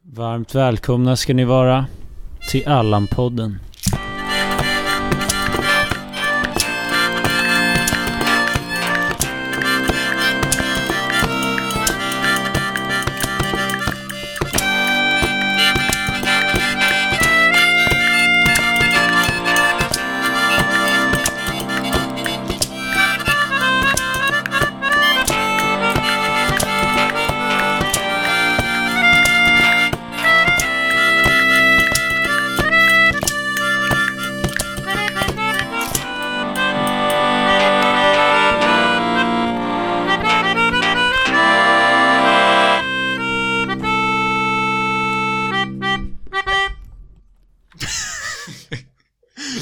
Varmt välkomna ska ni vara till Allan-podden.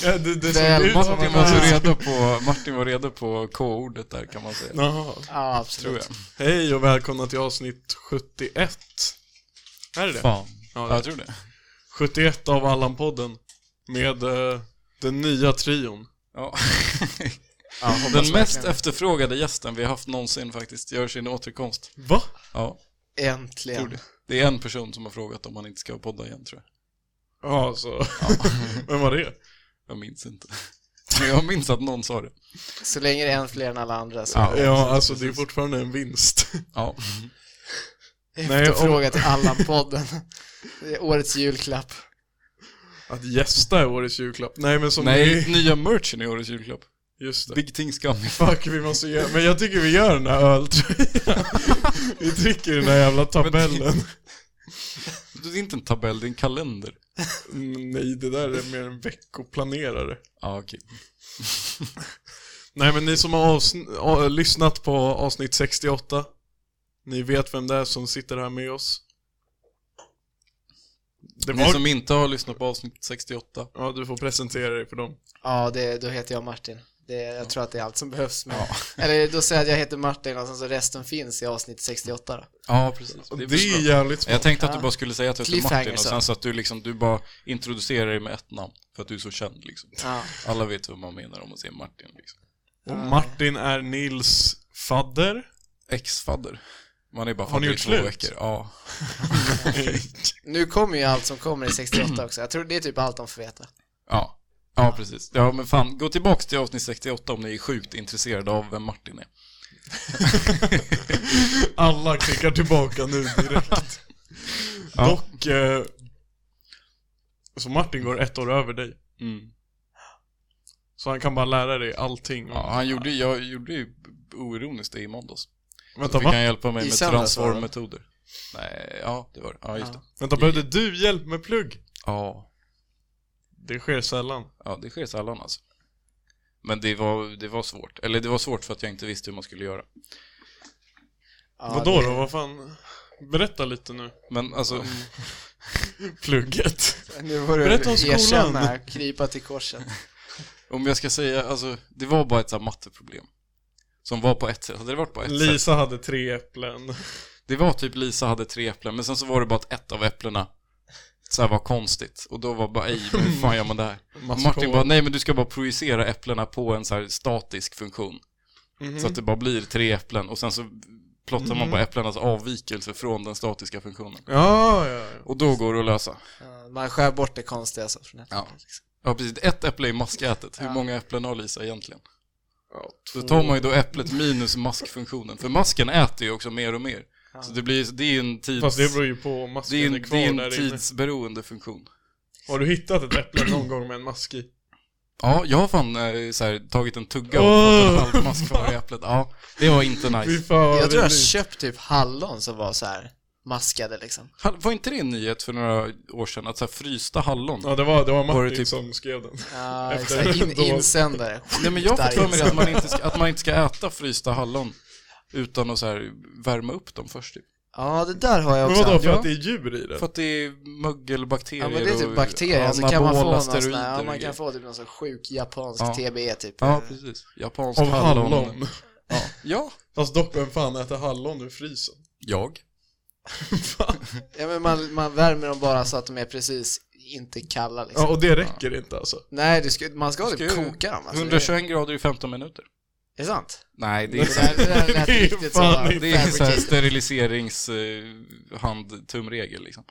Ja, det, det såg Väl- ut som att Martin man var var så redo på, Martin var redo på K-ordet där kan man säga. Jaha. Ja, Tror absolut. jag. Hej och välkomna till avsnitt 71. Är det det? Fan. Ja, Ja, det är jag tror det. 71 av Allan-podden. Med eh, den nya trion. Ja. Ja, hoppas Den mest verkligen. efterfrågade gästen vi har haft någonsin faktiskt gör sin återkomst. Va? Ja, tror Äntligen. det. Det är en person som har frågat om han inte ska podda igen tror jag. Ja, så. Vem var det? Jag minns inte. Men jag minns att någon sa det. Så länge det är en fler än alla andra så. Ja. Ja, alltså det är fortfarande en vinst. Ja. Efterfråga till Allan-podden. Det är årets julklapp. Att gästa är årets julklapp. Nej, men som Nej, ni... nya merchen i årets julklapp. Just det. Big Things Coming. Fuck, vi måste göra... Men jag tycker vi gör den här öltröjan. vi dricker den här jävla tabellen. Det är inte en tabell, det är en kalender. Mm, Nej, det där är mer en veckoplanerare. Ja, okej. Nej men ni som har avsn- a- lyssnat på avsnitt 68 Ni vet vem det är som sitter här med oss det var... Ni som inte har lyssnat på avsnitt 68. Ja, du får presentera dig för dem Ja, det, då heter jag Martin. Det, jag tror att det är allt som behövs. Men, Eller då säger jag att jag heter Martin och sen så resten finns i avsnitt 68 då. Ja, precis. Det är, väl bra. jävligt smart Jag tänkte att du Ja. bara skulle säga att du heter Cliffhanger, Martin och så. sen så att du liksom, du bara introducerar dig med ett namn. För att du är så känd liksom. Ja. Alla vet vad man menar om man säger Martin liksom. Och Martin är Nils fadder Ex-fadder. Man är bara Har ni fadder i gjort två slut? veckor. Ja. Nu kommer ju allt som kommer i 68 också. Jag tror det är typ allt de får veta. ja. Ja, precis. Ja, men fan. Gå tillbaks till avsnitt 68 om ni är sjukt intresserade av vem Martin är. Alla klickar tillbaka nu direkt Ja. Dock eh... Så Martin går ett år över dig Mm. Så han kan bara lära dig allting Ja, han gjorde, ju- jag gjorde ju oironiskt det i måndags. Vänta Då fick han va? hjälpa mig I med söndags var det? transformmetoder. Nej, ja, det var det. Ja, just Ja. det. Vänta, behövde du hjälp med plugg? Ja. Det sker sällan Ja, det sker sällan alltså. Men det var, det var svårt. Eller det var svårt för att jag inte visste hur man skulle göra. Ja, Vadå det- då? Vad fan? Berätta lite nu. Men alltså, Plugget. Nu får du Berätta om skolan. erkänna, krypa till korset. om jag ska säga, alltså, det var bara ett så här matteproblem. Som var på ett sätt. Hade det varit på ett sätt? Lisa hade tre äpplen. Det var typ Lisa hade tre äpplen, men sen så var det bara att ett av äpplena så här var konstigt. Och då var bara, ej, men hur fan gör man det här? Och Martin bara, nej men du ska bara projicera äpplena på en så här statisk funktion. Mhm. Så att det bara blir tre äpplen och sen så plottar man bara äpplenas avvikelse från den statiska funktionen. Ja, ja, ja. Och då går det att lösa. Ja, Man skär bort det konstiga så från ett Ja. Ja, precis. Ett äpple är maskätet. Hur Ja. många äpplen har Lisa egentligen? Då tar man ju då äpplet minus maskfunktionen. För masken äter ju också mer och mer. Ja. Så det, blir, det är ju en, tids, Fast det beror ju på om masken det är en, är det är kvar en där inne. tidsberoende funktion. Har du hittat ett äpple någon gång med en mask i? Ja, jag har fan eh, så här, tagit en tugga och Åh! fått en halv mask kvar i äpplet. Ja, det var Fy inte nice. fan vad Jag tror jag roligt. köpt typ hallon som var så här maskade liksom. Han- Var inte det en nyhet för några år sedan? Att så här, frysta hallon? Ja, det var, det var Martin Var det typ- som skrev den. Ja, Efter- exakt. In, då- insändare. Nej, men jag har fått för mig det Skitdarrigt. att man, inte ska, att man inte ska äta frysta hallon utan att så här, värma upp dem först. Typ. Ja, det där har jag Men också. vadå, för Ja. att det är djur i den? För att det är mögelbakterier ja, men det är och typ bakterier, så kan man få anabola någon sån steroider här, ja, och man grejer. kan få typ någon sån sjuk japansk Ja. TBE typ. Ja, precis. Japansk Av hallon. Ja. ja. Fast dock, vem fan äter hallon ur frysen? Jag. Ja, men man, man värmer dem bara så att de är precis inte kalla liksom. Ja, och det räcker inte alltså. Nej, du ska, man ska Ska typ ju- koka dem alltså. 121 grader i 15 minuter. Är det sant? Nej, det är Det så här, där, det där lät Det är riktigt fan som inte- det är så här fabricated. steriliserings eh, handtumregel liksom.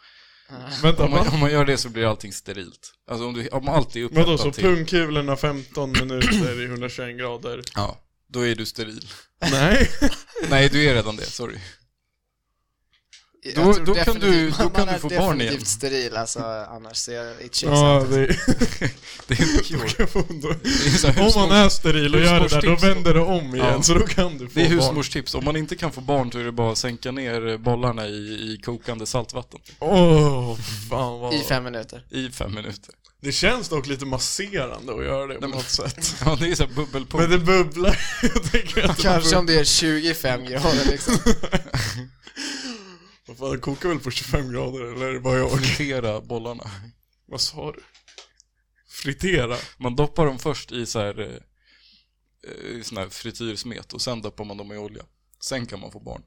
Vänta, Om man, va? om man gör det så blir allting sterilt. Alltså om, du, om allt är Vadå, så upphettat till... pungkulorna 15 minuter i 121 grader? Ja, då är du steril. Nej. Nej, du är redan det, sorry. Jag Då- tror då kan definitivt- du- då man- kan man du få är barn igen. definitivt steril alltså annars. Så jag, it checks ja, out. det är... Det är så kul. kan få en då- Det är så här Om man husmors- är steril och gör det där, då husmorstips då. vänder det om igen, Ja. så då kan du få det är barn. husmorstips. Om man inte kan få barn så är det bara att sänka ner bollarna i, i kokande saltvatten. Åh, fan vad... I fem minuter. I fem minuter. Det känns dock lite masserande att göra det på Nej, men- något sätt. Ja, det är så här bubbelpool. Men det bubblar. Jag tänker att det Kanske bubblar. om det är 25 grader liksom. Vad fan, det kokar väl på 25 grader, eller är det bara jag? Fritera bollarna. Vad sa du? Fritera? Man doppar dem först i så här, eh, i sån här frityrsmet och sen doppar man dem i olja. Sen kan man få barn.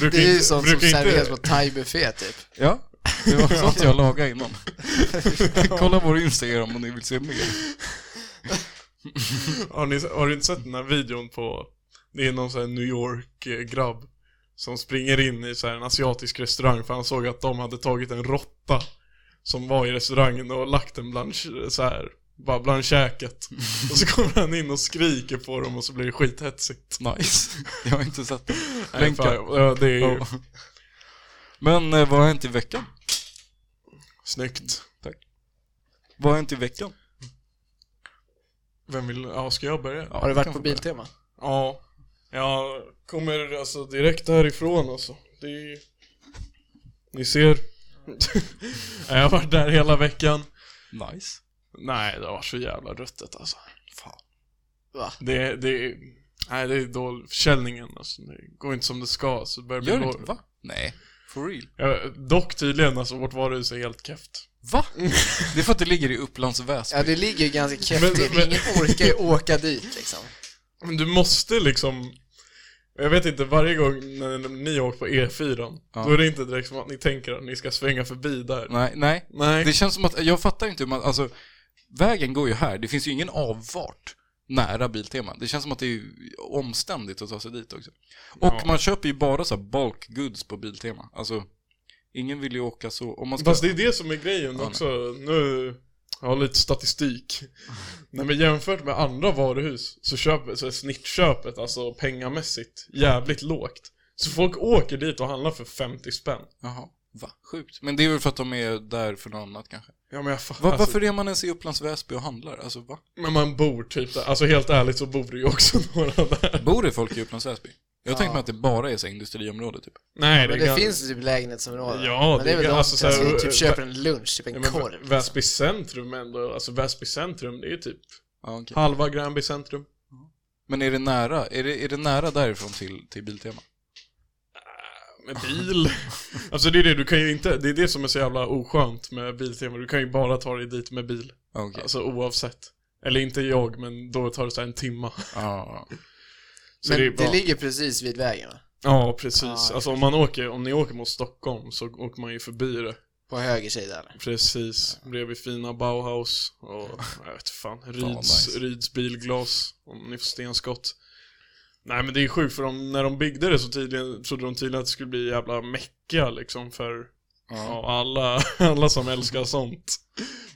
Brukar Det är ju inte- sånt som brukar inte- serveras på thai-buffé typ. Ja, det var sånt jag lagade innan. Kolla vår Instagram om ni vill se mer. Har, ni, har du inte sett den här videon på, det är någon sån här New York-grabb som springer in i så här en asiatisk restaurang för han såg att de hade tagit en råtta som var i restaurangen och lagt den bland, k- så här, bara bland käket. Och så kommer han in och skriker på dem och så blir det skithetsigt. Nice. Jag har inte sett det. Nej, Länka. fan, ja, det är ju Ja. Men eh, vad har hänt i veckan? snyggt. Vad har hänt i veckan? Vem vill, ja ska jag börja? Har du kan varit på få börja. Biltema? Ja, jag kommer alltså direkt härifrån alltså. Det är... Ni ser. jag har varit där hela veckan. Nice. Nej, det var så jävla ruttet alltså. Fan. Va? Det, det, nej, det är dålig försäljningen alltså. Det går inte som det ska. Så det börjar bli Gör det dåligt. inte? Va? Nej. For real? Ja, dock tydligen alltså, vårt varuhus är helt keft. Va? Det är för att det ligger i Upplands Väsby. Ja, det ligger ju ganska Men- kefft till. men- Ingen orkar ju åka dit liksom. Men du måste liksom jag vet inte, varje gång när ni åker på E4 Ja. Då är det inte direkt som att ni tänker att ni ska svänga förbi där Nej, nej. Nej. Det känns som att, jag fattar inte hur man, alltså, vägen går ju här. Det finns ju ingen avfart nära Biltema. Det känns som att det är ju omständigt att ta sig dit också. Och Ja. man köper ju bara så här bulk goods på Biltema. Alltså, ingen vill ju åka så. Om man ska... Fast det är det som är grejen Ja, också. Nu, jag har lite statistik. Nej men jämfört med andra varuhus så, köper, så är snittköpet, alltså pengamässigt, jävligt lågt. Så folk åker dit och handlar för 50 spänn. Jaha, va? Sjukt. Men det är väl för att de är där för något annat kanske. Ja men jag fattar. Va, alltså, Varför är man ens i Upplands Väsby och handlar? Alltså, va? Men man bor typ där. Alltså helt ärligt så bor det ju också några där. Bor det folk i Upplands Väsby? Jag Ja. tänkte mig att det bara är så här industriområde typ. Nej Men det kan- finns ju typ lägenhetsområden. Ja, men det det är väl kan- de alltså, som så här, typ eh, köper en lunch, typ en Ja, men korv. Vä- Väsby centrum ändå, alltså Väsby centrum det är ju typ Ja, okej. halva Gränby centrum. Men är det nära? Är det, är det nära därifrån till, till Biltema? Med bil. alltså det är det, du kan ju inte, det är det som är så jävla oskönt med Biltema, du kan ju bara ta dig dit med bil. Ja, Okej. Alltså oavsett. Eller inte jag, men då tar det så här en timma. Ja, ja. Så men det det, är bara... ligger precis vid vägen va? Ja, precis. Ja, jag alltså om man åker, om ni åker mot Stockholm så åker man ju förbi det. På höger sida eller? Precis. Bredvid fina Bauhaus och, jag vet fan, Ryds, nice. Ryds bilglas. Om ni får stenskott. Nej men det är sjukt för de, när de byggde det så tydligen, trodde de tydligen att det skulle bli jävla mecka liksom för ja. ja, alla, alla som älskar sånt.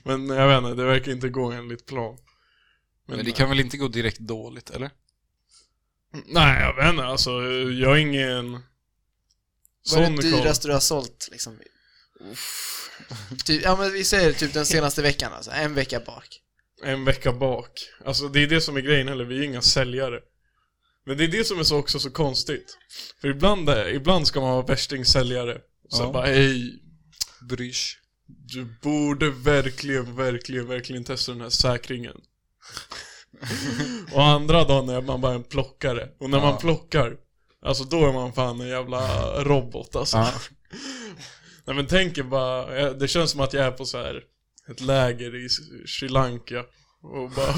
Men jag vet inte, det verkar inte gå enligt plan. Men det kan väl inte gå direkt dåligt, eller? Nej, jag vet inte. Alltså, jag har ingen... Vad är Sån det koll. dyraste du har sålt liksom? Typ, ja men vi säger typ den senaste veckan alltså, en vecka bak. En vecka bak. Alltså, det är det som är grejen heller. Vi är ju inga säljare. Men det är det som är så också så konstigt. För ibland, är- ibland ska man vara värstingsäljare. Och sen Ja. bara, hej, Brysch. du borde verkligen, verkligen, verkligen testa den här säkringen. och andra dagen är man bara en plockare. Och när man Ja. plockar, alltså då är man fan en jävla robot alltså. Ja. Nej men tänk er bara, jag- det känns som att jag är på så här ett läger i Sri Lanka och bara,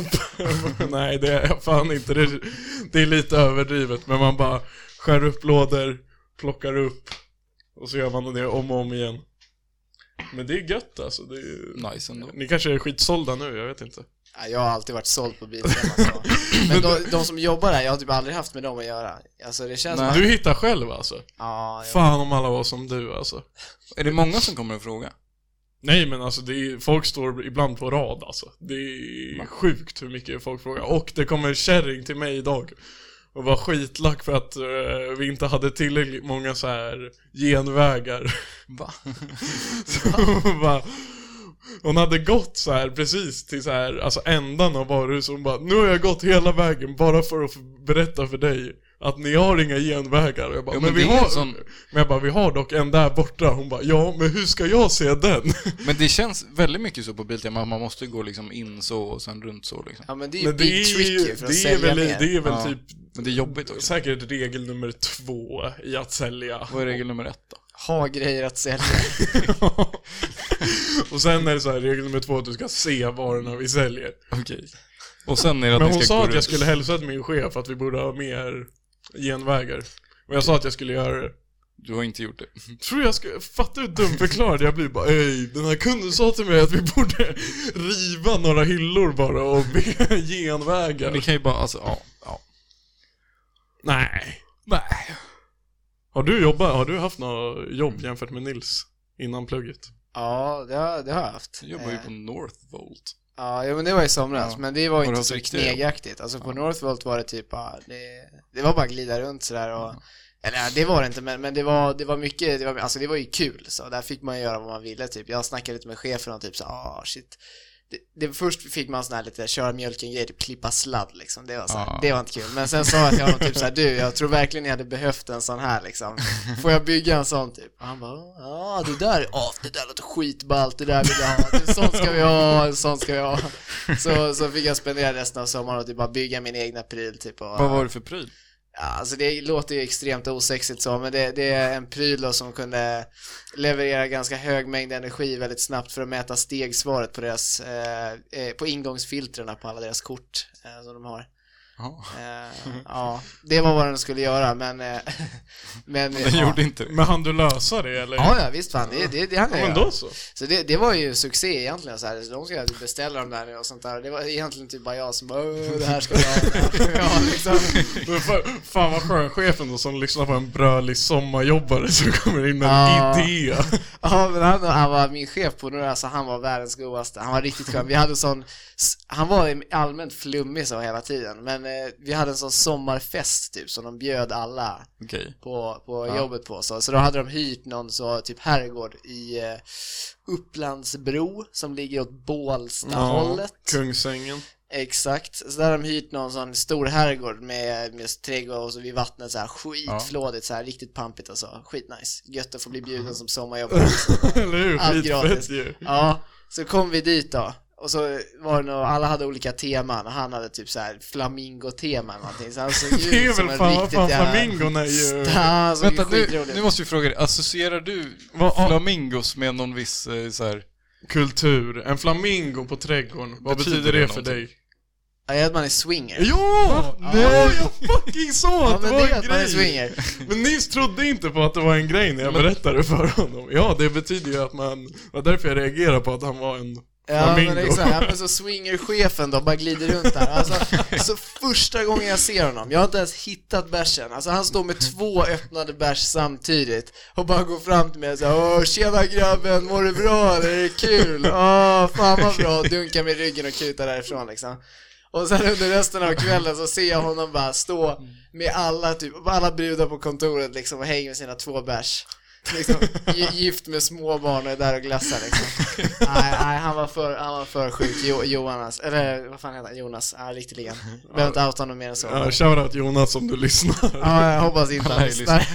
nej det är jag fan inte, det är, det är lite överdrivet men man bara skär upp lådor, plockar upp och så gör man det om och om igen. Men det är gött alltså, det är, Nice ändå. ni kanske är skitsålda nu, jag vet inte. Ja, Jag har alltid varit såld på Biltema alltså. Men de, de som jobbar där, jag har typ aldrig haft med dem att göra Alltså det känns som att... Du hittar själv alltså? Ja, jag... Fan om alla var som du alltså. Är det många som kommer att fråga? Nej men alltså det är, folk står ibland på rad alltså. Det är sjukt hur mycket folk frågar. Och det kommer en kärring till mig idag och var skitlack för att eh, vi inte hade tillräckligt många så här genvägar. Va? Så hon bara, hon hade gått så här precis till så här, alltså ändan av varuhuset hon bara Nu har jag gått hela vägen bara för att f- berätta för dig att ni har inga genvägar. Och Jag bara, Jo, men, men vi det är har... en sån- men jag bara, vi har dock en där borta. Hon bara, ja men hur ska jag se den? Men det känns väldigt mycket så på Biltema, man måste gå liksom in så och sen runt så liksom. ja men det är ju Men det big är tricky ju, för att det är sälja väl, mer det är väl Ja. typ Men det är jobbigt också. säkert regel nummer två i att sälja. Vad är regel nummer ett då? Ha grejer att sälja och sen är det så här, regel nummer två att du ska se varorna vi säljer. Okej. Och sen är det att Men ni hon ska sa gå att jag runt. skulle hälsa till min chef att vi borde ha mer genvägar. Och jag sa att jag skulle göra det. Du har inte gjort det. Tror jag skulle, fatta hur dumförklarad jag blir bara Ej, den här kunden sa till mig att vi borde riva några hyllor bara och be genvägar. Ni kan ju bara, alltså, ja. ja. Nej. Nej. Har du jobbat, har du haft något jobb jämfört med Nils innan plugget? Ja, det har, det har jag haft Jag jobbar ju Eh, på Northvolt. Ja, jo, men det var i somras, Ja. men det var du ju inte haft så riktiga jobb? knegaktigt. Alltså på Northvolt var det typ, ja, det, det var bara att glida runt sådär och, eller ja, det var det inte, men, men det, var, det var mycket, det var, alltså det var ju kul så, där fick man ju göra vad man ville typ. Jag snackade lite med chefen och typ så ah shit. Det, det, först fick man sån här lite köra mjölken-grej, typ klippa sladd liksom. Det var, så här, Ja. det var inte kul. Men sen sa jag till honom typ såhär, du jag tror verkligen ni hade behövt en sån här liksom. Får jag bygga en sån typ? Och han bara, ja det där, ja det där låter skitballt, det där vill jag ha, en sån ska vi ha, en sån ska vi ha. Så, så fick jag spendera resten av sommaren och typ bara bygga min egna pryl typ. Och, Vad var det för pryl? Ja, alltså det låter ju extremt osexigt så, men det, det är en pryl då som kunde leverera ganska hög mängd energi väldigt snabbt för att mäta stegsvaret på deras, eh, eh, på ingångsfiltrerna på alla deras kort eh, som de har. Ja. Eh, ja, det var vad den skulle göra, men... Eh, men Den ja. gjorde inte det. Men hann du lösa det eller? Ja, ja, visst fan, det, det, det hann Ja, jag men göra. då så. Så det, det var ju succé egentligen så här. Så de ska typ beställa de där nu och sånt där. Det var egentligen typ bara jag som bara "Åh, det här ska jag ha, det här ska jag ha liksom. Men fa- Fan vad skön chefen då som lyssnar på en brölig sommarjobbare som kommer in med en Ja. idé. Ja, men han, han var min chef på några, så han var världens godaste. Han var riktigt skön. Vi hade sån, s- han var allmänt flummig så hela tiden, men eh, vi hade en sån sommarfest typ som de bjöd alla Okej. på, på Ja. jobbet på. Så, så då hade de hyrt någon så, typ herrgård i eh, Upplandsbro som ligger åt Bålstahållet. Kungsängen. Exakt, så där har de hyrt någon sån stor herrgård med, med trädgård och så vid vattnet så här skitflådigt så här riktigt pampigt och så, skitnice. Gött att få bli bjuden som sommarjobbare. Eller hur? Allt gratis. Skitfett ju. Ja, så kom vi dit då. Och så var det nog, alla hade olika teman och han hade typ så här flamingotema eller någonting. Så han såg ju Det är ut som väl en fan vad riktigt fan jävla- flamingon är ju... Ja, Han såg Vänta, ju nu, skitrolig nu ut. måste vi fråga dig. Associerar du Vad- ja. flamingos med någon viss eh, så här... Kultur. En flamingo på trädgården. Vad betyder, det, för någonting? dig? Ja, jag vet att man är swinger. Ja! Ja, jag fucking sa Ja, att men det det är var att man är en grej. swinger. Men Nils trodde inte på att det var en grej när jag berättade för honom. Ja, det betyder ju att man... Det var därför jag reagerade på att han var en Ja men Flamingo. exakt, ja, men så swingerchefen då bara glider runt där. Alltså, så första gången jag ser honom, jag har inte ens hittat bärsen. Alltså han står med två öppnade bärs samtidigt och bara går fram till mig och säger Åh tjena grabben, mår du bra? Det är kul, åh fan vad bra, dunkar mig i ryggen och kutar därifrån liksom. Och sen under resten av kvällen så ser jag honom bara stå med alla, typ, alla brudar på kontoret liksom och hänger med sina två bärs. Liksom, gi- gift med småbarn och är där och glassar liksom. Nej, nej han, var för, han var för sjuk. Jo, Jonas, eller vad fan heter han? Jonas, ja riktigt ligan. Behöver inte outa honom mer än så. Ja, shoutout Jonas om du lyssnar. Ja, jag hoppas inte han Nej, lyssnar.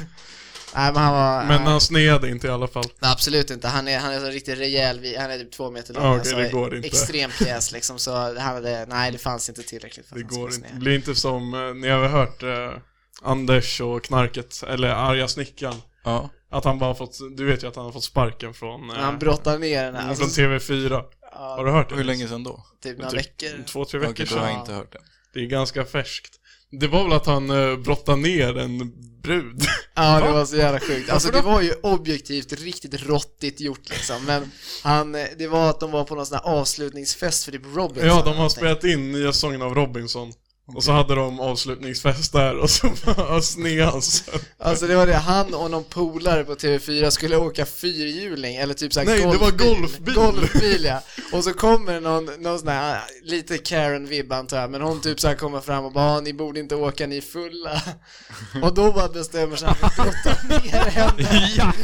Nej men han var... liksom- Men eh, nej, han sneade inte i alla fall. nej, absolut inte. Han är, han är så riktigt rejäl, vi- han är typ två meter lång. Ja, okej, det går inte. Extrem pjäs liksom, så han hade, nej det fanns inte tillräckligt för att Det han skulle går inte. Det snea. blir inte som, eh, ni har väl hört eh, Anders och knarket, eller arga snickaren. Ja. Att han bara har fått, du vet ju att han har fått sparken från, eh, Men Han brottar ner den här, från alltså, TV4. ja, Har du hört det? Hur länge sedan då? typ några Typ veckor. Två, tre Okej, veckor då har sedan. jag inte hört det. Det är ganska färskt. Det var väl att han eh, brottade ner en brud. Ja, det var så jävla sjukt. Alltså det var ju objektivt riktigt råttigt gjort liksom, men han, eh, det var att de var på någon sån här avslutningsfest för typ Robinson. Ja, de eller har någonting. spelat in nya sången av Robinson. Och så hade de avslutningsfest där och så bara snedhalsen. Alltså det var det, han och någon polare på TV4 skulle åka fyrhjuling, eller typ såhär Nej, det var golfbil. Golfbil ja. Och så kommer någon, någon sån här, lite Karen-vibb antar jag, men hon typ såhär kommer fram och bara "Ah, ni borde inte åka, ni är fulla. Och då bara bestämmer sig han för att brotta ner henne.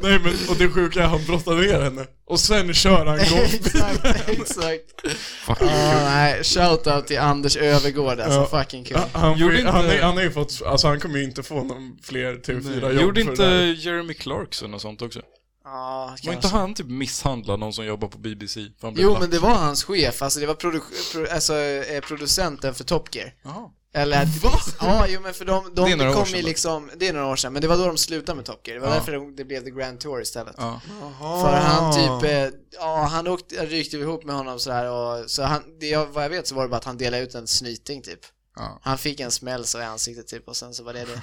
Nej men, och det sjuka är att han brottade ner henne. Och sen kör han golf. exakt, exakt. Fucking Ah, kul. nej, shoutout till Anders Övergård alltså, Ja. fucking kul. Ja, Han, får Gjorde ju- inte- han, är- han har ju fått, alltså han kommer ju inte få någon fler TV4-jobb Gjorde för det där. inte Jeremy Clarkson och sånt också? Ja, Var Ah, kanske. inte han typ misshandlad någon som jobbar på BBC? För han blev Jo lack? men det var hans chef, alltså det var produ- pro- alltså, eh, producenten för Top Gear. Jaha. Eller Va? Ja, jo men för de, Det är de några år kom sedan ju då. liksom, det är några år sedan, men det var då de slutade med Top Gear. Det var Ja. Ah. därför de- det blev The Grand Tour istället. Ja. För han typ, eh, ja han åkte, rykte ihop med honom sådär och så han, det jag, vad jag vet så var det bara att han delade ut en snyting typ. Ja. Han fick en smäll så i ansiktet typ och sen så var det det.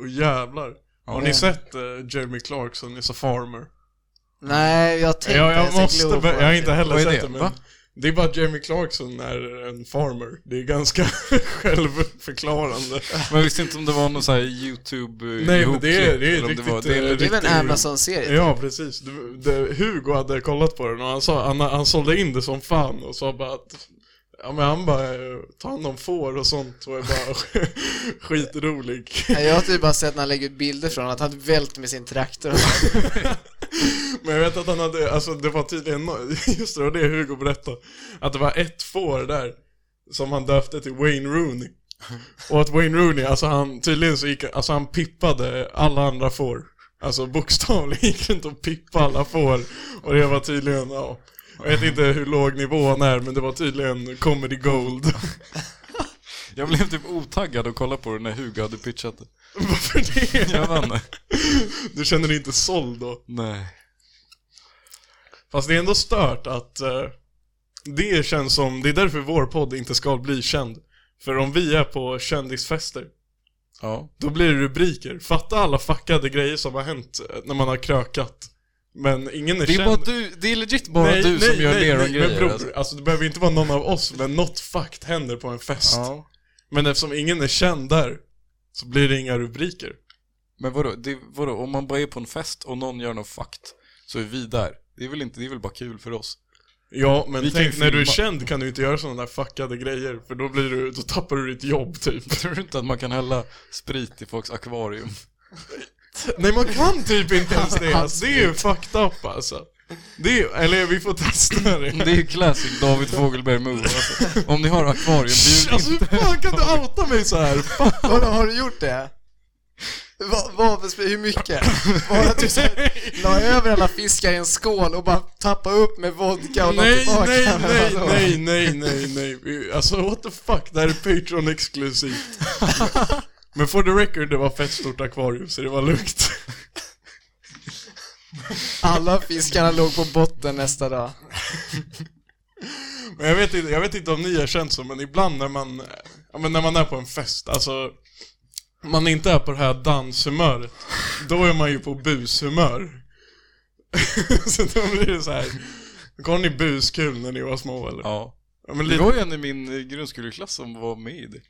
Åh jävlar. Har ni Ja. sett eh, Jeremy Clarkson is a farmer? Nej, jag tänkte Ja, jag ska måste, glo på jag har det. inte heller Vad är sett det? det, men Va? det är bara att Jeremy Clarkson är en farmer. Det är ganska självförklarande. Men jag visste inte om det var någon sån här youtube eh, Nej, men det är- ihopklipp, det är eller om riktigt, var- eh, det Det är är väl en riktigt- Amazon-serie? Ja, precis. Du, det, Hugo hade kollat på den och han, sa, han, han sålde in det som fan och sa bara att Ja men han bara, eh, ta hand om får och sånt och är bara skitrolig. Nej, Jag har typ bara sett när han lägger ut bilder från att han vält med sin traktor. Men jag vet att han hade, alltså det var tydligen, no- just det, det var det Hugo berättade. Att det var ett får där som han döpte till Wayne Rooney. Och att Wayne Rooney, alltså han tydligen så gick, alltså han pippade alla andra får. Alltså bokstavligen gick runt och pippade alla får. Och det var tydligen, ja. Jag vet inte hur låg nivån är, men det var tydligen comedy gold. Jag blev typ otaggad att kolla på det när Hugo hade pitchat det. Varför det? Jag vann. Du känner dig inte såld då? Nej. Fast det är ändå stört att eh, det känns som, det är därför vår podd inte ska bli känd. För om vi är på kändisfester, Ja. då blir det rubriker. Fatta alla fuckade grejer som har hänt eh, när man har krökat. Men ingen är, Det är, känd. bara du, det är legit bara du som gör Men bror, Leron-grejer. alltså. det behöver inte vara någon av oss, men något fucked händer på en fest. Ja. Men eftersom ingen är känd där, så blir det inga rubriker. Men vadå, det, vadå, om man bara är på en fest och någon gör något fakt så är vi där. Det är väl inte, det är väl bara kul för oss. Ja, men Vi kan ju tänk, när du är filma. känd kan du inte göra sådana där fuckade grejer, för då blir du, då tappar du ditt jobb typ. Tror du inte att man kan hälla sprit i folks akvarium? Nej man kan typ inte ens det, alltså, det är ju fucked up alltså. Det är, eller vi får testa det. Det är ju classic David Fogelberg move alltså. Om ni har akvarium, bjud Alltså hur fan kan du outa mig så här? Fan. Vadå, har du gjort det? Va, vad för spe- hur mycket? Var det att du så här, la över alla fiskar i en skål och bara tappa upp med vodka och la Nej, tillbaka? nej, Men nej, vadå? nej, nej, nej, nej. Vi- Alltså what the fuck, det här är Patreon exklusivt. Men for the record, det var fett stort akvarium så det var lugnt. Alla fiskarna låg på botten nästa dag. Men jag vet inte, jag vet inte om ni har känt så, men ibland när man, ja, men när man är på en fest, alltså man inte är på det här danshumöret, då är man ju på bushumör. så då blir det så här. Går ni buskul när ni var små eller? Ja. Ja, men Det lite, var ju en i min eh, grundskoleklass som var med i det.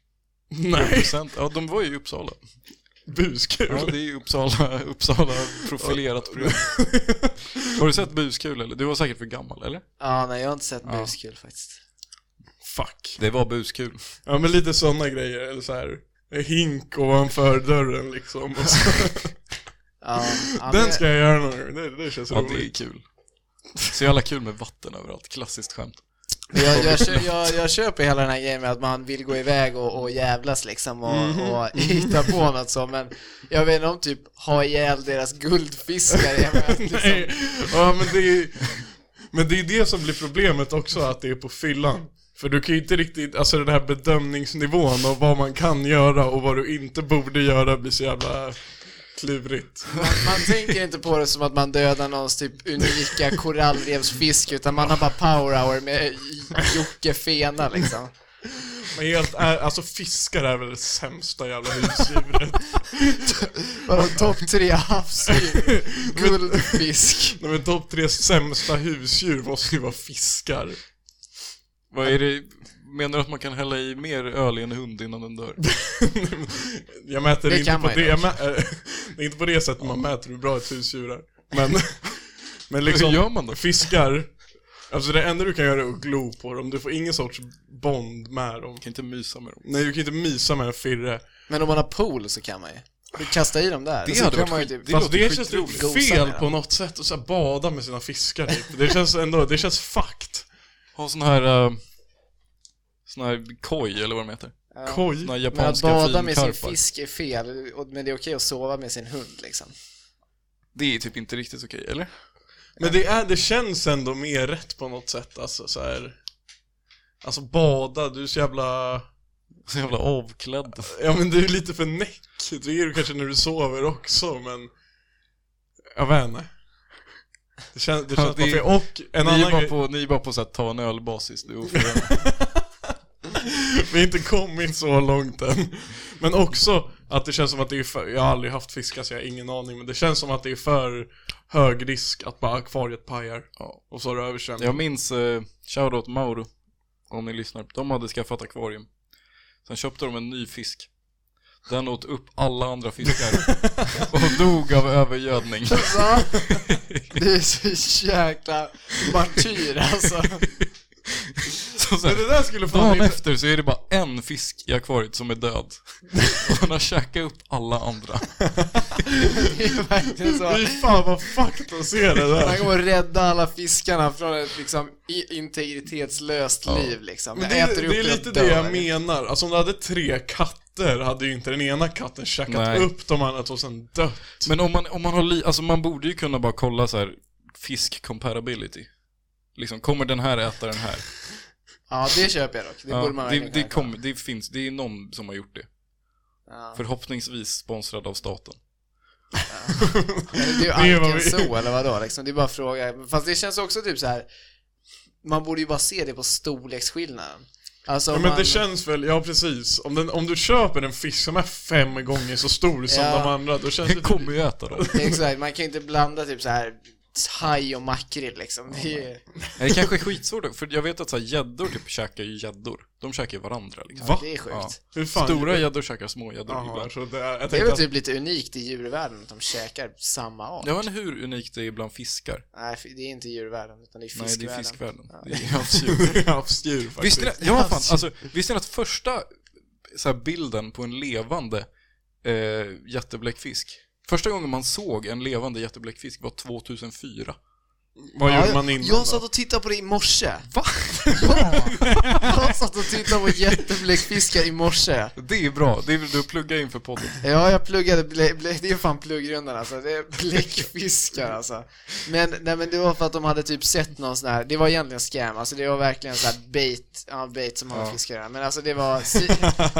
nej, Procent. Ja, de var ju i Uppsala. buskul. Ja, det är ju Uppsala, Uppsala profilerat program. Har du sett Buskul eller? Du var säkert för gammal, eller? Ja, nej jag har inte sett Ja. buskul faktiskt. Fuck. Det var Buskul. Ja men lite sådana grejer, eller så här. en Hink ovanför dörren liksom. Och så. Ja, ja, men- Den ska jag göra någon gång, det, det känns Ja, det är roligt. kul. Så jävla kul med vatten överallt. Klassiskt skämt. Jag, jag, kö- jag, jag köper hela den här grejen med att man vill gå iväg och, och jävlas liksom och, Mm-hmm. och hitta på något så men jag vet inte om typ ha ihjäl deras guldfiskar jag vet, liksom. Nej, ja, men, det är, men det är det som blir problemet också, att det är på fyllan. För du kan ju inte riktigt, alltså den här bedömningsnivån och vad man kan göra och vad du inte borde göra blir så jävla klurigt. Man, man tänker inte på det som att man dödar någons typ unika korallrevsfisk utan man har bara power hour med Jocke Fena liksom. Men helt är, alltså fiskar är väl det sämsta jävla husdjuret. Vadå, topp tre havsdjur? Guldfisk. Nej men topp tre sämsta husdjur måste ju vara fiskar. Vad är det? Menar du att man kan hälla i mer öl i en hund innan den dör? Jag mäter Det inte kan på man ju det, jag mä, eh, det är inte på det sättet man mäter hur bra ett husdjur är. Men, men Hur liksom, gör man då? fiskar, alltså det enda du kan göra är att glo på dem, du får ingen sorts bond med dem. Man kan inte mysa med dem. Nej, du kan inte mysa med en firre. Men om man har pool så kan man ju. Du kastar i dem där. Det så hade kan varit man ju skit- typ- det Fast låter det känns skitroligt. Gosa fel med på dem. något sätt, att så här bada med sina fiskar typ. Det känns ändå, det känns fucked. Ha sån här... eh, sån här koj, eller vad de heter. Ja. Koj. Såna Men här att japanska bada med sin finkarpar. fisk är fel, och- men det är okej att sova med sin hund liksom. Det är typ inte riktigt okej, eller? Men det, är, det känns ändå mer rätt på något sätt, alltså så här. Alltså bada, du är så jävla... Så jävla avklädd. Ja men du är lite för näck, det är du kanske när du sover också men... Jag vet inte. Det känns, det Ja, känns det är- bara fel. Och en ni, är annan bara grej, på, ni är bara på så här, ta en ölbasis, du är oförenad. vi har inte kommit så långt än. Men också att det känns som att det är för, jag har aldrig haft fiskar så jag har ingen aning, men det känns som att det är för hög risk att bara akvariet pajar. Ja. Och så har det översvämning. Jag minns, eh, shoutout Mauro, om ni lyssnar. De hade skaffat akvarium. Sen köpte de en ny fisk. Den åt upp alla andra fiskar och dog av övergödning. Alltså, det är så jäkla martyr alltså. Så Men sen, det där skulle fan dagen inte... efter så är det bara en fisk i akvariet som är död. Och den har käkat upp alla andra. Det är verkligen så. Fy fan vad fucked att se det Man där. kommer att rädda alla fiskarna från ett liksom i- integritetslöst liv liksom. Men Jag det, äter är- upp det är jag lite det jag dör. liksom. menar. Alltså om du hade tre katter hade ju inte den ena katten käkat Nej. upp de andra två och sen dött. Men om man, om man har li- alltså man borde ju kunna bara kolla så här fisk comparability. Liksom, kommer den här äta den här? Ja, det köper jag dock. Det Ja, borde man det, verkligen det, kunna kom, det finns, det är någon som har gjort det. Ja. Förhoppningsvis sponsrad av staten. Eller Det är Det ju är vad antingen vi- så eller vadå liksom. Det är bara att fråga. Fast det känns också typ så här. Man borde ju bara se det på storleksskillnaden. Alltså Ja, om men man... det känns väl, ja precis. Om, den, om du köper en fisk som är fem gånger så stor som Ja. de andra, då känns Den det... kommer ju äta dem. Exakt, man kan ju inte blanda typ så här haj och makrill liksom. Det är... Nej, Det kanske är skitsvårt, då, för jag vet att så här gäddor typ käkar ju gäddor. De käkar ju varandra liksom. Va? Det är sjukt. Ja. Hur fan Stora gäddor käkar små gäddor Jaha, ibland. jag trodde... Jag, jag Det är väl tänkte typ lite unikt i djurvärlden att de käkar samma art. Jag vet inte hur unikt det är bland fiskar. Nej, f- det är inte djurvärlden, utan det är Nej, fiskvärlden. det är fiskvärlden. Ja. Det är havsdjur. att... havsdjur faktiskt. Visste ni, ja, fan, alltså, visste ni att första så här, bilden på en levande eh, jättebläckfisk, första gången man såg en levande jättebläckfisk var 2004. Vad gjorde Ja, man innan Jag satt då? och tittade på det i morse. Va? Ja! Jag satt och tittade på jättebläckfiskar i morse. Det är bra, det vill du plugga inför podden. Ja, jag pluggade, blä, blä, det är fan pluggrundan alltså, det är bläckfiskar alltså. Men, nej men det var för att de hade typ sett någon sån här, det var egentligen scam, alltså det var verkligen så här bait, ja bait som har med fiskar att göra. men alltså det var, sy,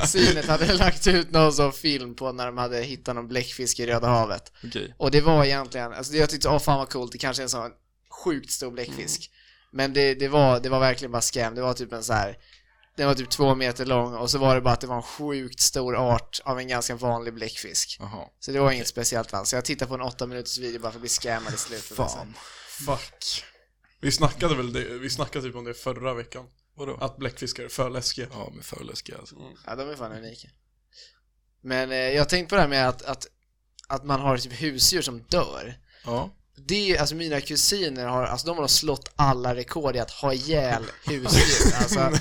synet hade lagt ut någon sån film på när de hade hittat någon bläckfisk i Röda havet. Okej. Och det var egentligen, alltså det jag tyckte, åh fan vad coolt, det kanske är en sån sjukt stor bläckfisk. Men det, det, var, det var verkligen bara scam, det var typ en så här den var typ två meter lång och så var det bara att det var en sjukt stor art av en ganska vanlig bläckfisk. Jaha. Så det var inget speciellt alls. Så jag tittade på en åtta minuters video bara för att bli scammad i slutet. alltså. Fan. Fuck. Vi snackade väl det, vi snackade typ om det förra veckan. Vadå? Att bläckfiskar är för läskiga. Ja, men för läskiga alltså. Ja, de är fan unika. Men eh, jag tänkte på det här med att, att, att man har typ husdjur som dör. Ja. Det, alltså mina kusiner har, alltså de har slått alla rekord i att ha ihjäl husdjur. Alltså,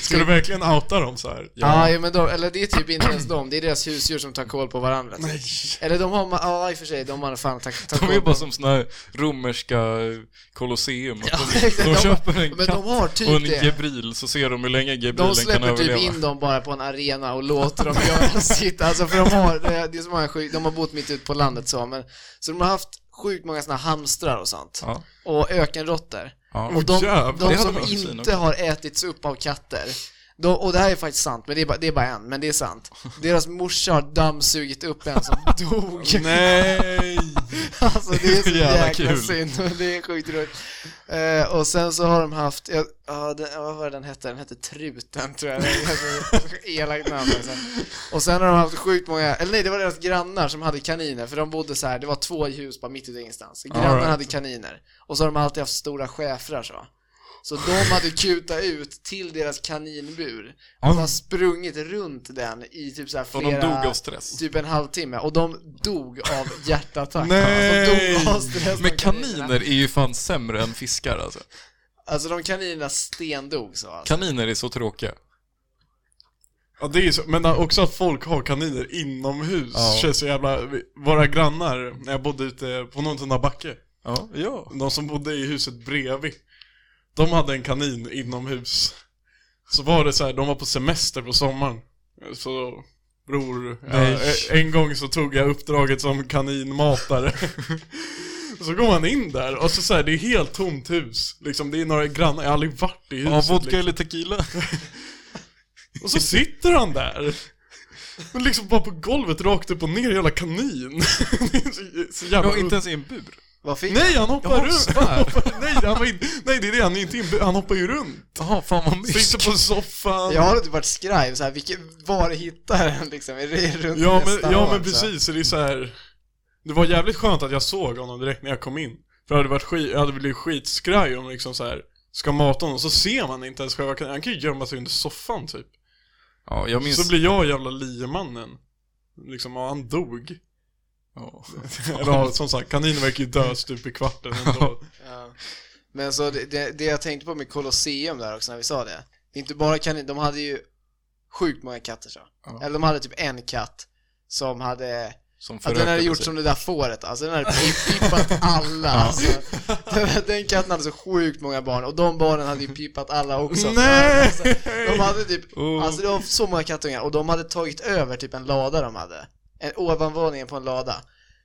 Ska du verkligen outa dem så här? ja, ja, men de, eller det är typ inte ens de, det är deras husdjur som tar koll på varandra. typ. Nej. Eller de har, ma- ja i och för sig, de har fan tagit tagit De är koll ju på bara som såna här romerska eh, kolosseum. att exakt. de, de De- köper en Men de katt har typ och en det. gebril så ser de hur länge De gebrilen kan släpper överleva. typ in dem bara på en arena och låter dem göra sitt. Alltså för de har, det är så många sjuk, de har bott mitt ute på landet så, men så de har haft sjukt många såna hamstrar och sånt. Ja. Och ökenråttor. Ja. Och de, jävlar. Det de hade som man kusin inte också. har ätits upp av katter. De, och det här är faktiskt sant, men det är, bara, det är bara en, men det är sant. Deras morsa har dammsugit upp en som dog. Nej! Alltså det, det är så Jävla jäkla kul. synd. och Det är sjukt roligt. Eh, och sen så har de haft, ja, ja, den, ja, vad var den hette? Den hette Truten tror jag. Det är ganska Elakt namn alltså. Och sen har de haft sjukt många, eller nej det var deras grannar som hade kaniner för de bodde så här, det var två hus bara mitt ute i ingenstans. Grannarna Alright. hade kaniner. Och så har de alltid haft stora schäfrar så. Så de hade kutat ut till deras kaninbur och Oh. har sprungit runt den i typ så här För flera... de dog av stress. Typ en halvtimme och de dog av hjärtattack. Nej! De dog av stress. Men de kaninerna. kaniner är ju fan sämre än fiskar alltså. Alltså de kaninerna stendog så alltså. Kaniner är så tråkiga. Ja, det är så, men också att folk har kaniner inomhus Ja. känns så jävla... Våra grannar, när jag bodde ute på någon sån där backe, Ja, ja. de som bodde i huset bredvid, de hade en kanin inomhus. Så var det så här, de var på semester på sommaren. Så, bror, ja, Nej. en gång så tog jag uppdraget som kaninmatare. så går man in där och så, så här, det är helt tomt hus. Liksom, det är några grannar, jag har aldrig varit i huset. Ja, vodka liksom. eller tequila? Och så sitter han där. Men liksom bara på golvet rakt upp och ner, jävla kanin. Det är så- så jävla... Ja, inte ens i en bur. Vad fick Nej, han hoppar Jag runt! Han hoppar... Nej, han var in... Nej, det är det, han är inte inbjuden. Han hoppar ju runt. Jaha, fan vad mysk. Sitter på soffan. Jag har typ varit skraj så här, vilken, var hittar den liksom? Är det runt Ja, nästa men, ja, år, men så här? precis, så det är så här. Det var jävligt skönt att jag såg honom direkt när jag kom in. För jag hade, varit skit... jag hade blivit skitskraj om liksom så här ska mata honom, så ser man inte ens själva kaninen. Han kan ju gömma sig under soffan typ. Ja, jag minns... Så blir jag jävla liemannen. Liksom, ja, han dog. Ja. Eller ja, som sagt, kaninen verkar ju dö stup i kvarten ändå. Ja. Men så det, det, det jag tänkte på med Colosseum där också när vi sa det. Det är inte bara kaniner, de hade ju sjukt många katter så. Ja. Eller de hade typ en katt som hade Som Att den hade gjort sig. som det där fåret alltså, den hade pip- pippat alla alltså. den, den katten hade så sjukt många barn och de barnen hade ju pippat alla också Nej! Alltså, De hade typ, Oh. alltså det var så många kattungar och de hade tagit över typ en lada de hade en, Ovanvåningen på en lada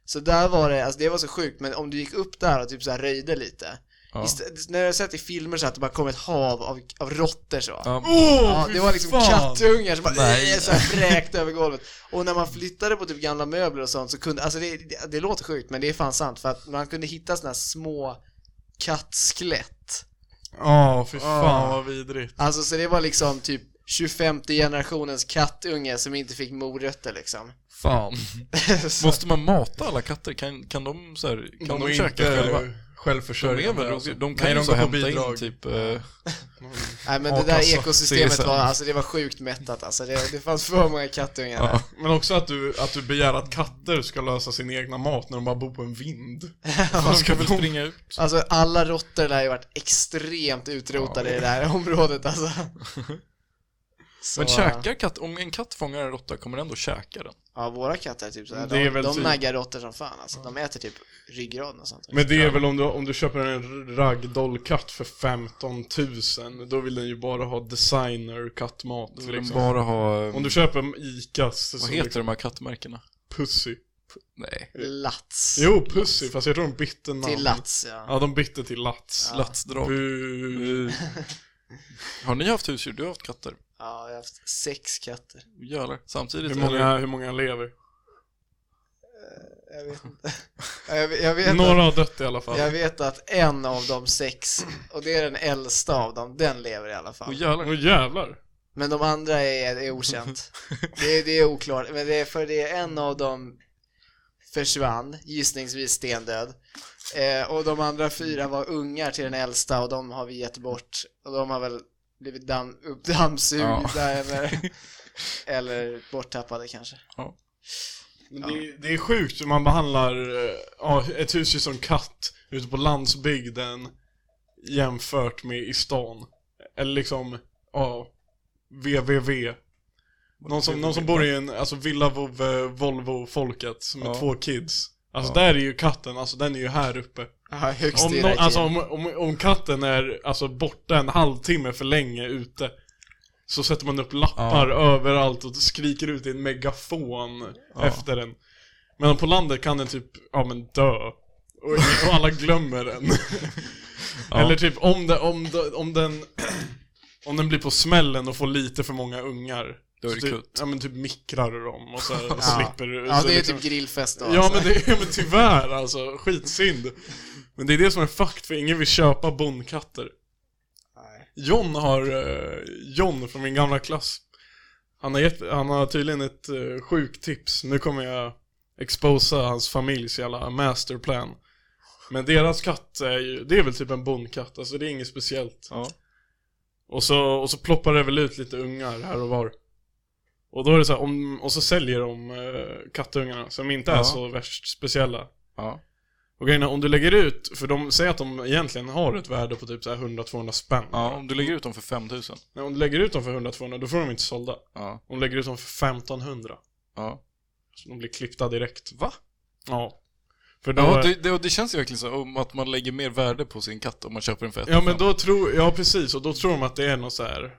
Så där var det, alltså det var så sjukt men om du gick upp där och typ så här röjde lite Ja. Istä- När jag har sett i filmer så att det bara kom ett hav av, av råttor så Ja, Åh, Ja, fy det var liksom fan. kattungar som bara Nej. eh, så här vräkte över golvet. Och när man flyttade på typ gamla möbler och sånt så kunde, alltså det, det, det låter sjukt men det är fan sant för att man kunde hitta såna här små kattskelett. Ja, fy fan vad vidrigt. Alltså så det var liksom typ 25 generationens kattunge som inte fick morötter liksom. fan. så, Måste man mata alla katter? Kan, kan de så här, kan de, käka själva? De är väl självförsörjande alltså. rovdjur? De kan ju så hämta in typ... eh, nej men det Ja, där alltså, ekosystemet CSN. var, alltså det var sjukt mättat alltså. Det, det fanns för många kattungar där. Ja. Men också att du, att du begär att katter ska lösa sin egna mat när de bara bor på en vind. De ska väl springa ut? Alltså alla råttor där har ju varit extremt utrotade i det här området alltså. Så, Men käkar katt, om en katt fångar en råtta kommer den ändå käka den? Ja, våra katter är typ såhär, Det är de, väl de typ- naggar råttor som fan alltså. De äter typ ryggraden och sånt. Men det är väl om du, om du köper en ragdollkatt för 15 000, då vill den ju bara ha designer kattmat. Då vill den Liksom. bara ha... eh, Om du köper en Icas, Mm. Vad så liksom heter de här kattmärkena? Pussy. Nej. Lats. Jo, Pussy, fast jag tror de bytte namn. Till Lats ja. Ja, de bytte till Lats. Latsdrag. Bu. Har ni haft husdjur? Du har haft katter? Ja, jag har haft sex katter. Jävlar. Samtidigt Hur eller? många, hur många lever? Jag vet inte. Ja, jag, vet- jag, vet Några har dött i alla att, fall. jag vet att en av de sex, och det är den äldsta av dem, den lever i alla Åh, fall. jävlar. Åh jävlar. Men de andra är, är okänt. Det är, det är oklart. Men det är för det är en av dem försvann, gissningsvis stendöd. Eh, och de andra fyra var ungar till den äldsta och de har vi gett bort. Och de har väl blivit damm, uppdammsugda eller, eller borttappade kanske. Men Ja. Det, det är sjukt hur man behandlar eh, ja, ett husdjur som katt ute på landsbygden jämfört med i stan. Eller liksom, ja, VVV. Någon som, någon som bor i en, alltså Villa Vove Volvo-folket med Ja. två kids. Alltså Ja. där är ju katten, alltså den är ju här uppe. Ja, högst Om, i nå- hierarkin. alltså, om, om, om katten är alltså, borta en halvtimme för länge ute så sätter man upp lappar överallt och skriker ut i en megafon Ja. efter den. Men på landet kan den typ, ja men dö. Och, och alla glömmer den. Ja. Eller typ om, det, om, det, om den om den blir på smällen och får lite för många ungar Då är Så det typ, kutt. Ja men typ mikrar du dem och så här, Ja. slipper du Ja, så det är liksom- typ grillfest då. Ja alltså. men, det, men tyvärr alltså, skitsynd. Men det är det som är fucked för ingen vill köpa bondkatter. Nej. John har, eh, John från min gamla klass, han har, gett, han har tydligen ett eh, sjuktips. Nu kommer jag exposa hans familjs jävla masterplan. Men deras katt är ju, det är väl typ en bondkatt, alltså det är inget speciellt. Ja. Och så, och så ploppar det väl ut lite ungar här och var. Och då är det så här, om, och så säljer de eh, kattungarna som inte är Ja. så värst speciella. Ja. Och grejen är, om du lägger ut, för de säger att de egentligen har ett värde på typ så här 100-200 spänn. ja, om du lägger ut dem för 5000. Nej, om du lägger ut dem för 100-200 då får de inte sålda. Ja. Om du lägger ut dem för 1500 Ja. så de blir klippta direkt. Va? Ja. För då... Ja, det, det, det känns ju verkligen så om att man lägger mer värde på sin katt om man köper den för 1 ja men då tror, ja precis, och då tror de att det är någon så här.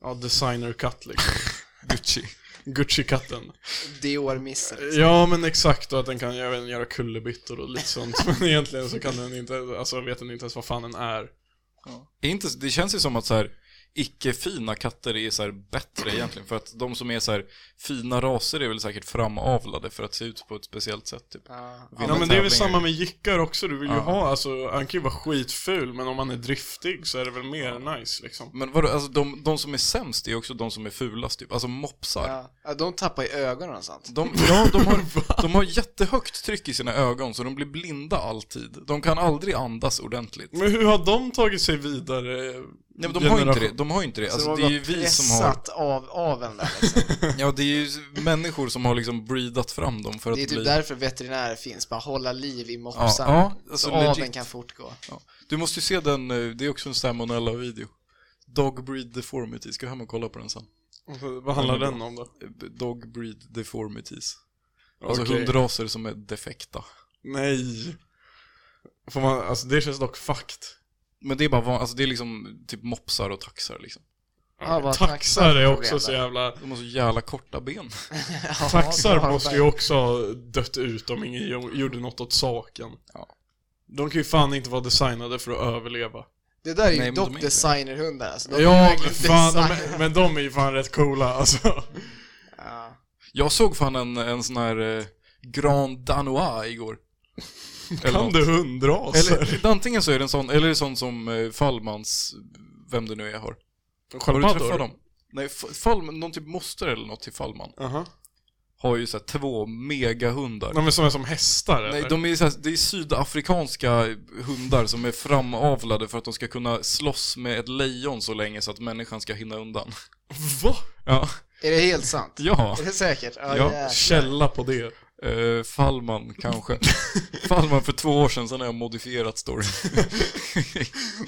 Ja, designerkatt liksom. Gucci. Gucci-katten. Dior-missen. Ja men exakt, och att den kan jag vet, inte, göra kullerbyttor och lite sånt. Men egentligen så kan den inte, alltså vet den inte ens vad fan den är. Det, är inte, det känns ju som att så här, icke-fina katter är så här bättre egentligen. För att de som är så här, fina raser är väl säkert framavlade för att se ut på ett speciellt sätt. Typ. Ja. Vinna Ja men det är tävlingar. väl samma med jickar också, du vill ju Ja. ha, alltså han kan ju vara skitful men om han är driftig så är det väl mer nice liksom. Men vadå, alltså de, de som är sämst är också de som är fulast typ. Alltså mopsar. Ja. ja, de tappar ju ögonen och sånt. De, ja, de har, de har jättehögt tryck i sina ögon så de blir blinda alltid. De kan aldrig andas ordentligt. Men hur har de tagit sig vidare? Nej men de har ju inte generation? det, de har ju inte det. Så Alltså, de det har är ju vi som har, pressat av aveln där liksom. ja det är ju människor som har liksom breedat fram dem för att Det är typ bli... därför veterinärer finns, bara hålla liv i ja, mopsarna. ja, så alltså aveln legit. kan fortgå. Du måste ju se den, eh, det är också en salmonella-video. Dog breed deformity, ska hem och kolla på den sen. Vad handlar den om då? Eh, Dog breed deformities. Alltså Okej. hundraser som är defekta. Nej. Får man, alltså det känns dock fucked. Men det är bara van, alltså det är liksom typ mopsar och taxar liksom. Ja, vad taxar är taxar också så problem jävla... De har så jävla korta ben. Ja, det har Taxar de måste ju också ha dött ut om ingen jo- gjorde något åt saken. Ja. De kan ju fan inte vara designade för att överleva. Det där är ju Nej, men de är dock inte. designerhundar alltså. De är Ja, men verkligen fan, design- de, men de är ju fan rätt coola alltså. Ja. Jag såg fan en, en sån här eh, Grand Danois igår. Kan Eller något. du hundraser? Eller antingen så är det en sån, eller är det sån som eh, Fallmans, vem det nu är, har. Har du träffat dem? Nej, F- Fallman, någon typ moster eller något till Fallman. Jaha. Har ju såhär två megahundar. Nej men som är som hästar Nej, eller? de är så här, det är sydafrikanska hundar som är framavlade för att de ska kunna slåss med ett lejon så länge så att människan ska hinna undan. Va? Ja. Är det helt sant? Ja. Är det säkert? Ja, Ja, jäklar. Källa på det. Eh, Fallman kanske. Fallman för två år sedan, sen har jag modifierat storyn.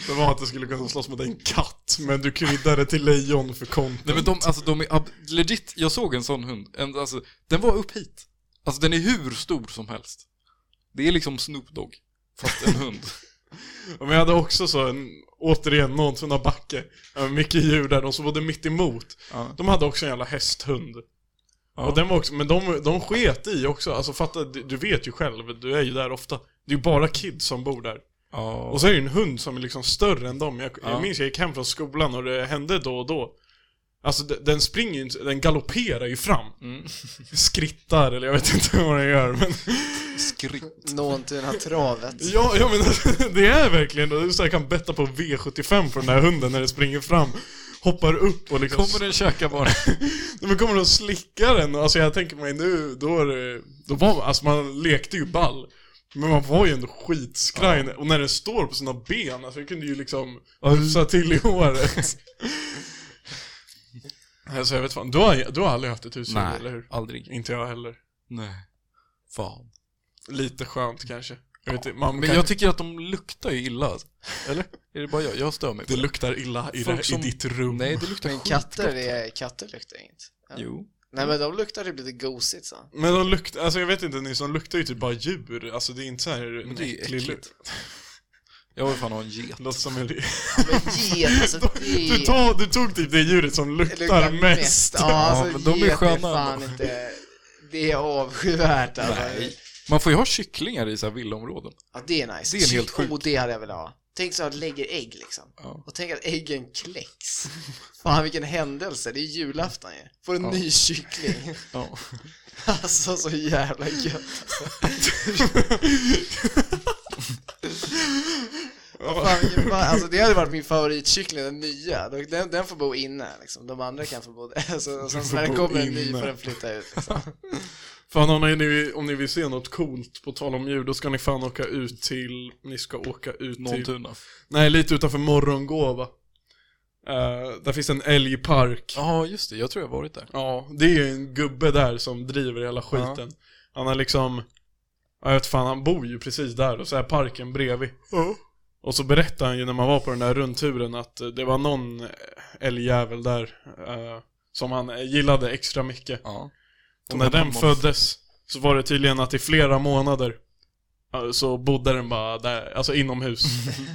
Det var att du skulle kunna slåss mot en katt, men du kryddade till lejon för content. Nej men de, alltså de är ab- legit, jag såg en sån hund, en, alltså, den var upp hit. Alltså den är hur stor som helst. Det är liksom Snoop Dogg, fast en hund. Men jag hade också så en, återigen, någon från backe. Ja, Mycket djur där, de som bodde mitt emot. ja. De hade också en jävla hästhund. Ja. Och den var också, men de, de sket i också, alltså fatta, du, du vet ju själv, du är ju där ofta. Det är ju bara kids som bor där. Ja. Och så är det ju en hund som är liksom större än dem. Jag, Ja. jag minns jag gick hem från skolan och det hände då och då. Alltså de- den springer ju inte, den galopperar ju fram. Mm. Skrittar eller jag vet inte vad den gör men... Skrik. Nåntuna travet. Ja, ja men alltså, det är verkligen det. är så här, Jag kan betta på V75 på den där hunden när den springer fram. Hoppar upp och liksom... Kommer den käka bara? Nej, men kommer de slicka den? Alltså jag tänker mig nu, då är det, då var, alltså man lekte ju ball. Men man var ju ändå skitskraj. Och när den står på sina ben, alltså jag kunde ju liksom hufsa till i håret. alltså jag vet fan, du har, du har aldrig haft ett husdjur, eller hur? aldrig. Inte jag heller. Nej. Fan. Lite skönt kanske. Jag vet inte, man Men kan, jag tycker att de luktar ju illa. alltså. Eller? Är det bara jag? Jag stör mig på det luktar illa i, Folk det, som- i ditt rum. Nej, det luktar Men skitgott. katter, är, katter luktar inget. Ja. Jo. Nej men de luktar typ lite gosigt så. Men de luktar, alltså jag vet inte Nils, de luktar ju typ bara djur. Alltså det är inte så här en Men det är ju äcklig lukt. äckligt. Jag vill fan ha en get. Låter som en... Ja, Men get, alltså det Du, tog, du tog typ det djuret som luktar, mest. Ja, alltså, Ja, men de är sköna fan inte... Det är avskyvärt alltså. Man får ju ha kycklingar i så här villaområden. Ja, det är nice. Det är helt Oh, det hade jag velat ha. Tänk så att han lägger ägg liksom. Ja. Och tänk att äggen kläcks. Fan vilken händelse, det är julafton ju. Får en Ja. ny kyckling. Ja. typ. Alltså så jävla gött. Fan, vilken fan. Alltså det hade varit min favoritkyckling, den nya. Den, den får bo inne liksom. De andra kan få bo där. Så, och sen får när det bo kommer en ny inne. får den flytta ut liksom. Fan om ni, vill- om ni vill se något coolt på tal om djur, då ska ni fan åka ut till, ni ska åka ut till Nåltuna. Nej, lite utanför Morgongåva. Eh, där finns en älgpark. Ja, just det. Jag tror jag har varit där. Ja, det är ju en gubbe där som driver hela skiten. Han har liksom, jag vet fan, han bor ju precis där och så är parken bredvid. Och så berättade han ju när man var på den där rundturen att eh, det var någon eh, älgjävel där eh, som han eh, gillade extra mycket. Ja. Och när den föddes så var det tydligen att i flera månader eh, så bodde den bara där, alltså inomhus.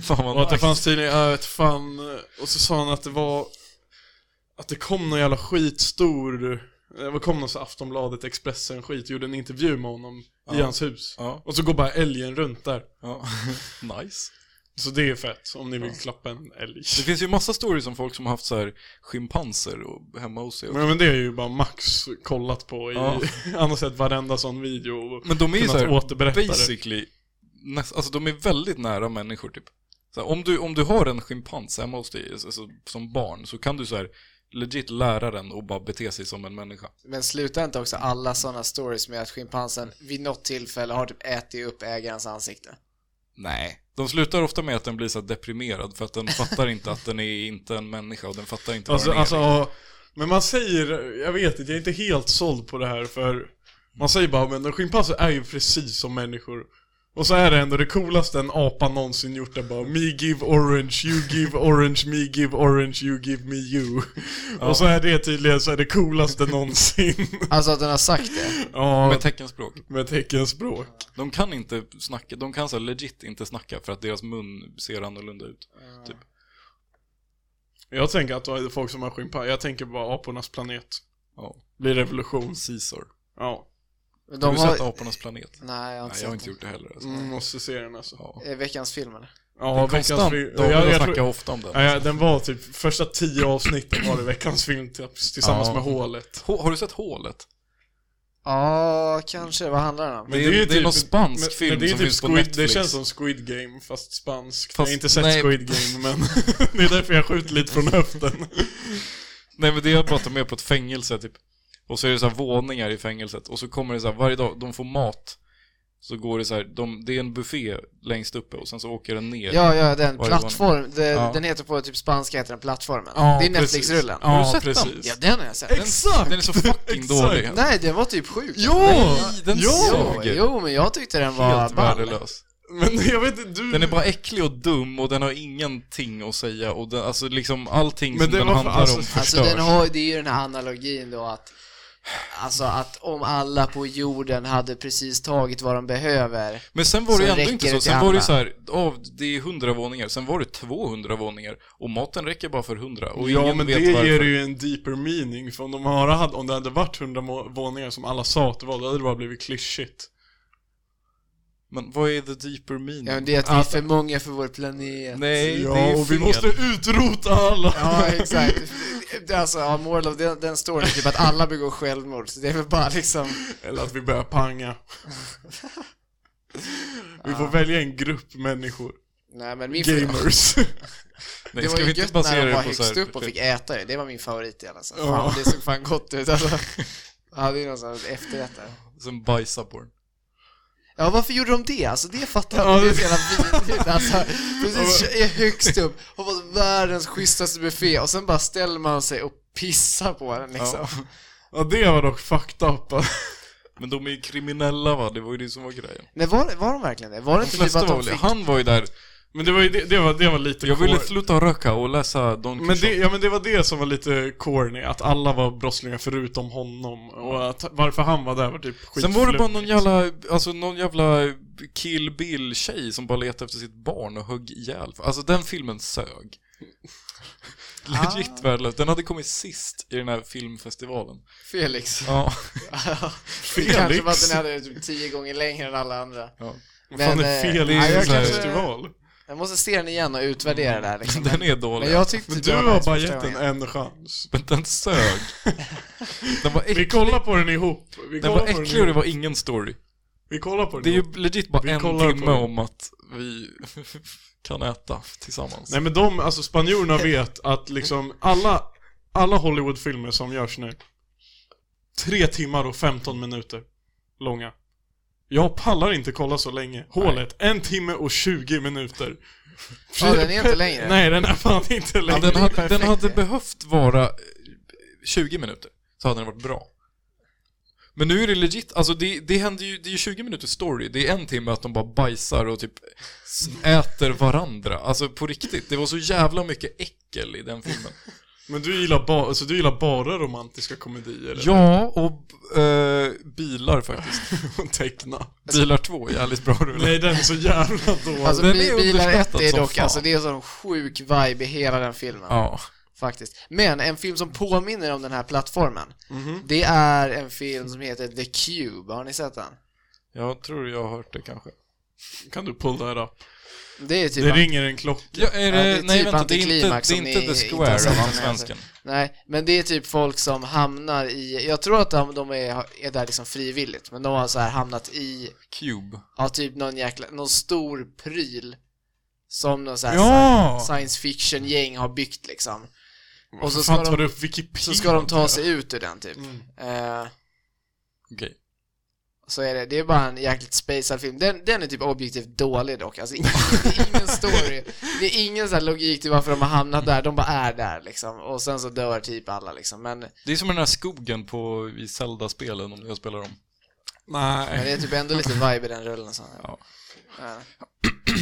Fan vad Och att det nice. fanns tydligen, jag vet fan, och så sa han att det var Att det kom någon jävla skitstor Det kom någon så Aftonbladet, Expressen skit, gjorde en intervju med honom i Ja. hans hus Ja. Och så går bara älgen runt där ja. nice. Så det är fett, om ni vill klappa en älg Det finns ju massa stories om folk som har haft så här schimpanser och hemma hos sig. men, men det är ju bara Max kollat på i, Ja. han har sett varenda sån video och Men de är ju kunnat såhär återberätta det basically, näst, alltså de är väldigt nära människor typ. Så här, om, du, om du har en schimpans hemma hos dig alltså, som barn så kan du så här legit lära den och bara bete sig som en människa. Men slutar inte också alla sådana stories med att schimpansen vid något tillfälle har typ ätit upp ägarens ansikte? Nej. De slutar ofta med att den blir så här deprimerad för att den fattar inte att den är inte en människa och den fattar inte Alltså, vad den är. alltså, ja, men man säger, jag vet inte, jag är inte helt såld på det här för Man säger bara, men schimpanser är ju precis som människor Och så är det ändå det coolaste en apa någonsin gjort, det är bara Me give orange, you give orange, me give orange, you give me you Och så är det tydligen så är det coolaste någonsin Alltså att den har sagt det? Ja, Med teckenspråk. med teckenspråk De kan inte snacka, de kan så här legit inte snacka för att deras mun ser annorlunda ut. Typ. Jag tänker att då är det folk som har schimpanser, jag tänker bara apornas planet Ja. Blir revolution Caesar. Ja, Men Har De du har... sett Apornas planet? Nej, jag har inte Nej, sett jag har den. inte gjort det heller. Alltså. mm, måste se den alltså Ja. Är det veckans film eller? Ja, Ja, veckans konstant. fri- David jag- jag tror- snackar ofta om den. Ja, ja, den var typ, första tio avsnitten var det veckans filmtips tillsammans Ja. med Hålet. Hå- har du sett Hålet? Ja, kanske. Vad handlar den om? Men- det är- ju typ- det är någon spansk film det är som typ finns på Squid, Det Netflix. känns som Squid Game, fast spansk. jag Fast- har inte sett nej. Squid Game, men det är därför jag skjuter lite från höften. Nej men det är bara att de är på ett fängelse typ. Och så är det så här våningar i fängelset. Och så kommer det så här varje dag, de får mat. Så går det så här, de, det är en buffé längst uppe och sen så åker den ner. Ja, ja, den. Vad är det Plattform. Det, Ja. Den heter på typ spanska, heter den Plattformen. Ja, det är precis. Netflix-rullen. Ja, Har du sett den? precis. Ja, den har jag sett. Den, den är så fucking Exakt. dålig. Nej, det var typ sjukt. Nej, den Ja! Jo, suger. jo, men jag tyckte den var Helt ball. värdelös. Men jag vet inte, du... Den är bara äcklig och dum och den har ingenting att säga och den, alltså liksom allting Men som det den var för- handlar alltså- om förstörs. Alltså den har, det är ju den här analogin då att Alltså att om alla på jorden hade precis tagit vad de behöver Men sen var det ju Så ändå räcker inte det så. till Sen var det alla. ju så här, ja, det är 100 våningar, sen var det 200 våningar och maten räcker bara för 100 och ja, ingen men vet det varför. ger ju en deeper meaning, för om, de hade, haft- om det hade varit hundra våningar som alla sa att det var, då hade det bara blivit klyschigt. Men vad är the deeper meaning? Ja men det är att vi är för många för vår planet Nej, det Ja, är och vi fel. måste utrota alla! Ja exakt Det- Alltså ja, moral of den, den står typ att alla begår självmord så det är väl bara liksom Eller att vi börjar panga. vi får välja en grupp människor. Nej men min Gamers. Nej, Det var ska ju vi inte gött när basera de var det på så högst här, upp och fick äta det, det var min favoritdel alltså. Ja. Fan, det såg fan gott ut alltså. Jag hade ju någon sån här efterrätt där. sen bajsa på den. Ja, varför gjorde de det? Alltså det fattar jag Ja, inte. Det är det- så jävla vidrigt alltså. Precis, är högst upp, hoppas världens schysstaste buffé och sen bara ställer man sig och pissar på den liksom. ja, det var dock fucked up. Men de är ju kriminella va, det var ju det som var grejen. Nej, var, var de verkligen det? Var det De inte typ flesta att var de väl, fick... han var ju där, Men det var ju det, det, var, det var lite liksom. jag ville core- sluta röka och läsa Don men Quijote. det, ja, men det var det som var lite corny, att alla var brottslingar förutom honom. Och att varför han var där var typ Sen var det bara skitflummigt. någon jävla, alltså någon jävla kill Bill-tjej som bara letade efter sitt barn och högg ihjäl. Alltså den filmen sög. Ah. Legit värdelös. Den hade kommit sist i den här filmfestivalen. Felix? Ja. Det kanske Felix. var att den hade typ tio gånger längre än alla andra. ja. Fan, en Men, eh, Felix nej, jag kanske- festival. Jag måste se den igen och utvärdera det här liksom. Den är dålig. Men jag tyckte Men inte du det var har nice bara första gett den gången. en chans. Men den sög. Den var Vi äcklig. kollar på den ihop. Vi Den kollar var på den äcklig och det ihop. var ingen story. Vi kollar på den Det är ihop. ju legit bara Vi en kollar på timme det. om att vi kan äta tillsammans. Nej men de, alltså spanjorerna vet att liksom alla, alla Hollywoodfilmer som görs nu, tre timmar och 15 minuter långa. Jag pallar inte kolla så länge. Hålet, en timme och 20 minuter. Ja, den är inte längre. Nej, den är fan inte Ja, längre. den, det är hade, perfekt den hade det. behövt vara eh, 20 minuter, så hade den varit bra. Men nu är det legit, alltså det, det händer ju, det är ju 20 minuters story, det är en timme att de bara bajsar och typ s- äter varandra, alltså på riktigt. Det var så jävla mycket äckel i den filmen. Men du gillar, ba, alltså, du gillar bara romantiska komedier? eller? Ja, och eh, bilar faktiskt. Och Teckna. Bilar 2, jävligt bra rulle. Nej, den är så jävla dålig. Alltså Den är bi- bilar 1 underskattad är som dock, fan. alltså det är en sån sjuk vibe i hela den filmen. Ja. Faktiskt. Men en film som påminner om den här plattformen, det är en film som heter The Cube. Har ni sett den? Jag tror jag har hört det kanske. Kan du pull that up? Det är typ... Det ringer en klocka. Ja, är det, Ja, det är nej typ vänta, det är inte, antiklimax det är om inte ni The inte har Square, sett han den här. svensken. Nej, men det är typ folk som hamnar i... Jag tror att de, de är, är där liksom frivilligt, men de har så här hamnat i, Cube. ja typ någon jäkla, någon stor pryl som någon så här Ja! science fiction-gäng har byggt liksom. Och Och så så fan ska tar de- du upp Wikipedia? Så ska de ta sig ut ur den typ. Mm. Eh, Okej. så är det, det är bara en jäkligt spacad film. Den, den är typ objektivt dålig dock, alltså ingen, det är ingen story. Det är ingen så här logik till varför de har hamnat där, de bara är där liksom. Och sen så dör typ alla liksom. Men, men Det är som den här skogen på, i Zelda-spelen om jag spelar dem. Nej. det är typ ändå lite vibe i den rullen. Så. Ja. Ja.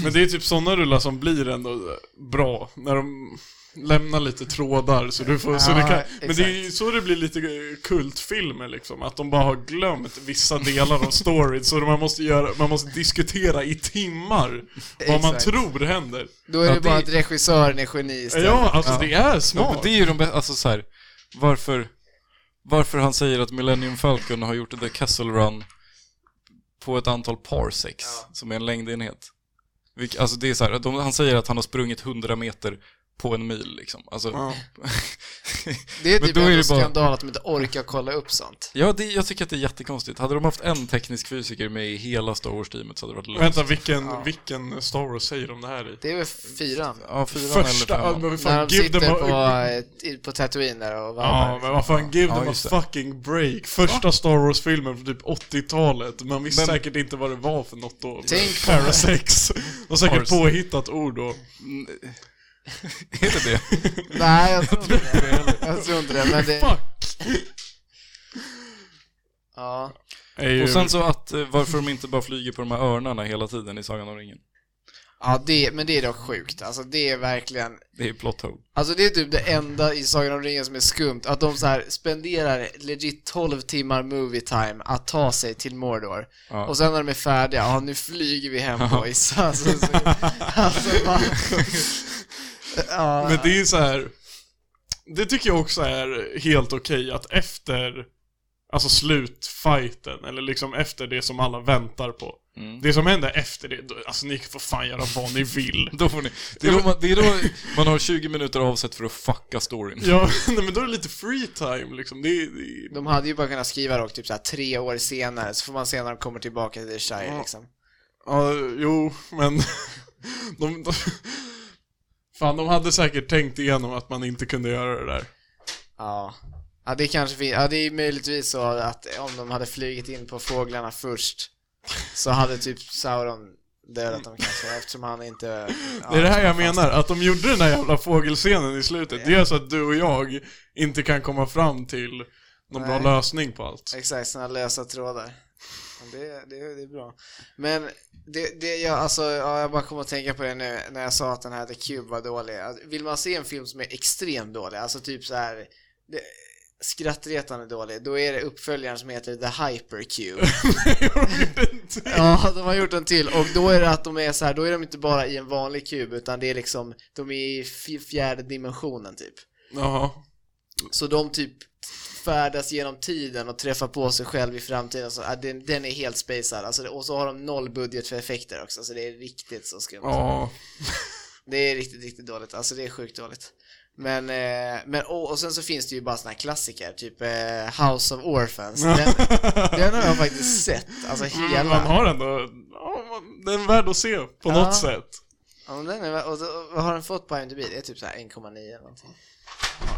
Men det är typ sådana rullar som blir ändå bra, när de lämnar lite trådar så du får, så Ja, det kan, men exakt. det är ju så det blir lite kultfilmer liksom, att de bara har glömt vissa delar av storyn så man måste, göra, man måste diskutera i timmar vad man Exakt. tror händer. Då är Ja, det bara det- att regissören är geni istället. Ja, alltså det är Ja, smart. men det är ju de bästa, alltså så här, varför, varför han säger att Millennium Falcon har gjort The Castle Run på ett antal parsecs, som är en längdenhet. Vilk, alltså det är så här, de, han säger att han har sprungit 100 meter på en mil liksom. Alltså, Ja. Det är Men typ då är ändå det bara- skandal att de inte orkar kolla upp sånt. ja, det, jag tycker att det är jättekonstigt. Hade de haft en teknisk fysiker med i hela Star Wars-teamet så hade det varit löst. Vänta, vilken, Ja. vilken Star Wars säger de det här i? Det är väl fyran? Ja, fyran Första, eller ja, femman. men När fan, de give sitter them på, a, eh, i- på Tatooine där och varvar. Ja, men vad fan, give Ja, them a just det. fucking break. Första Star Wars-filmen från typ 80-talet. Man visste säkert inte vad det var för något då. Tänk på- Parasex. De har säkert Ars. påhittat ord då. Är det det? Nej, jag tror inte det. Jag tror inte det, men det... Fuck! Ja. Är ju... Och sen så att eh, varför de inte bara flyger på de här örnarna hela tiden i Sagan om ringen. Ja, det, men det är dock sjukt. Alltså det är verkligen... Det är plot hole. Alltså det är typ det enda i Sagan om ringen som är skumt, att de så här spenderar legit 12 timmar movie time att ta sig till Mordor. Ja. Och sen när de är färdiga, ja nu flyger vi hem boys. Alltså, så, alltså bara... Ja, Men det är så här. Det tycker jag också är helt okej att efter Alltså slutfighten, eller liksom efter det som alla väntar på. Mm. Det som händer efter det, då- alltså ni får fan göra vad ni vill. Då får ni, det, är då man, det är då man har 20 minuter avsett för att fucka storyn. Ja, nej men då är det lite free time liksom. Det, är- det, är- de hade ju bara kunnat skriva dock typ så här tre år senare, så får man se när de kommer tillbaka till The Shire liksom. Ja, jo, men... De, de, fan, de hade säkert tänkt igenom att man inte kunde göra det där. Ja. Ja, det kanske finns. Ja, det är möjligtvis så att om de hade flugit in på fåglarna först så hade typ Sauron dödat dem kanske eftersom han inte... Ja, det är det här jag menar, att de gjorde den där jävla fågelscenen i slutet. Det gör så att du och jag inte kan komma fram till någon bra Nej. lösning på allt. Exakt, sådana lösa trådar. Men Det, det, det är bra. Men det, det jag, alltså, ja, jag bara kommer att tänka på det nu när jag sa att den här The Cube var dålig. Att Vill man se en film som är extremt dålig, alltså typ så här det, skrattretande dålig, då är det uppföljaren som heter The Hypercube. Ja, de har gjort en till och då är det att de är så här, då är de inte bara i en vanlig kub utan det är liksom, de är i f- fjärde dimensionen typ. Jaha. Så de typ färdas genom tiden och träffar på sig själv i framtiden. Så, ah, den, den är helt spacad. Alltså, det- och så har de noll budget för effekter också, så det är riktigt så skumt. Ja, Det är riktigt, riktigt dåligt. Alltså det är sjukt dåligt. Men, eh, men och, och sen så finns det ju bara såna här klassiker, typ eh, House of Orphans. Den, den har jag faktiskt sett, alltså men man hela. Mm, har ändå... Ja, man- den är värd att se på Ja. något sätt. Ja, men den är, och, och, vad har den fått på IMDb? Det är typ så här 1,9 eller någonting.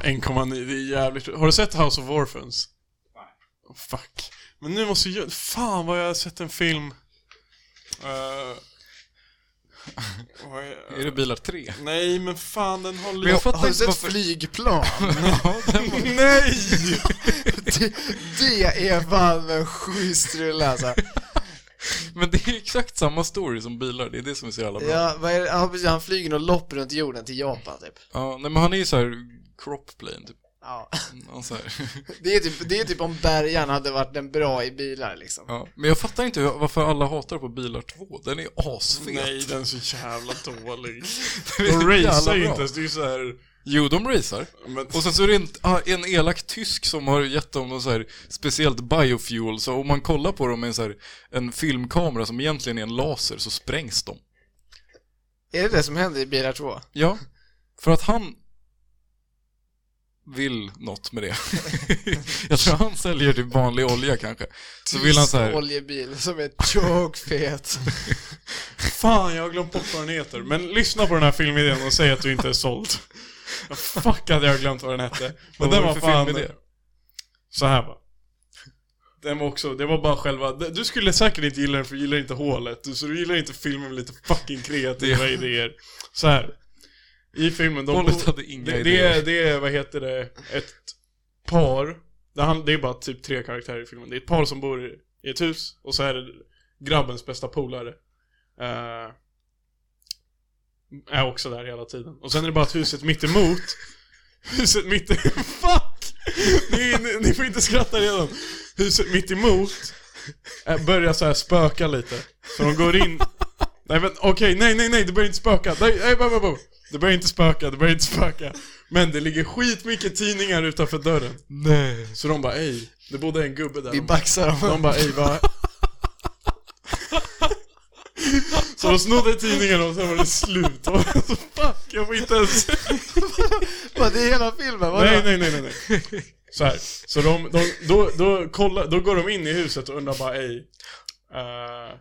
1,9, det är jävligt Har du sett House of Orphans? Nej. fuck. Men nu måste jag... Fan vad jag har sett en film... Eh, vad är- Är det bilar 3? Nej men fan den har Men jag lite... fattar Har du inte sett varför... flygplan? Ja, den var- Nej! det, det är fan en schysst rulle alltså. Men det är exakt samma story som bilar, det är det som är så jävla bra. Ja, Ja, vad är det? Ja, precis, han flyger något lopp runt jorden till Japan typ. nej, men han är ju så här crop plane typ. Ja. Han så här. Det är typ, det är typ om bergaren hade varit den bra i bilar liksom. Ja. Men jag fattar inte hur, varför alla hatar på bilar 2, den är asfet. Nej den är så jävla dålig. Den är så De jävla racear ju bra. inte ens, det är ju såhär... Jo, de racear. Men... Och sen så är det en, ah, en elak tysk som har gett dem någon så här speciellt biofuel, så om man kollar på dem med en, så här, en filmkamera som egentligen är en laser så sprängs de. Är det det som händer i bilar 2? Ja, för att han vill något med det. jag tror han säljer typ vanlig olja kanske. Så vill han så här, oljebil som är tjogfet. Fan jag har glömt bort vad den heter. Men lyssna på den här filmidén och säg att du inte är såld. Fuck att jag har glömt vad den hette. Men Vad den var var det för fan... filmidé? Så här va. Den var också, det var bara själva, du skulle säkert inte gilla den för du gillar inte hålet, Du- så du gillar inte filmen med lite fucking kreativa idéer. Så här. I filmen, de Hålet hade inga det, det, idéer. är, det är, vad heter det, ett par. Det, han, det är bara typ tre karaktärer i filmen. Det är ett par som bor i i ett hus och så är det grabbens bästa polare. Eh, är också där hela tiden. Och sen är det bara att huset mitt emot Huset mitt Fuck! Ni, ni, ni får inte skratta redan. Huset mitt emot eh, börjar så här spöka lite. Så de går in... Nej men okej, nej nej nej, det börjar inte spöka. Nej, nej, bo, bo, bo. Det börjar inte spöka, det börjar inte spöka. Men det ligger skitmycket tidningar utanför dörren. nej. Så de bara ej, det bodde en gubbe där. Vi baxar dem. De bara ej, vad... Så de snodde tidningen och sen var det slut. Och så fuck, jag får inte ens... Vad, det är hela filmen? Vadå? Nej, nej, nej, nej, nej. Så här. Så de, de, då, då, kollar, då går de in i huset och undrar bara ej, eh,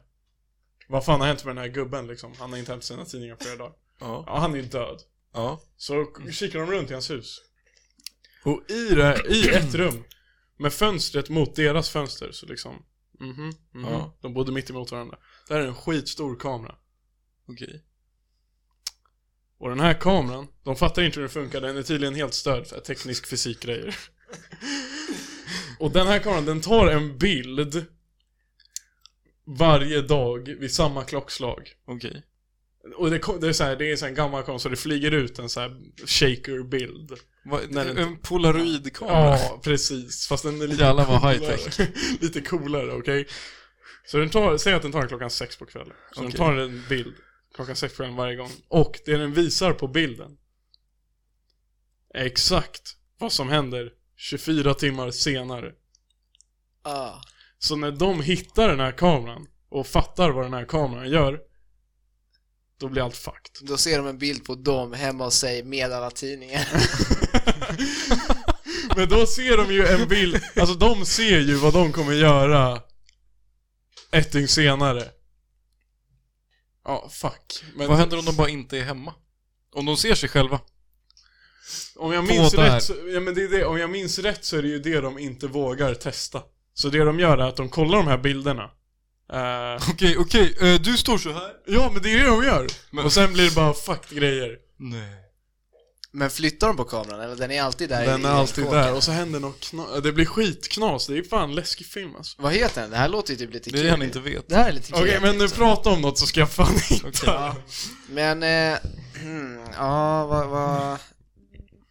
vad fan har hänt med den här gubben liksom? Han har inte hämtat sina tidningar på flera dagar. Ja, Ja, han är ju död. ja. Så k- kikar de runt i hans hus. Mm. Och i, det, i ett rum, med fönstret mot deras fönster, så liksom, mhm, mhm. Ja. De bodde mitt emot varandra. Där är en skitstor kamera. okej. Och den här kameran, de fattar inte hur den funkar, den är tydligen helt störd för teknisk fysikgrejer. Och den här kameran, den tar en bild varje dag vid samma klockslag. Okej. Och det, ko- det är så här, det är så här en gammal kamera så det flyger ut en så här shaker-bild. Vad- Nej, det- En polaroidkamera? Ja, precis. Fast den är lite Jävlar vad coolare. high-tech. lite coolare, okej? Så den tar, säg att den tar den klockan sex på kvällen. Så den Okej. tar en bild klockan sex på kvällen varje gång. Och det den visar på bilden är exakt vad som händer 24 timmar senare. Ah. Så när de hittar den här kameran och fattar vad den här kameran gör, då blir allt fucked. Då ser de en bild på dem hemma hos sig med alla tidningar. Men då ser de ju en bild, alltså de ser ju vad de kommer göra ett dygn senare. Ja, fuck. Men Vad händer om de bara inte är hemma? Om de ser sig själva? om jag minns Två där. rätt, så, ja, men det är det, om jag minns rätt så är det ju det de inte vågar testa. Så det de gör är att de kollar de här bilderna. Eh, Okej, okej, eh, du står så här. ja, men det är det de gör! Men- Och sen blir det bara fucked grejer. Nej. Men flyttar de på kameran eller? Den är alltid där i- Den är i alltid kåken. där, och så händer något knas. Det blir skitknas, det är fan läskig film alltså. Vad heter den? Det här låter ju typ lite Det är det kul. han inte vet. Det här är lite kul. Okej, men nu prata om något så ska jag fan hitta. liksom. Okej. Men, eh, hmm, ja, vad, vad...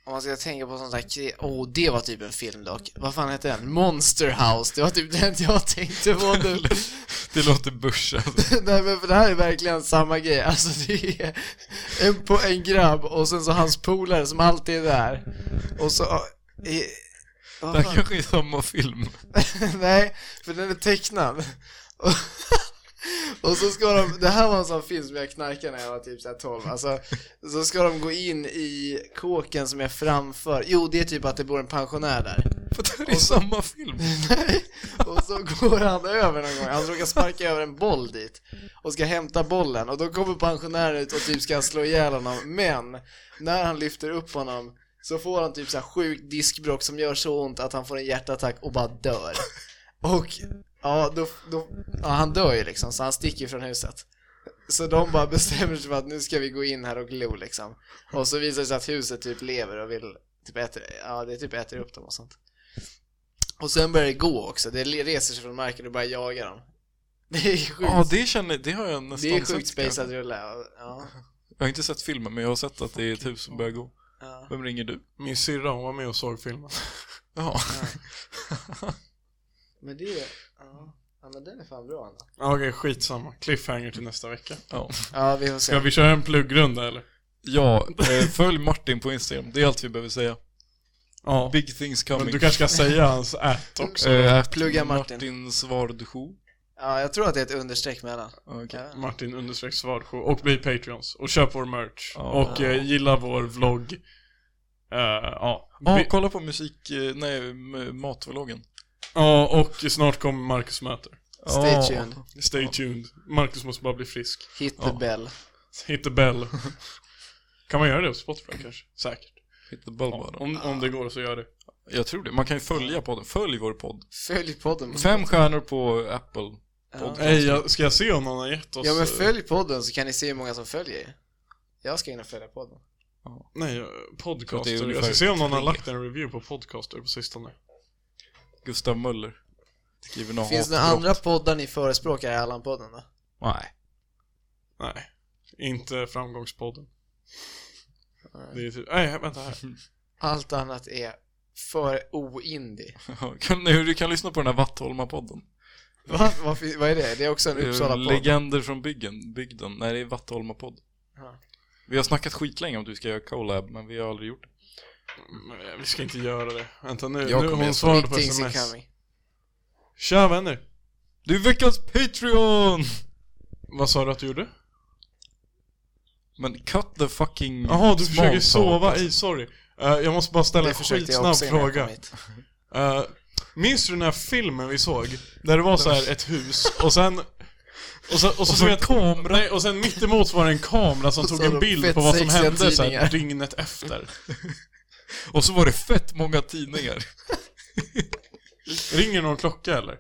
Om man ska tänka på sånt där kre- oh, det var typ en film dock. Vad fan hette den? Monster House, det var typ den jag tänkte på nu. Det låter alltså. börsa. Nej men för det här är verkligen samma grej, alltså det är en, på en grabb och sen så hans polare som alltid är där. Och så... eh, Vad Det här fan? kanske är samma film. Nej, för den är tecknad. Och, och så ska de, det här var en sån film som jag knarkade när jag var typ så här 12. Alltså, så ska de gå in i kåken som är framför. Jo, det är typ att det bor en pensionär där. För det här är samma film. Nej. Och så går han över någon gång, han råkar sparka över en boll dit och ska hämta bollen och då kommer pensionären ut och typ ska slå ihjäl honom men när han lyfter upp honom så får han typ så här sjukt diskbråck som gör så ont att han får en hjärtattack och bara dör. Och ja, då, då, ja han dör ju liksom så han sticker från huset. Så de bara bestämmer sig för att nu ska vi gå in här och glo liksom. Och så visar det sig att huset typ lever och vill typ äter, ja det typ äter upp dem och sånt. Och sen börjar det gå också, det le- reser sig från marken och börjar jaga dem. Det är sjukt, Ja, det känner det har jag nästan det är sett, sjukt space att kanske. rulla. och- Ja, Jag har inte sett filmen, men jag har sett att det är ett hus som börjar gå. ja. Vem ringer du? Min syrra, hon var med och såg filmen. Ja. Men det, är- ja. ja men den är fan bra ändå. Ja, Okej, skitsamma. Cliffhanger till nästa vecka. ja. Ja vi får se. Ska vi köra en pluggrunda eller? Ja, eh, följ Martin på Instagram. Det är allt vi behöver säga. Ja. Big things coming. Men du kanske ska säga hans at Mm. också? Eh, at Plugga Martin. Martin Svardsjö. Ja jag tror att det är ett understreck mellan. Okay. Ja. Martin understreck Svardsjö och bli Patreons och köp vår merch Ja. och eh, gilla vår vlogg. Eh, ja. Ja, Vi- kolla på musik... eh, Nej, m- matvloggen. Ja, och snart kommer Marcus möter. Stay Ja. tuned, Stay tuned. Marcus måste bara bli frisk. hit the Ja. bell. Hit the bell. kan man göra det på Spotify kanske? Säkert. Hit the bell Ja, button. om, om det går så gör det. Jag tror det. Man kan ju följa podden. Följ vår podd. Följ podden. Fem stjärnor på Apple. Ja. Nej, jag, ska jag se om någon har gett oss... ja men eh, följ podden så kan ni se hur många som följer er. Jag ska in och följa podden. Nej, eh, Det är podcaster. Jag ungefär ska se om någon har tre. lagt en review på podcaster på sistone. Gustav Möller. Skriver några Finns det några hatbrott. andra poddar ni förespråkar i Allan-podden då? Nej. Nej, inte framgångspodden. Nej. Det är typ... Nej, vänta här. Allt annat är för oindie. Kan, nej, du kan lyssna på den här Vattholma-podden. Va? Vad, fin- vad är det? Det är också en Eh, Det är Uppsala-podd. Eh, Legender från byggen, bygden. Nej, det är Vattholma-podd. Ja. Vi har snackat skitlänge om att vi ska göra collab, men vi har aldrig gjort det. Men Vi ska inte göra det. Vänta nu, Jag nu kommer hon att- svarade Big på things are sms. coming. Tja vänner! Du är veckans Patreon! Vad sa du att du gjorde? Men cut the fucking Jaha, du small försöker talk, sova? alltså. Ej, sorry. Eh, jag måste bara ställa Det en försökte jag skitsnabb också innan jag fråga. kom hit. Uh, minns du den här filmen vi såg? Där det var så här ett hus och sen... Och så, och så, Och så du en kamera. Nej, och sen mittemot var det en kamera som Och så tog en de bild fett på vad som sexiga hände så här, tidningar. dygnet efter. Och så var det fett många tidningar. Ringer någon klocka eller?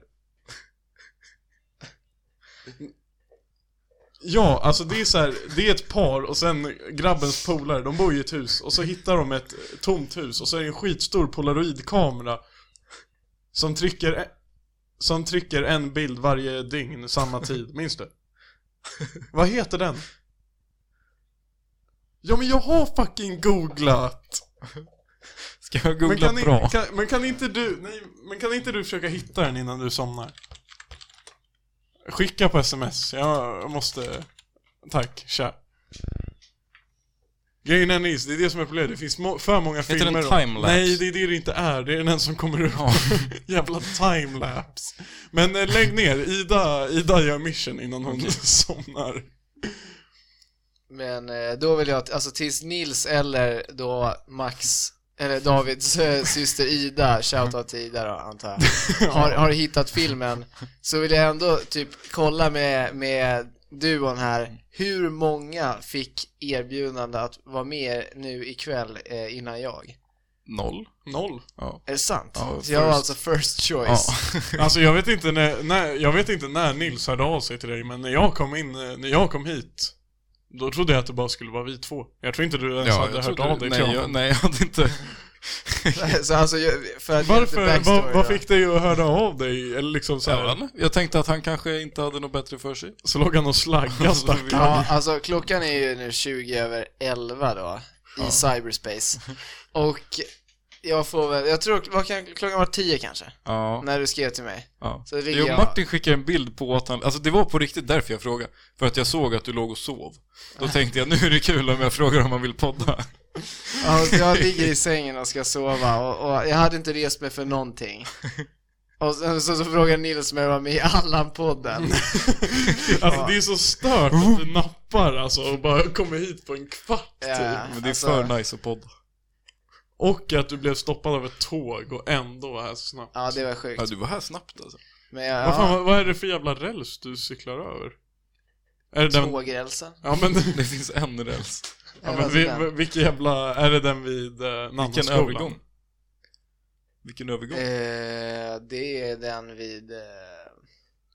Ja, alltså det är så här, det är ett par och sen grabbens polare, de bor i ett hus och så hittar de ett tomt hus och så är det en skitstor polaroidkamera som trycker, e- som trycker en bild varje dygn samma tid, minns du? Vad heter den? Ja men jag har fucking googlat! Ska jag Men googla kan, bra? i, kan, men kan inte du, nej, men kan inte du försöka hitta den innan du somnar? Skicka på sms, jag måste... Tack, tja. Grejen är Nils, det är det som är problemet, det finns må- för många den filmer om- timelapse? Nej, det är det det inte är, det är den som kommer upp. Jävla timelapse. Men eh, lägg ner, Ida, Ida gör mission innan hon somnar. Men eh, då vill jag, att- alltså tills Nils eller då Max, eller Davids eh, syster Ida, shoutout till Ida då antar jag, har, har hittat filmen, så vill jag ändå typ kolla med, med duon här, hur många fick erbjudande att vara med nu ikväll eh, innan jag? Noll. Noll. Ja. Är det sant? Ja, så jag var first. alltså first ja. choice. Alltså jag vet inte när, när, jag vet inte när Nils hörde av sig till dig, men när jag kom in, eh, när jag kom hit Då trodde jag att det bara skulle vara vi två Jag tror inte du ens Ja, hade jag hört trodde- av dig nej, till jag, honom. nej, jag hade inte. så alltså, jag- för att ge lite Varför, backstory vad, vad då. fick dig att höra av dig? Eller liksom så här, Även. Jag tänkte att han kanske inte hade något bättre för sig. så låg han och slaggade stackarn Ja, alltså klockan är ju nu 20 över 11 då, i cyberspace. Och jag får väl, jag tror, vad kan, klockan var 10 kanske, Ja. när du skrev till mig. Ja. Så det fick jo, jag- Martin skickade en bild på att han, alltså det var på riktigt därför jag frågade. För att jag såg att du låg och sov. Då tänkte jag, nu är det kul om jag frågar om han vill podda. Ja, så jag ligger i sängen och ska sova och, och jag hade inte rest mig för någonting. Och sen så, så frågar Nils om jag var med i Typ, Allan-podden. Alltså det är så stört att du nappar alltså och bara kommer hit på en kvart Ja. typ. Men det är Alltså- för nice att podda. Och att du blev stoppad av ett tåg och ändå var här så snabbt. Ja, det var Ja, Liksom. sjukt. du var här snabbt alltså. Men jag, Vad, fan, ja, vad, vad är det för jävla räls du cyklar över? Är det den... tågrälsen. alltså Ja men, Det finns en räls. ja, alltså men vi, vi- vilken jävla... Är det den vid eh, Vilken Nannaskolan? övergång. Vilken övergång. Eh, det är den vid... Eh,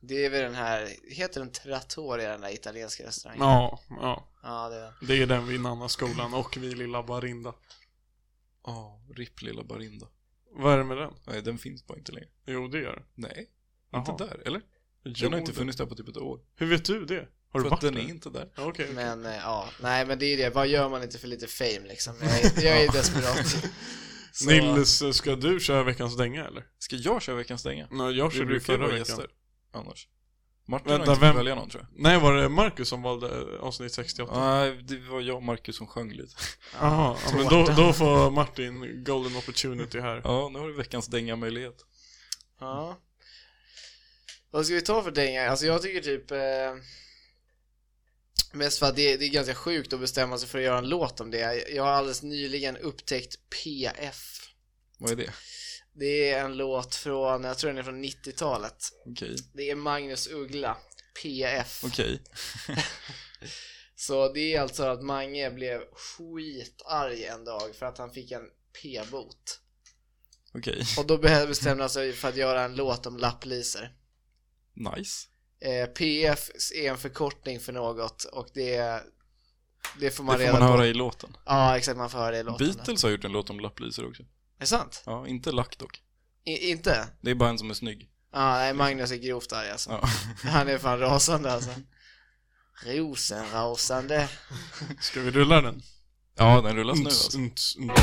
det är vid den här... Heter den Trattoria, den där italienska restaurangen? Ja, ja. Ja, det är den. Det är den vid Nannaskolan och vid Lilla Barinda. Ja, RIP lilla Barinda. Vad är det med den? Nej, den finns bara inte längre. Jo, det gör det. Nej, Jaha. inte där, eller? Jo, Den har inte det- funnits där på typ ett år. Hur vet du det? Har du För att varit den där? är inte där. Ja, Okej. okej. Men eh, ja, nej men det är det. Vad gör man inte för lite fame liksom? Jag är, jag är desperat. Så- Nils, eh, ska du köra veckans dänga eller? Ska jag köra veckans stänga? Nej, jag Vi körde ju brukar ju förra vara veckan. gäster annars. Martin Vänta, har inte fått vem- välja någon tror jag. Nej, var det Marcus som valde eh, avsnitt 68? Nej, det var jag och Marcus som sjöng lite. Jaha, ja, men då, då får Martin golden opportunity här. Ja, nu har du veckans dänga-möjlighet. Ja. Vad ska vi ta för dänga? Alltså jag tycker typ... Eh, mest för att det, det är ganska sjukt att bestämma sig för att göra en låt om det. Jag har alldeles nyligen upptäckt PF. Vad är det? Det är en låt från, jag tror den är från 90-talet. Okej. Det är Magnus Uggla, PF. Okej. Så det är alltså att Mange blev skitarg en dag för att han fick en p-bot. Okej. Och då be- bestämde han sig för att göra en låt om lapplisor. Nice. Eh, PF är en förkortning för något och det, det får man Det får reda man på. höra i låten. Ja, exakt, man får höra det i låten. Beatles har gjort en låt om lapplisor också. Är det sant? Ja, inte lack dock. I, inte? Det är bara en som är snygg. Ja, nej, Magnus är grovt arg alltså. Ja. Han är fan rasande alltså. Rosenrasande. Ska vi rulla den? ja, den rullas nu Unts, alltså. unts, unts.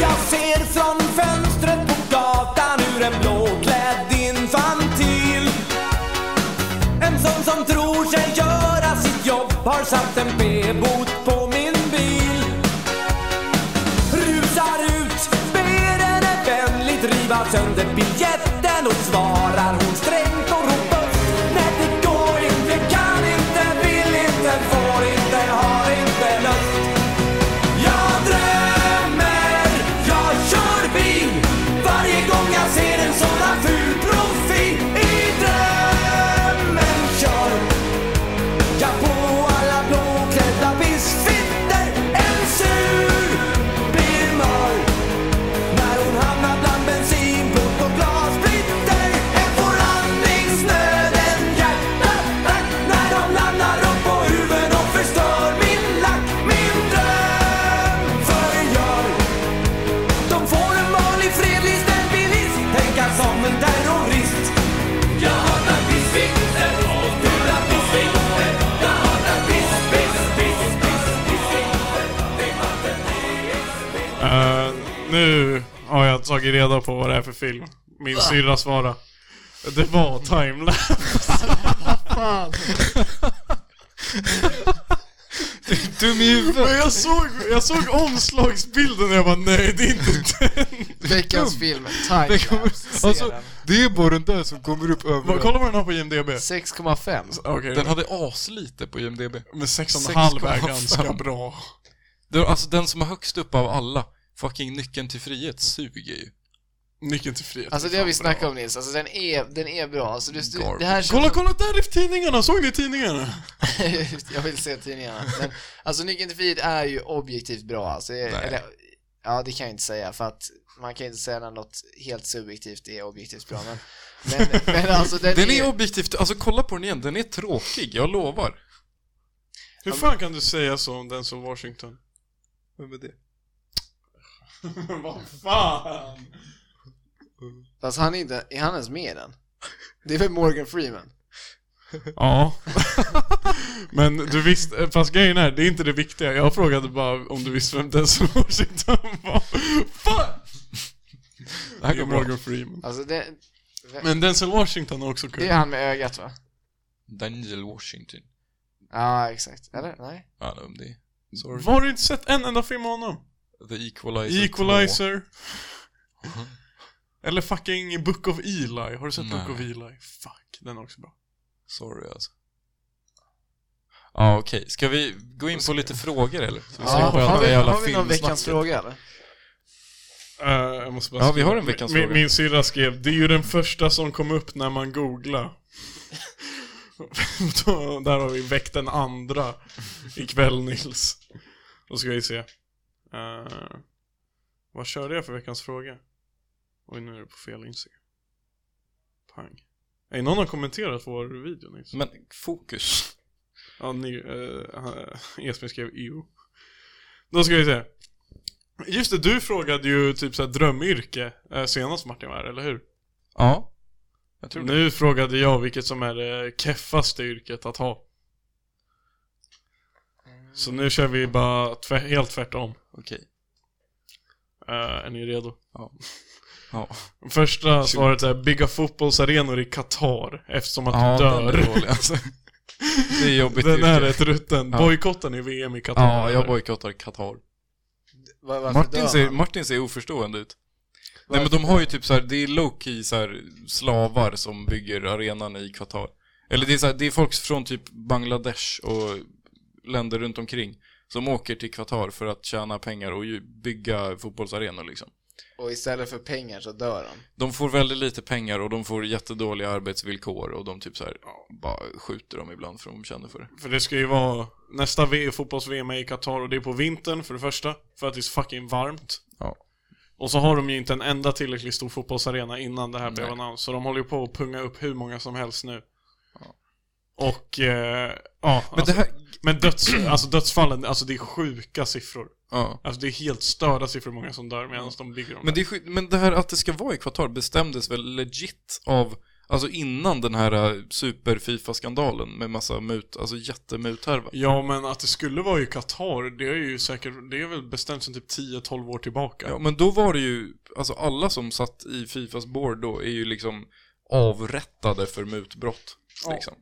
Jag ser från fönstret på gatan hur en blåklädd infantil En sån som tror sig göra sitt jobb har satt en p-bot på min bil Rusar ut, ber henne vänligt riva sönder biljetten och svarar hon strängt och ropar Nej det går inte, kan inte, vill inte, får inte, har inte lust jag drömmer, jag kör bil Varje gång jag ser en sådan ful profil I drömmen kör jag på alla blåklädda pissfitter En sur birmar När hon hamnar bland bensinburk och glassplitter En får andningsnöden hjärtattack När de landar upp på huven och förstör min lack Min dröm förgör De får en vanlig fredlig stabilist Tänka som en terrorist jag hatar piss, piss, och gula pissvinter Jag hatar piss, piss, piss, piss, pissvinter Det var den Eh, nu har jag tagit reda på vad det är för film. Min syrra svara. Det var timelapse. Dum i huvudet! Men jag såg, jag såg omslagsbilden och jag bara nej det är inte den. Veckans film, Timelapse. Alltså, Ser det är bara den där som kommer upp Vad- överallt. Kolla vad den har på IMDB. den. 6,5. Okej, Den hade aslite på IMDB. men 6,5 6,5. är ganska bra. Det, alltså den som är högst upp av alla, fucking Nyckeln till frihet, suger ju. Nyckeln till frihet. Alltså det har vi snackat om Nils, alltså den är, den är bra. Alltså, du, du, det här Kolla, kolla där i tidningarna! Såg ni tidningarna? jag vill se tidningarna. Men, alltså Nyckeln till frihet är ju objektivt bra alltså. Eller, ja, det kan jag inte säga för att man kan ju inte säga när något helt subjektivt är objektivt bra. Men, men, men alltså den, Den är... är objektivt, alltså kolla på den igen, den är tråkig, jag lovar. Hur fan kan du säga så om den som Washington? Vem är det? Vad fan! Fast han är inte, är han ens med i den? Det är väl Morgan Freeman? Ja. Men du visste, fast grejen är, det är inte det viktiga. Jag frågade bara om du visste vem den som Washington var. Fan! Det här Det är går bra. Morgan Freeman. Alltså det, Men Denzel Washington är också kul. det är han med ögat va? Daniel Washington. Ja, exakt. Eller? Nej? Ja, det- om det. Sorry. Var har du inte sett en enda film med honom? The Equalizer 2. Equalizer. Eller fucking Book of Eli. Har du sett Book Nej. of Eli? Fuck, den är också bra. Sorry alltså. Ja, okej. Ska vi gå in på lite frågor eller? Ska vi Ja, slippa har det har, här vi, jävla har vi någon filmsnacket? veckans fråga eller? Eh, jag måste bara Ja, skriva. vi har en veckans min, fråga. Min syrra skrev, det är ju den första som kom upp när man googlar. Då, där har vi väckt den andra ikväll Nils. Då ska vi se. Eh, vad körde jag för veckans fråga? Oj, nu är det på fel Instagram. Pang. Är någon har kommenterat vår video Nils? Men fokus. Ja, ni, eh, han- Esmin skrev EU. Då ska vi se. Just det, du frågade ju typ såhär drömyrke eh, senast Martin var här, eller hur? Ja. Jag tror det. Nu frågade jag vilket som är det keffaste yrket att ha. Mm. Så nu kör vi bara tvär, helt tvärtom. Okej. Eh, är ni redo? Ja. Första svaret är bygga fotbollsarenor i Qatar eftersom att Ja, du den är dör. dålig alltså. Det är jobbigt Den är yrke. rätt rutten. Ja. Bojkotten i VM i Qatar. Ja, jag eller? bojkottar Qatar. Var, varför dör Martin ser, man? Martin ser oförstående ut. Nej men de har ju typ så här, det är low-key så här, slavar som bygger arenan i Qatar. Eller det är, så här, det är folk från typ Bangladesh och länder runt omkring som åker till Qatar för att tjäna pengar och ju bygga fotbollsarenor liksom. Och istället för pengar så dör de. De får väldigt lite pengar och de får jättedåliga arbetsvillkor och de typ så här, bara skjuter dem ibland för de känner för det. För det ska ju vara nästa v- fotbolls-VM är i Qatar och det är på vintern för det första, för att det är så fucking varmt. Ja. Och så har de ju inte en enda tillräckligt stor fotbollsarena innan det här blev Nej. annons, så de håller ju på att punga upp hur många som helst nu. Och, eh, ja. Men det alltså, här, men döds, alltså dödsfallen, alltså det är sjuka siffror. ja. Alltså det är helt störda siffror hur många som dör medan de bygger dem. Men det, är, skit- men det här att det ska vara i Qatar bestämdes väl legit av, alltså innan den här eh, super-Fifa-skandalen med massa mut, alltså jättemuthärva. Ja, men att det skulle vara i Qatar, det är ju säkert, det är väl bestämt sedan typ 10-12 år tillbaka. Ja, men då var det ju, alltså alla som satt i Fifas board då är ju liksom avrättade för mutbrott. Liksom.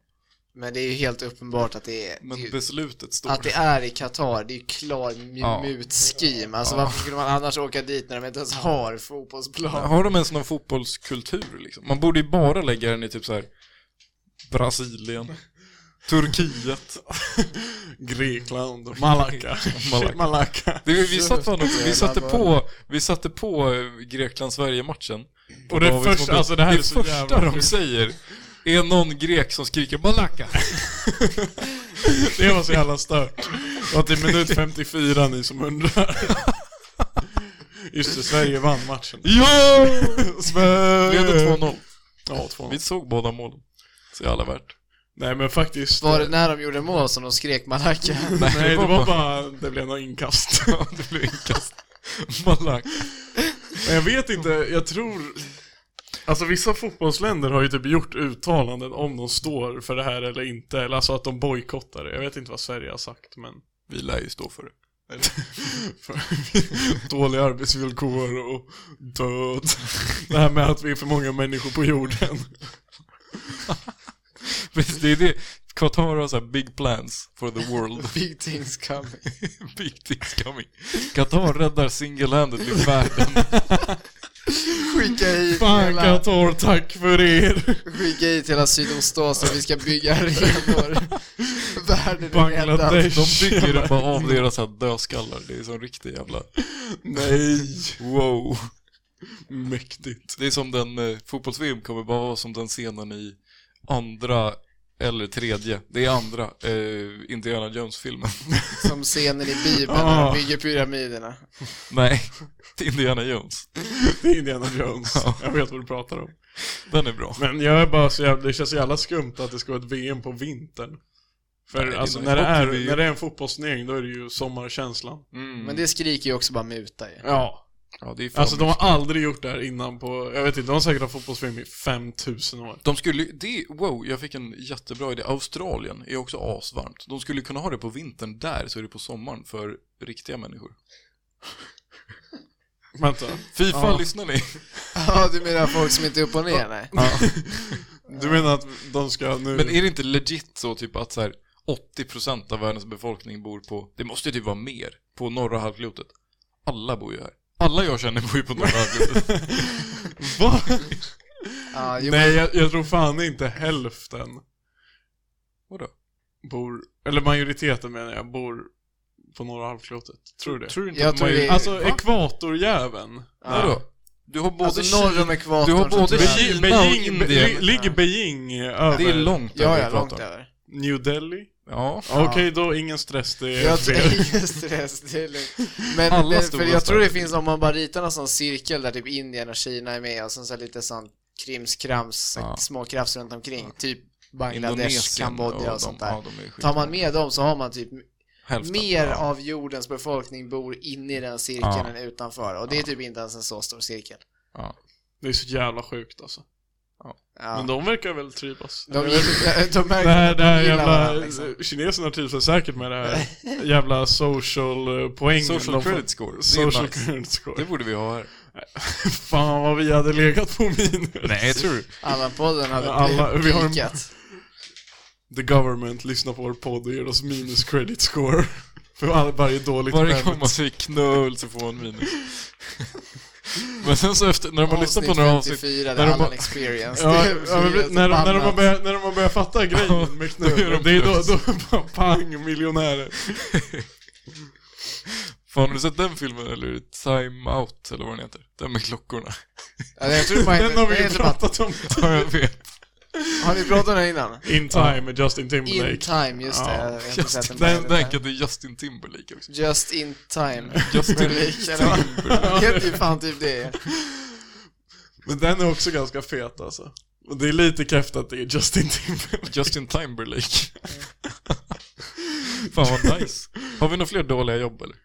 Men det är ju helt uppenbart att det är... det är Men ju- beslutet står. Att det är i Qatar, det är ju klar mu- Ja. mutscheme. Alltså varför skulle man annars åka dit när de inte ens har fotbollsplan? Har de ens någon fotbollskultur liksom? Man borde ju bara lägga den i typ så här Brasilien, Turkiet. Oh, Grekland, Malacca. Malacca. Malacca. Det, vi, satt fan också, vi satte på, vi satte på eh, Grekland-Sverige-matchen. Och det Davids första, mobil. alltså det här det är så första jävla de sjukt. säger är någon grek som skriker 'Malaka' Det var så jävla stört. Och att det är minut 54 ni som undrar. Just det, Sverige vann matchen. Ja! Sverige! Leder 2-0. Ja, Vi 2-0. såg båda målen. Så jävla värt. Nej men faktiskt. eh, Var det när de gjorde mål som de skrek Malacca? Nej, det var bara, det blev några inkast. Ja, det blev inkast. Malaka. Men jag vet inte, jag tror... Alltså vissa fotbollsländer har ju typ gjort uttalanden om de står för det här eller inte, eller alltså att de bojkottar det. Jag vet inte vad Sverige har sagt, men... Vi lär ju stå för det. För Dåliga arbetsvillkor och död. Det här med att vi är för många människor på jorden. Precis, det är det. Qatar har så här big plans for the world. Big things coming. big things coming. Qatar räddar single-handedly världen. Skicka hit, Fan hela, Qatar, tack för er! skicka hit hela Sydostasien, vi ska bygga arenor. Världen är räddad. Bangladesh. De bygger bara av deras så här dödskallar. Det är som riktig jävla... Nej, Wow. mäktigt. Det är som den, eh, fotbolls-VM kommer bara vara som den scenen i andra eller tredje, det är andra, eh, Indiana Jones-filmen. Som scenen i Bibeln när Ah. de bygger pyramiderna. Nej, det är Indiana Jones. Det är Indiana Jones. Jag vet vad du pratar om. Den är bra. Men jag är bara så jävla, det känns så jävla skumt att det ska vara ett VM på vintern. För Nej, det är alltså nog när det, är, hockey-VM. när det är en fotbollsturnering då är det ju sommarkänslan. Mm. Men det skriker ju också bara muta ju. Ja, ja, det är fan... Alltså de har aldrig gjort det här innan på, jag vet inte, de har säkert haft fotbollsfilm i 5000 år. de skulle ju- det, wow, jag fick en jättebra idé. Australien är också asvarmt. De skulle kunna ha det på vintern där, så är det på sommaren för riktiga människor. Vänta. Fifa, Ja. lyssnar ni? Ja, du menar folk som inte är upp och ner? Nej. Du menar att de ska nu... Men är det inte legit så typ att så här 80% av världens befolkning bor på, det måste ju typ vara mer, på norra halvklotet. Alla bor ju här. Alla jag känner bor ju på norra halvklotet. Va? Ja, jo, Nej, jag, jag tror fan inte hälften Vadå? bor... Eller majoriteten menar jag, bor på norra halvklotet. Tror du det? Tror du inte Jag att tror man- det är- Alltså, Va? ekvatorjäveln. Vadå? Du har både alltså norr om Kina, ekvatorn. du har så både tror jag- Kina- Beijing, och Beijing, Indien. Be- ligger Beijing över det är långt Ja, över ja, långt ekvatorn. över. New Delhi? Ja. Okej, då ingen stress, det är Jag fel. tror, just det, just det är lugnt. Men Alla det, för stora jag tror det städer. finns, om man bara ritar någon sån cirkel där typ Indien och Kina är med och sen så här lite sån krimskrams, så här Ja. små krafs runt omkring, typ Bangladesh, Indonesien Kambodja och de- sånt där. Ja, de är skit- Tar man med dem så har man typ hälften. mer Ja. av jordens befolkning bor inne i den cirkeln Ja. än utanför och det är typ inte ens en så stor cirkel. Ja. Det är så jävla sjukt alltså. Ja. Men de verkar väl trivas? de, Jag de, vet de, de märker Det här, att de det här gillar jävla, eh, varandra, liksom. kineserna trivs säkert med det här jävla social eh, poängen Social de får- credit score. Det är Social nice. credit score. Det borde vi ha här. Fan vad vi hade legat på minus. Nej, jag tror du? Allan-podden hade Alla- vi har en- pikat. The government lyssnar på vår podd och ger oss minus credit score. För all, varje dåligt Varje gång skämt. man säger knull så får man minus. Men sen så efter, när man lyssnar på några avsnitt, 54, när det de är Allan bara- Experience. Ja, Det är ja, men frihet och när, de, när, de har bannat. börjat, när de har börjat fatta Ja, grejen med då gör knull, de det är då, plus. då bara pang, miljonärer. fan har du sett den filmen eller? Time Out eller vad den heter? Den med klockorna. Ja, jag tror bara, Den har vi jag ju heter bara- pratat om. Ja, jag vet. Har ni pratat om den innan? In time med Justin Timberlake. In time, just det. Ja, Jag har inte sett Justin, den. den den hette Justin Timberlake också. Just in time. Justin Publiken heter ju fan typ det. Men den är också ganska fet alltså. Och det är lite kräft att det är Justin Timberlake. Justin Timberlake. Fan vad nice. Har vi några fler dåliga jobb eller?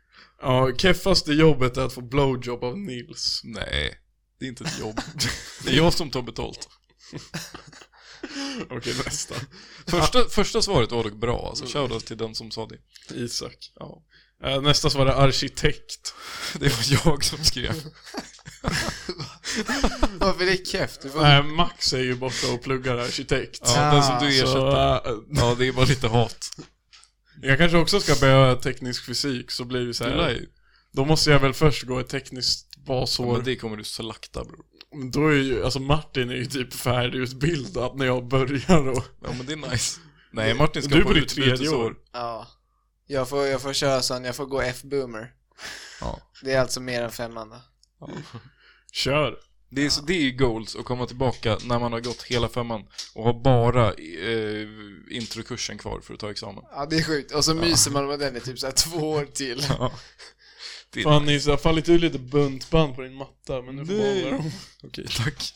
Ja, keffaste jobbet är att få blowjob av Nils. Nej, det är inte ett jobb. Det är jag som tar betalt. Okej, nästa. Första, första svaret var dock bra, alltså shoutout till den som sa det. Isak. Ja. Eh, Nästa svar är arkitekt. Det var jag som skrev. Varför är det keft? Du får... Nej, Eh, Max är ju borta och pluggar arkitekt. Ja, den som du Så, ersätter. eh, Ja, det är bara lite hat. jag kanske också ska börja teknisk fysik, så blir det så Du lär här. ju. Då måste jag väl först gå ett tekniskt Ja, basår. men det kommer du slakta bror. Men Då är ju, alltså Martin är ju typ färdigutbildad när jag börjar och... Ja men det är nice. Nej Martin ska Du på bor i utbytesår. tredje år. Ja. Jag får, jag får köra sån, jag får gå F-boomer. Ja. Det är alltså mer än femman då. Kör! Det är, så, det är ju goals att komma tillbaka när man har gått hela femman och har bara eh, introkursen kvar för att ta examen. Ja, det är sjukt. Och så myser man med den i typ såhär två år till. Det är Fan Nils, det har fallit ur lite buntband på din matta, men nu får Nej. du behålla dem. Okej, tack.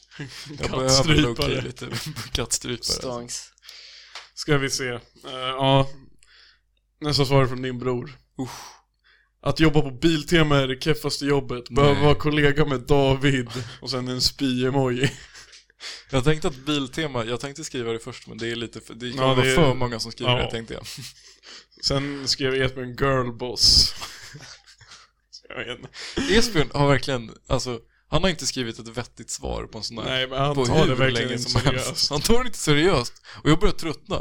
Jag behöver Kattstrypare. lowkey lite kattstrypare. Stångs. Ska vi se. Eh, ja. Nästa svar är från din bror. Usch. Att jobba på Biltema är det keffaste jobbet. Behöver Nej. vara kollega med David och sen en spy-emoji. Jag tänkte att Biltema, jag tänkte skriva det först men det är lite för, det kommer Ja, det vara är- för många som skriver Ja. det tänkte jag. Sen skrev Esbjörn girlboss. Jag vet inte. Esbjörn har verkligen, alltså han har inte skrivit ett vettigt svar på en sån här. Nej, men han på tar hur det verkligen länge inte som helst. seriöst. Han tar det inte seriöst. Och jag börjar tröttna.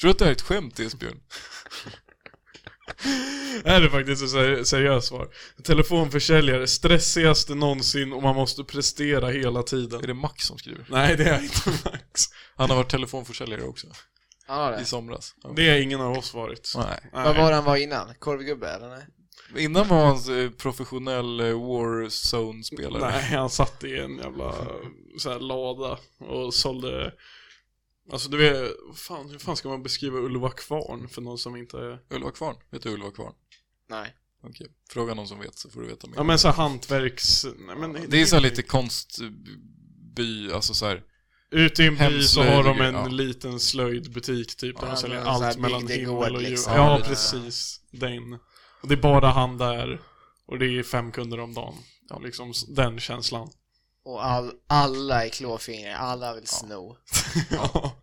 Tror du att det här är ett skämt, Esbjörn? Här är faktiskt ett seri- seriöst svar. Telefonförsäljare, stressigaste någonsin och man måste prestera hela tiden. Är det Max som skriver? Nej, det är inte Max. Han har varit telefonförsäljare också, Ja, det. i somras. Ja. Det är ingen av oss varit. Nej. Vad var han var innan? Korvgubbe eller? Nej? Innan var han eh, professionell eh, Warzone-spelare. Nej, han satt i en jävla så här, lada och sålde... Alltså du vet, fan, hur fan ska man beskriva Ulva Kvarn för någon som inte är... Ulva Kvarn. Vet du Ulva Kvarn? Nej. Okej. Fråga någon som vet så får du veta mer. Ja men så här hantverks... Nej, men, det är så här lite konstby, alltså så här. Ute i en by så har de en hemslöjd- ja. liten slöjdbutik typ där Ja, de säljer men så här allt mellan bygdegård, himmel och jord. liksom. Ja, Ja. precis. Den. Och det är bara han där och det är fem kunder om dagen. Ja, liksom s- den känslan. Och all, alla är klåfingriga, alla vill sno. Ja.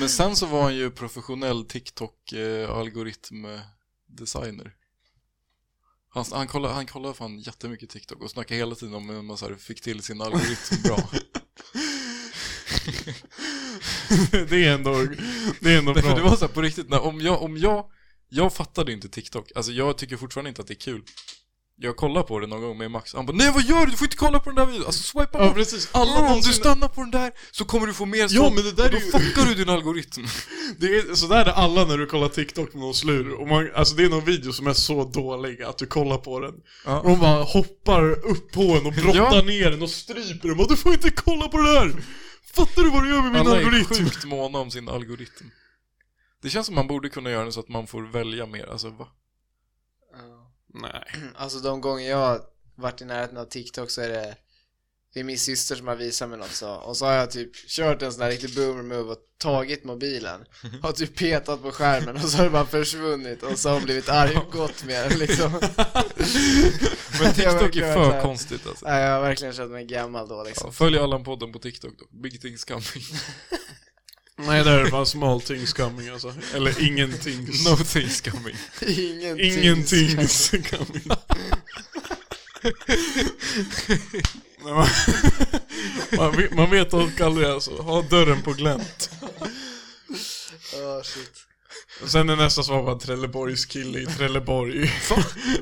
Men sen så var han ju professionell TikTok-algoritm-designer. Han, han, kollar, han kollar fan jättemycket TikTok och snackar hela tiden om hur man så här, fick till sin algoritm bra. det är ändå, det är ändå bra. Nej, för det var så här, på riktigt, när, om, jag, om jag, jag fattade inte TikTok, alltså jag tycker fortfarande inte att det är kul. Jag kollar på det någon gång med Max, han bara 'Nej vad gör du? Du får inte kolla på den där videon!' Alltså swipa Ja bort! precis, alla om du någonsin... stannar på den där så kommer du få mer Ja, sånt. men det där är Då ju- fuckar du din algoritm. Det är, så där är alla när du kollar TikTok med någon slur. Och man, alltså det är någon video som är så dålig att du kollar på den. Ja. Och de bara hoppar upp på en och brottar Ja. ner den och stryper den. Och du får inte kolla på det där! Fattar du vad du gör med min Alla är algoritm? sjukt måna om sin algoritm. Det känns som man borde kunna göra det så att man får välja mer, alltså va? Nej. Alltså de gånger jag har varit i närheten av TikTok så är det Det är min syster som har visat mig något så Och så har jag typ kört en sån här riktig boomer move och tagit mobilen Har typ petat på skärmen och så har det bara försvunnit och så har hon blivit arg och gått med den liksom Men TikTok verkligen är så för här. konstigt alltså. Nej jag har verkligen känt mig gammal då liksom Ja, följ Allan-podden på TikTok då, Big Things Coming. Nej, det här är fan small things coming alltså. Eller ingenting. No Things Coming. Ingenting Ingenting coming. Nej, man, man, vet, man vet dock aldrig alltså. Ha dörren på glänt. Åh, shit Och Sen är nästa svar bara Trelleborgs kille i Trelleborg.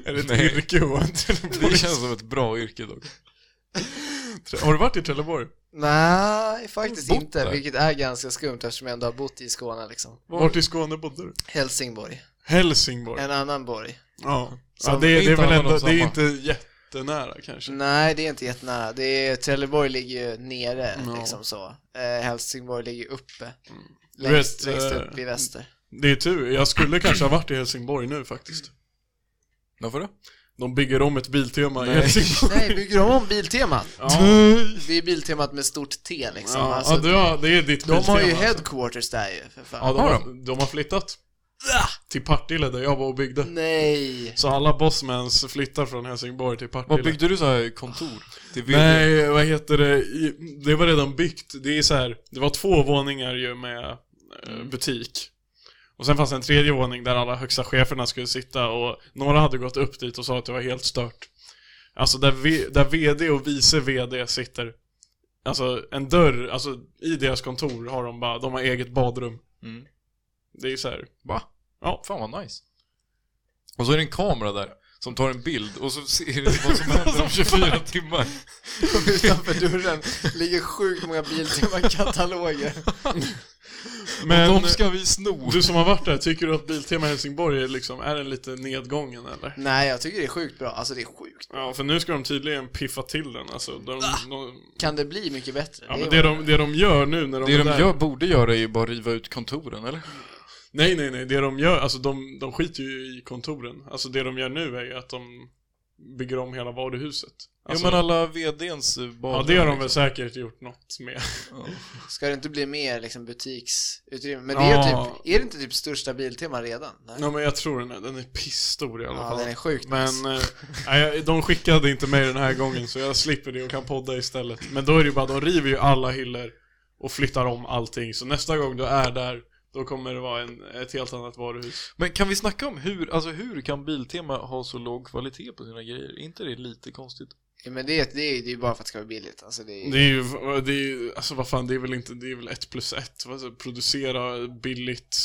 är det ett Nej. yrke att vara en Trelleborg? Det känns som ett bra yrke dock. Har du varit i Trelleborg? Nej faktiskt Bott inte, där. vilket är ganska skumt eftersom jag ändå har bott i Skåne liksom Vart i Skåne bodde du? Helsingborg, Helsingborg. en annan borg Ja. ja Som det, det är inte väl har ändå, något det är samma. inte jättenära kanske. Nej, det är inte jättenära. Det är, Trelleborg ligger ju nere, Ja. liksom så. Eh, Helsingborg ligger uppe. Du vet, Längst, längst eh, upp i väster. Det är tur, jag skulle kanske ha varit i Helsingborg nu faktiskt. Varför då? De bygger om ett biltema i Nej. Helsingborg. Nej, bygger de om Biltemat? Ja, Det är Biltemat med stort T liksom. ja, alltså, ja du har, det är ditt de har ju biltema, alltså. headquarters där ju, för fan. Ja, de Har har, de har flyttat. Till Partille där jag var och byggde. Nej! Så alla bossmans flyttar från Helsingborg till Partille. Vad byggde du så här kontor? Till VD? Nej, vad heter det? I- Det var redan byggt. Det är så här, det var två våningar ju med eh, Mm. butik. Och sen fanns det en tredje våning där alla högsta cheferna skulle sitta och några hade gått upp dit och sa att det var helt stört. Alltså där, v- där VD och vice VD sitter. Alltså en dörr, alltså i deras kontor har de bara, de har eget badrum. Mm. Det är så här. Va? Ja. Fan vad nice. Och så är det en kamera där som tar en bild och så ser du vad som händer om 24 timmar. Utanför dörren ligger sjukt många Biltema-kataloger. Men De ska vi sno. du som har varit där, tycker du att Biltema Helsingborg är, liksom, är den lite nedgången eller? Nej, jag tycker det är sjukt bra. Alltså det är sjukt. Ja, för nu ska de tydligen piffa till den alltså. De, Ah! de, Kan det bli mycket bättre? ja, är men vad- det, de, det de gör nu när de Det är de där, gör, borde göra är ju bara riva ut kontoren, eller? Nej, nej, nej. Det de gör, alltså de, de skiter ju i kontoren. Alltså det de gör nu är ju att de bygger om hela varuhuset. Alltså, ja, men alla liksom. VDns ja, badrum. det har de väl säkert gjort något med. Ska det inte bli mer liksom butiksutrymme? Men det är ju Ja. typ, är det inte typ största Biltema redan? Nej. Ja, men jag tror den är, den är pissstor i alla Ja, fall. den är sjukt nice. Men eh, nej, jag- de skickade inte mig den här gången så jag slipper det och kan podda istället. Men då är det ju bara, de river ju alla hyllor och flyttar om allting. Så nästa gång du är där, då kommer det vara en, ett helt annat varuhus. Men kan vi snacka om hur, alltså hur kan Biltema ha så låg kvalitet på sina grejer? Är inte det lite konstigt? Ja, Men det, det, är- det är ju bara för att det ska vara billigt. Alltså det är, Det är ju, det är ju, alltså vad fan, det är väl inte, det är väl ett plus ett. Alltså, producera billigt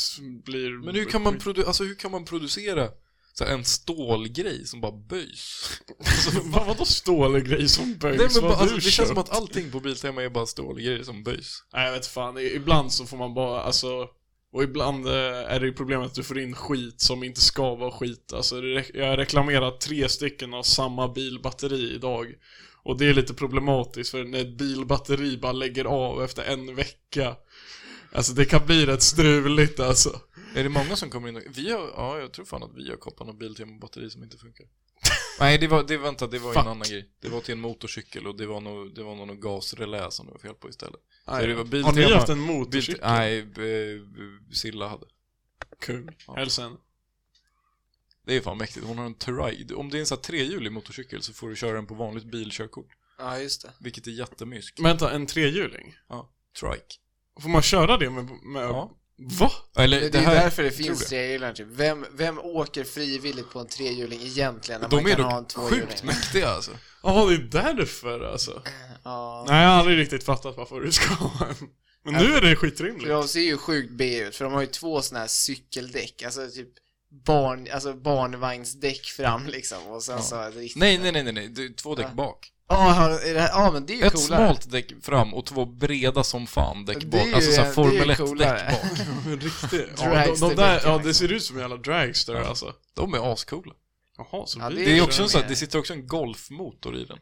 blir... Men hur kan man, produ- alltså, hur kan man producera så här, en stålgrej som bara böjs? Alltså, vad, vadå stålig grej som böjs? Nej, men Vad bara, har du alltså, det känns köpt? som att allting på Biltema är bara stålgrejer som böjs. Nej, jag vet fan. I- Ibland så får man bara, alltså... Och ibland eh, är det ju problemet att du får in skit som inte ska vara skit. Alltså, det re- jag har reklamerat tre stycken av samma bilbatteri idag. Och det är lite problematiskt för när ett bilbatteri bara lägger av efter en vecka. Alltså det kan bli rätt struligt alltså. Är det många som kommer in och, vi har, ja jag tror fan att vi har koppat något Biltema-batteri som inte funkar. Nej, det var, det, vänta, det var en Fuck. annan grej. Det var till en motorcykel och det var nog, det var nog gasrelä som det var fel på istället. Nej. det var har ni Biltema- haft en Bilt, motorcykel? nej, eh, Silla hade. Kung. Ja. Hälsa henne. Det är fan mäktigt, hon har en Terride. Om det är en sån här trehjulig motorcykel så får du köra den på vanligt bilkörkort. Ja, just det. Vilket är jättemysk. Vänta, en trehjuling? Ja, trike. Får man köra det med... med Ja. Va? Eller, Det, det, är här, därför det tror finns trehjulingar typ. Vem, vem åker frivilligt på en trehjuling egentligen när De man är kan ha en dock tvåhjuling? sjukt mäktiga alltså. Jaha, det är därför alltså. Ja. Nej, jag har aldrig riktigt fattat varför du ska ha en. Men nu är det skitrimligt. För de ser ju sjukt B ut, för de har ju två sådana här cykeldäck, alltså typ barn, alltså barnvagnsdäck fram liksom och sen så ett riktigt... Nej, nej, nej, nej, nej. Det är två däck bak. Ja, är det här- ja, men det är ju Ett coolare. smalt däck fram och två breda som fan däck Det är bak. ju- Alltså såhär det är ju Formel 1-däck coolare. bak. Men riktigt. Ja, de, Dragster de där, leken, ja, liksom. det ser ut som en jävla dragster alltså. De är ascoola. Jaha, så Ja, blir det Det är gör också de en sån här, med. det sitter också en golfmotor i den.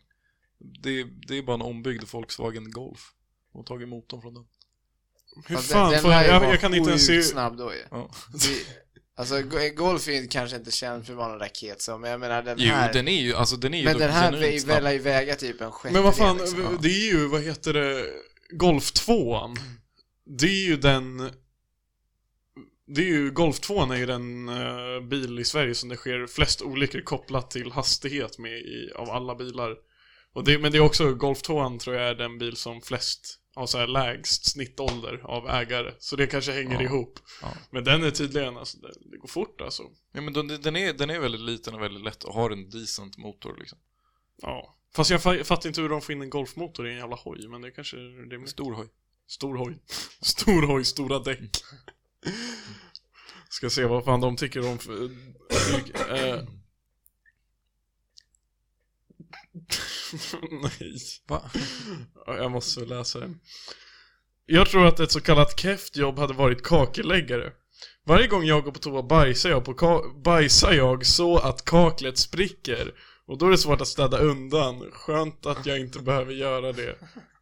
Det, det är bara en ombyggd Volkswagen Golf. Och tagit motorn från den. Hur Fast fan den får lär jag, ju jag, vara jag kan inte ens se... sjukt snabb då ju. Ja. Det, alltså go- en golf är ju kanske inte känd för att vara någon raket så, men jag menar den Jo, här. den är ju, alltså den är ju men dock den här genuint vä- snabb. välar ju väga typ en sjättedel Men vad fan, liksom. det är ju, vad heter det, Golf 2 Det är ju den... Det är ju, Golf 2 är ju den eh, bil i Sverige som det sker flest olyckor kopplat till hastighet med i, av alla bilar. Och det, men det är också, Golf 2 tror jag är den bil som flest, har så här lägst snittålder av ägare. Så det kanske hänger Ja. ihop. Ja. Men den är tydligen, alltså, det, det går fort alltså. Ja, men den, den, är, den är väldigt liten och väldigt lätt och har en decent motor liksom. Ja. Fast jag fa- fattar inte hur de får in en golfmotor i en jävla hoj, men det kanske är det Stor hoj. Stor hoj. Stor hoj, stora däck. Ska se vad fan de tycker om för... eh. Nej. Va? Ja, Jag måste läsa den. Jag tror att ett så kallat kräft jobb hade varit kakelläggare. Varje gång jag går på toa bajsar jag, på ka- bajsar jag så att kaklet spricker. Och då är det svårt att städa undan. Skönt att jag inte behöver göra det.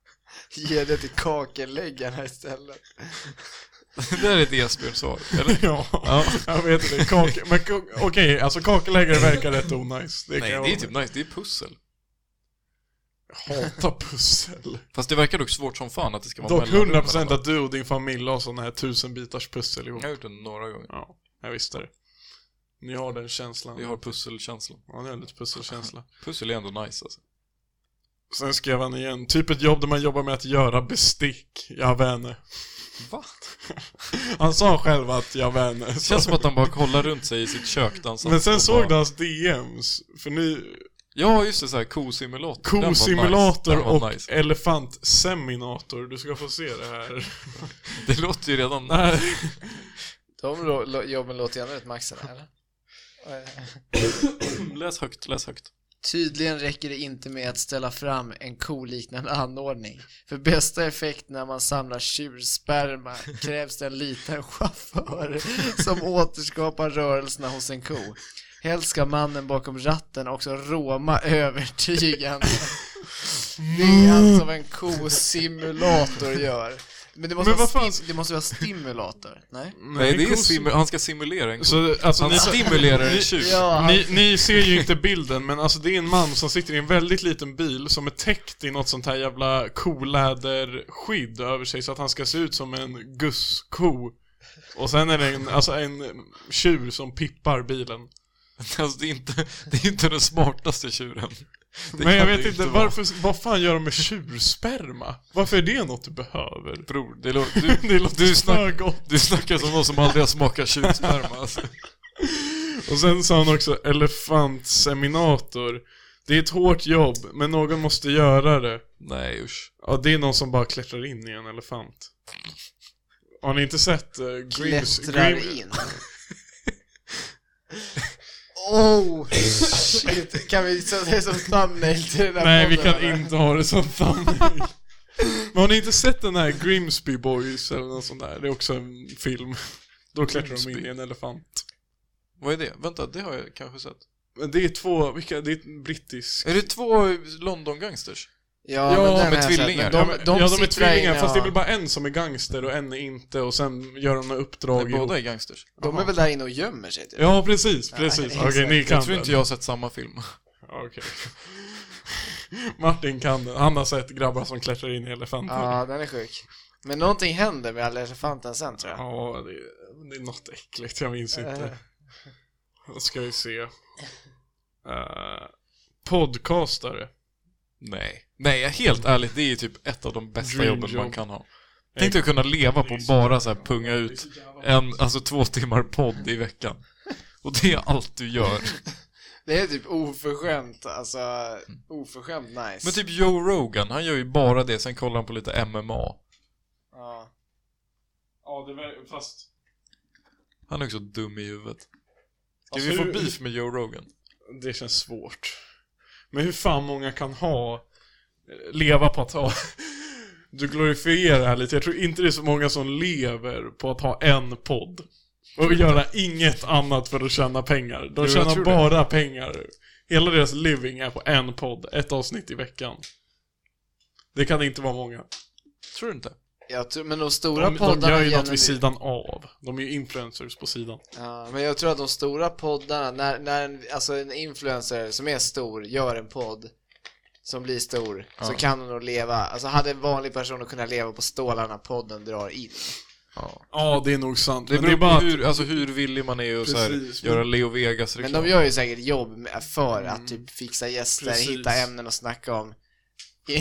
Ge det till kakelläggarna istället. det där är ett Esbjörn-svar, eller? Ja, jag vet det. Kake, men ko- okej, alltså kakeläggare verkar rätt onajs. Det kan Nej, jag det är hålla typ nice, det är pussel. med. Hata pussel. Fast det verkar dock svårt som fan att det ska vara Dock mellanrum 100% mellan att du och din familj har sådana här tusen bitars pussel dem. ihop. Jag har gjort det några gånger. Ja, jag visste det. Ni har den känslan. Vi har pusselkänslan. Ja, ni har lite pusselkänsla. Pussel är ändå nice alltså. Sen skrev han igen, typ ett jobb där man jobbar med att göra bestick. Jag vänner. Va? Han sa själv att jag vänner. Det känns som att han bara kollar runt sig i sitt kök dansar. Men sen och såg bara- du hans DMs, för nu, Ja, just det, så här kosimulator. Den var nice. kosimulator Den var och nice. elefantseminator. Du ska få se det här. Det låter ju redan... De lo- lo- jobben låter ju ändå rätt maxade, eller? läs högt, läs högt. Tydligen räcker det inte med att ställa fram en koliknande anordning. För bästa effekt när man samlar tjursperma krävs det en liten chaufför som återskapar rörelserna hos en ko. Helst ska mannen bakom ratten också råma övertygande. Det är alltså vad en kosimulator gör. Men det måste, Men vara, vad fan- sti- det måste vara stimulator? Nej? Nej, det är kos- simu- han ska simulera en Så alltså, Han ni, stimulerar en ni- tjur. Ja, Ni, ni ser ju inte bilden, men alltså det är en man som sitter i en väldigt liten bil som är täckt i något sånt här jävla koläderskydd över sig så att han ska se ut som en gussko. Och sen är det en, alltså en tjur som pippar bilen. Alltså, det, är inte, det är inte den smartaste tjuren. Det men jag kan det vet ju inte, vara. varför, vad fan gör de med tjursperma? Varför är det något du behöver? Bror, det, lå- du, Det låter du, snack, snögott. du snackar som någon som aldrig har smakat tjursperma alltså. Och sen sa han också elefantseminator. Det är ett hårt jobb, men någon måste göra det. Nej usch. Ja, det är någon som bara klättrar in i en elefant. Har ni inte sett uh, Grimms... klättrar in. Oh shit, kan vi sätta det som thumbnail till den här Nej, vi podden, kan eller? inte ha det som thumbnail. Men har ni inte sett den här Grimsby Boys eller något sånt där? Det är också en film. Då klättrar de in i en elefant. Vad är det? Vänta, det har jag kanske sett. Men det är två, vilka, det är en brittisk... Är det två London-gangsters? Ja, Ja, men den med har jag sett, tvillingar. Ja, men De, men- ja, de, de är sitter där tvillingar, inne, fast det är ja. väl bara en som är gangster och en är inte och sen gör de några uppdrag Nej, ihop. båda är gangsters. De är väl där inne och gömmer sig typ. Ja, precis, precis. Ja, Okej, ni Jag kan tror inte jag har sett samma film. den. Okej. Martin kan den. Han har sett grabbar som klättrar in i elefanter. Ja, den är sjuk. Men någonting händer med alla elefanten sen tror jag. Ja, det, det är något äckligt, jag minns inte. Då ska vi se. Eh, podcastare. Nej. Nej, helt ärligt, det är ju typ ett av de bästa Dream jobben man job. kan ha. Tänk dig att kunna leva på att bara så här punga ut en, alltså två timmar podd i veckan. Och det är allt du gör. Det är typ oförskämt, alltså Mm. oförskämt nice. Men typ Joe Rogan, han gör ju bara det, sen kollar han på lite MMA. Ja. Ja, det var, fast... Han är också dum i huvudet. Ska Alltså, vi få hur- beef med Joe Rogan? Det känns svårt. Men hur fan många kan ha... eh, Leva på att ha... Du glorifierar här lite. Jag tror inte det är så många som lever på att ha en podd. Och göra inget annat för att tjäna pengar. De jag tjänar tror det. bara pengar. Hela deras living är på en podd, ett avsnitt i veckan. Det kan inte vara många. Tror du inte? Jag tror, men de stora De, de poddarna gör ju något genuint- vid sidan av. De är ju influencers på sidan. Ja, men jag tror att de stora poddarna, när, när en, alltså en influencer som är stor gör en podd som blir stor, så kan de nog leva. Alltså hade en vanlig person kunnat leva på stålarna podden drar in. Ja, det är nog sant. Det Men det är beror på bara... hur, alltså hur villig man är att så Precis, här, men- göra Leo Vegas Men reklam. de gör ju säkert jobb med, för att typ fixa gäster, Mm. Precis. hitta ämnen att snacka om. Men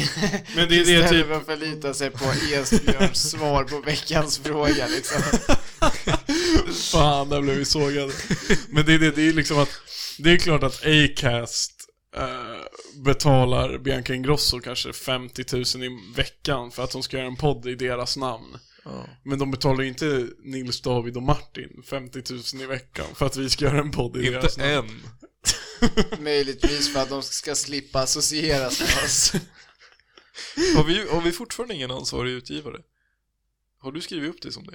det är det Istället typ... för att förlita sig på Esbjörns svar på veckans fråga liksom. Fan, där blev vi sågade. Men det är det, det är liksom att det är klart att Acast eh, betalar Bianca Ingrosso kanske 50 000 i veckan för att hon ska göra en podd i deras namn. Ja. Men de betalar ju inte Nils, David och Martin 50 000 i veckan för att vi ska göra en podd i deras Inte namn. än. Möjligtvis för att de ska slippa associeras med oss. Har vi, har vi fortfarande ingen ansvarig utgivare? Har du skrivit upp det som det?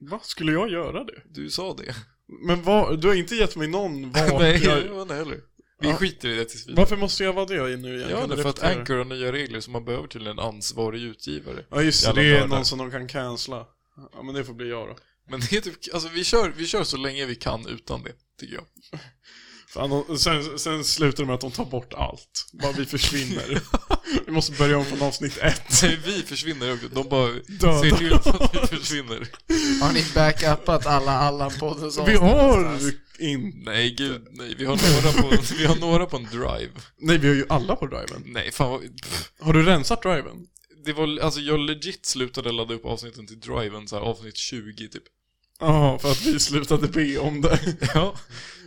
Va? Skulle jag göra det? Du sa det. Men vad, du har inte gett mig någon vart Nej, det jag... var inte heller. Vi Ja. skiter i det tills vidare. Varför måste jag vara det nu igen? Ja, Kan det du är för att repetera? Anchor har nya regler så man behöver till en ansvarig utgivare. Ja just det, Jävla det är nördar. någon som de kan cancella. Ja men det får bli jag då. Men det är typ, alltså vi kör, vi kör så länge vi kan utan det, tycker jag. Fan, de, sen, sen slutar det med att de tar bort allt. Bara vi försvinner. vi måste börja om från avsnitt ett. Nej, vi försvinner också. De bara Döda. ser till att vi försvinner. Har ni backupat alla Allan-poddens Vi avsnitt har någonstans? in... Nej, gud, nej. Vi har några på, vi har några på en drive. Nej, vi har ju alla på driven. Nej, fan vad, pff. Har du rensat driven? Det var, alltså jag legit slutade ladda upp avsnitten till driven så här, avsnitt 20 typ. Ja, för att vi slutade be om det. Ja.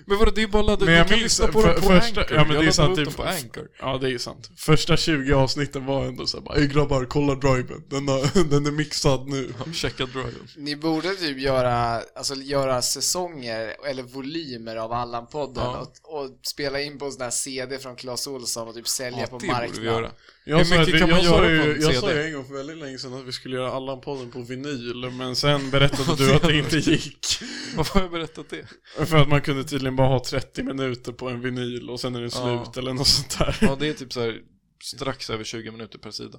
Men vadå, det är bara att ladda Men jag du kan minns- lyssna på för- dem på första- Anchor. ja, men det är jag laddade sant, upp typ- dem på Anchor. ja, det är ju sant. Första 20 avsnitten var ändå så här bara, "Ey, grabbar, kolla driven. Den, har, den är mixad nu. Ja, checka driven. Ni borde typ göra, alltså, göra säsonger eller volymer av Allan-podden Ja. och, och spela in på en sån här CD från Clas Ohlson och typ sälja Ja, på det borde vi göra. marknaden. Jag sa, mycket att vi, kan man jag, sa göra på ju, en jag sa CD? ju en gång för väldigt länge sedan att vi skulle göra Allan-podden på vinyl, men sen berättade du att det inte gick. Varför har jag berättat det? För att man kunde tydligen bara ha 30 minuter på en vinyl och sen är den Ja. slut eller något sånt där. Ja, det är typ så här strax över 20 minuter per sida.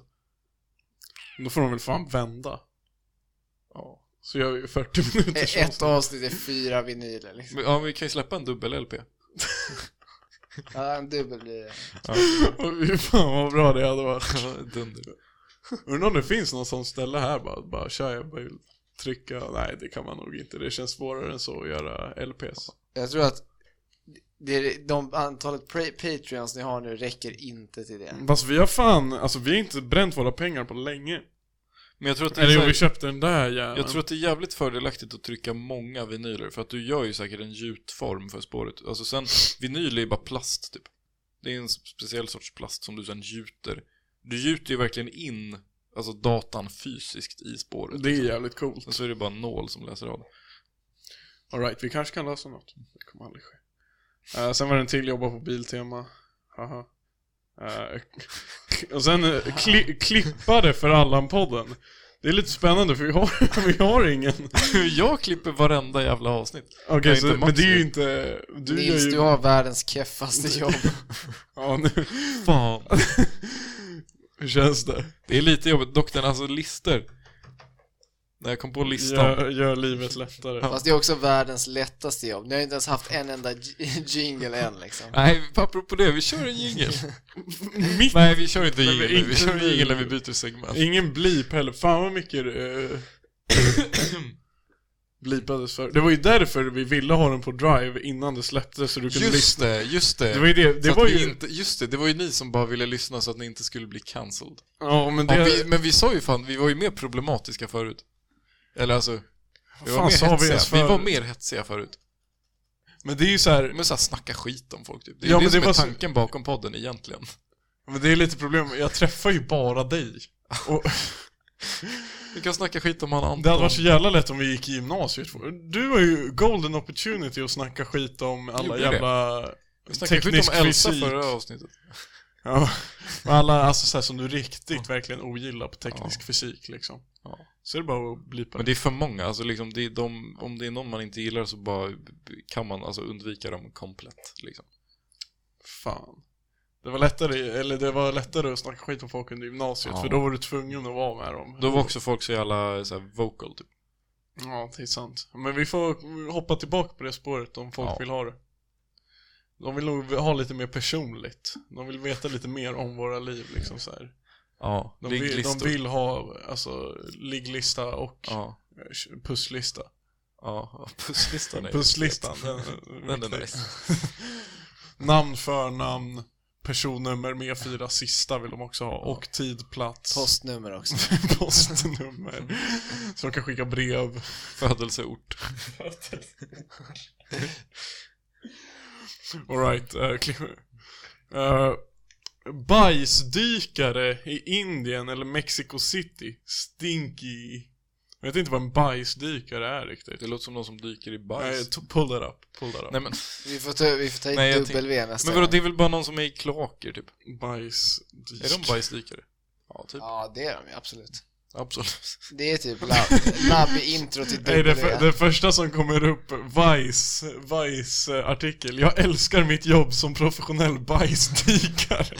Då får de väl fan vända. Ja. Så gör vi ju 40 minuter Ett sånt. avsnitt är fyra vinyler liksom. Men, ja, men vi kan ju släppa en dubbel-LP. Ja, en dubbel blir det. Och fy fan vad bra det hade varit. Dunder. Undrar om det finns någon sån ställe här bara, bara tja jag vill trycka. Nej det kan man nog inte. Det känns svårare än så att göra LPs. Jag tror att det, de antalet pra- patreons ni har nu räcker inte till det. Fast vi har fan, alltså vi har inte bränt våra pengar på länge. Men jag tror att det är Eller så jo, här, vi köpte den där jäveln. Jag tror att det är jävligt fördelaktigt att trycka många vinyler för att du gör ju säkert en gjutform för spåret. Alltså sen, vinyl är ju bara plast typ. Det är en speciell sorts plast som du sen gjuter. Du gjuter ju verkligen in alltså datan fysiskt i spåret. det är jävligt coolt. Sen så är det bara en nål som läser av det. Alright, vi kanske kan lösa något. Det kommer aldrig ske. Eh, sen var det en till jobba på Biltema. Haha. Eh, och sen eh, kli- klippare för Allan-podden. Det är lite spännande för vi har, vi har ingen. Jag klipper varenda jävla avsnitt. Okej, Nej, så, inte Mats men det är ju nu. inte... Du Nils, gör ju... du har världens keffaste jobb. Ja, nu. Fan. Hur känns det? Det är lite jobbigt. Dock den, alltså lister. När jag kom på listan. Gör, gör livet lättare. Fast det är också världens lättaste jobb. Ni har inte ens haft en enda j- jingle än liksom. Nej, apropå det, vi kör en jingel. Mitt... Nej, vi kör inte Nej, men jingel nu. Vi inte kör en nu. jingel när vi byter segment. Ingen blip heller. Fan vad mycket... eh, blipades för. Det var ju därför vi ville ha den på Drive innan det släpptes så du kunde Just lyssna. det, just det. Det var ju det, det Så att var vi ju... inte, just det, det var ju ni som bara ville lyssna så att ni inte skulle bli cancelled. Ja men det... Ja, vi, men vi sa ju fan, vi var ju mer problematiska förut. Eller alltså, vi Vad var, fan sa mer vi hetsiga. ens vi var förut? mer hetsiga förut. Men det är ju så här, Men såhär snacka skit om folk typ. Det är Ja, det men det som är var så- tanken bakom podden egentligen. men det är lite problem, jag träffar ju bara dig. Och Vi kan snacka skit om han Anton. det hade varit så jävla lätt om vi gick i gymnasiet. Du har ju golden opportunity att snacka skit om alla Gjorde det? jävla Vi snackade skit teknisk om Elsa fysik. förra avsnittet. Ja, och alla alltså så här, som du riktigt verkligen ogillar på teknisk fysik liksom. Ja. Så är det bara att blipa Men det är för många, alltså liksom, det är de, om det är någon man inte gillar så bara kan man alltså undvika dem komplett liksom. Fan. Det var, lättare, eller det var lättare att snacka skit om folk under gymnasiet, Ja. för då var du tvungen att vara med dem. Då var också folk så jävla så här, vocal typ. Ja, det är sant. Men vi får hoppa tillbaka på det spåret om folk Ja. vill ha det. De vill nog ha lite mer personligt. De vill veta lite mer om våra liv liksom så här. Ja, De, vill, de ligglistor. vill ha alltså ligglista och Ja, eh, pusslista. ja, pusslistan är Pusslistan, den, Den är viktig. nice. Namn, förnamn, personnummer med fyra sista vill de också ha. Och tid, plats, Postnummer också. postnummer. Så de kan skicka brev. födelseort. Alright, uh, uh, Bajsdykare i Indien eller Mexico City. Stinky. Jag vet inte vad en bajsdykare är riktigt. Det låter som någon som dyker i Nej, bajs. to- pull that up. Pull that up. Nej men, Vi får ta, vi får ta Nej, jag hit W nästa men vadå, gång. det är väl bara någon som är i kloaker typ? Bajsdykare. Är de bajsdykare? Ja, typ. Ja, det är de ju, absolut. Absolut. Det är typ labb, labb i intro till Nej, det, W. för, det första som kommer upp, Vice, Vice eh, artikel. Jag älskar mitt jobb som professionell bajsdykare.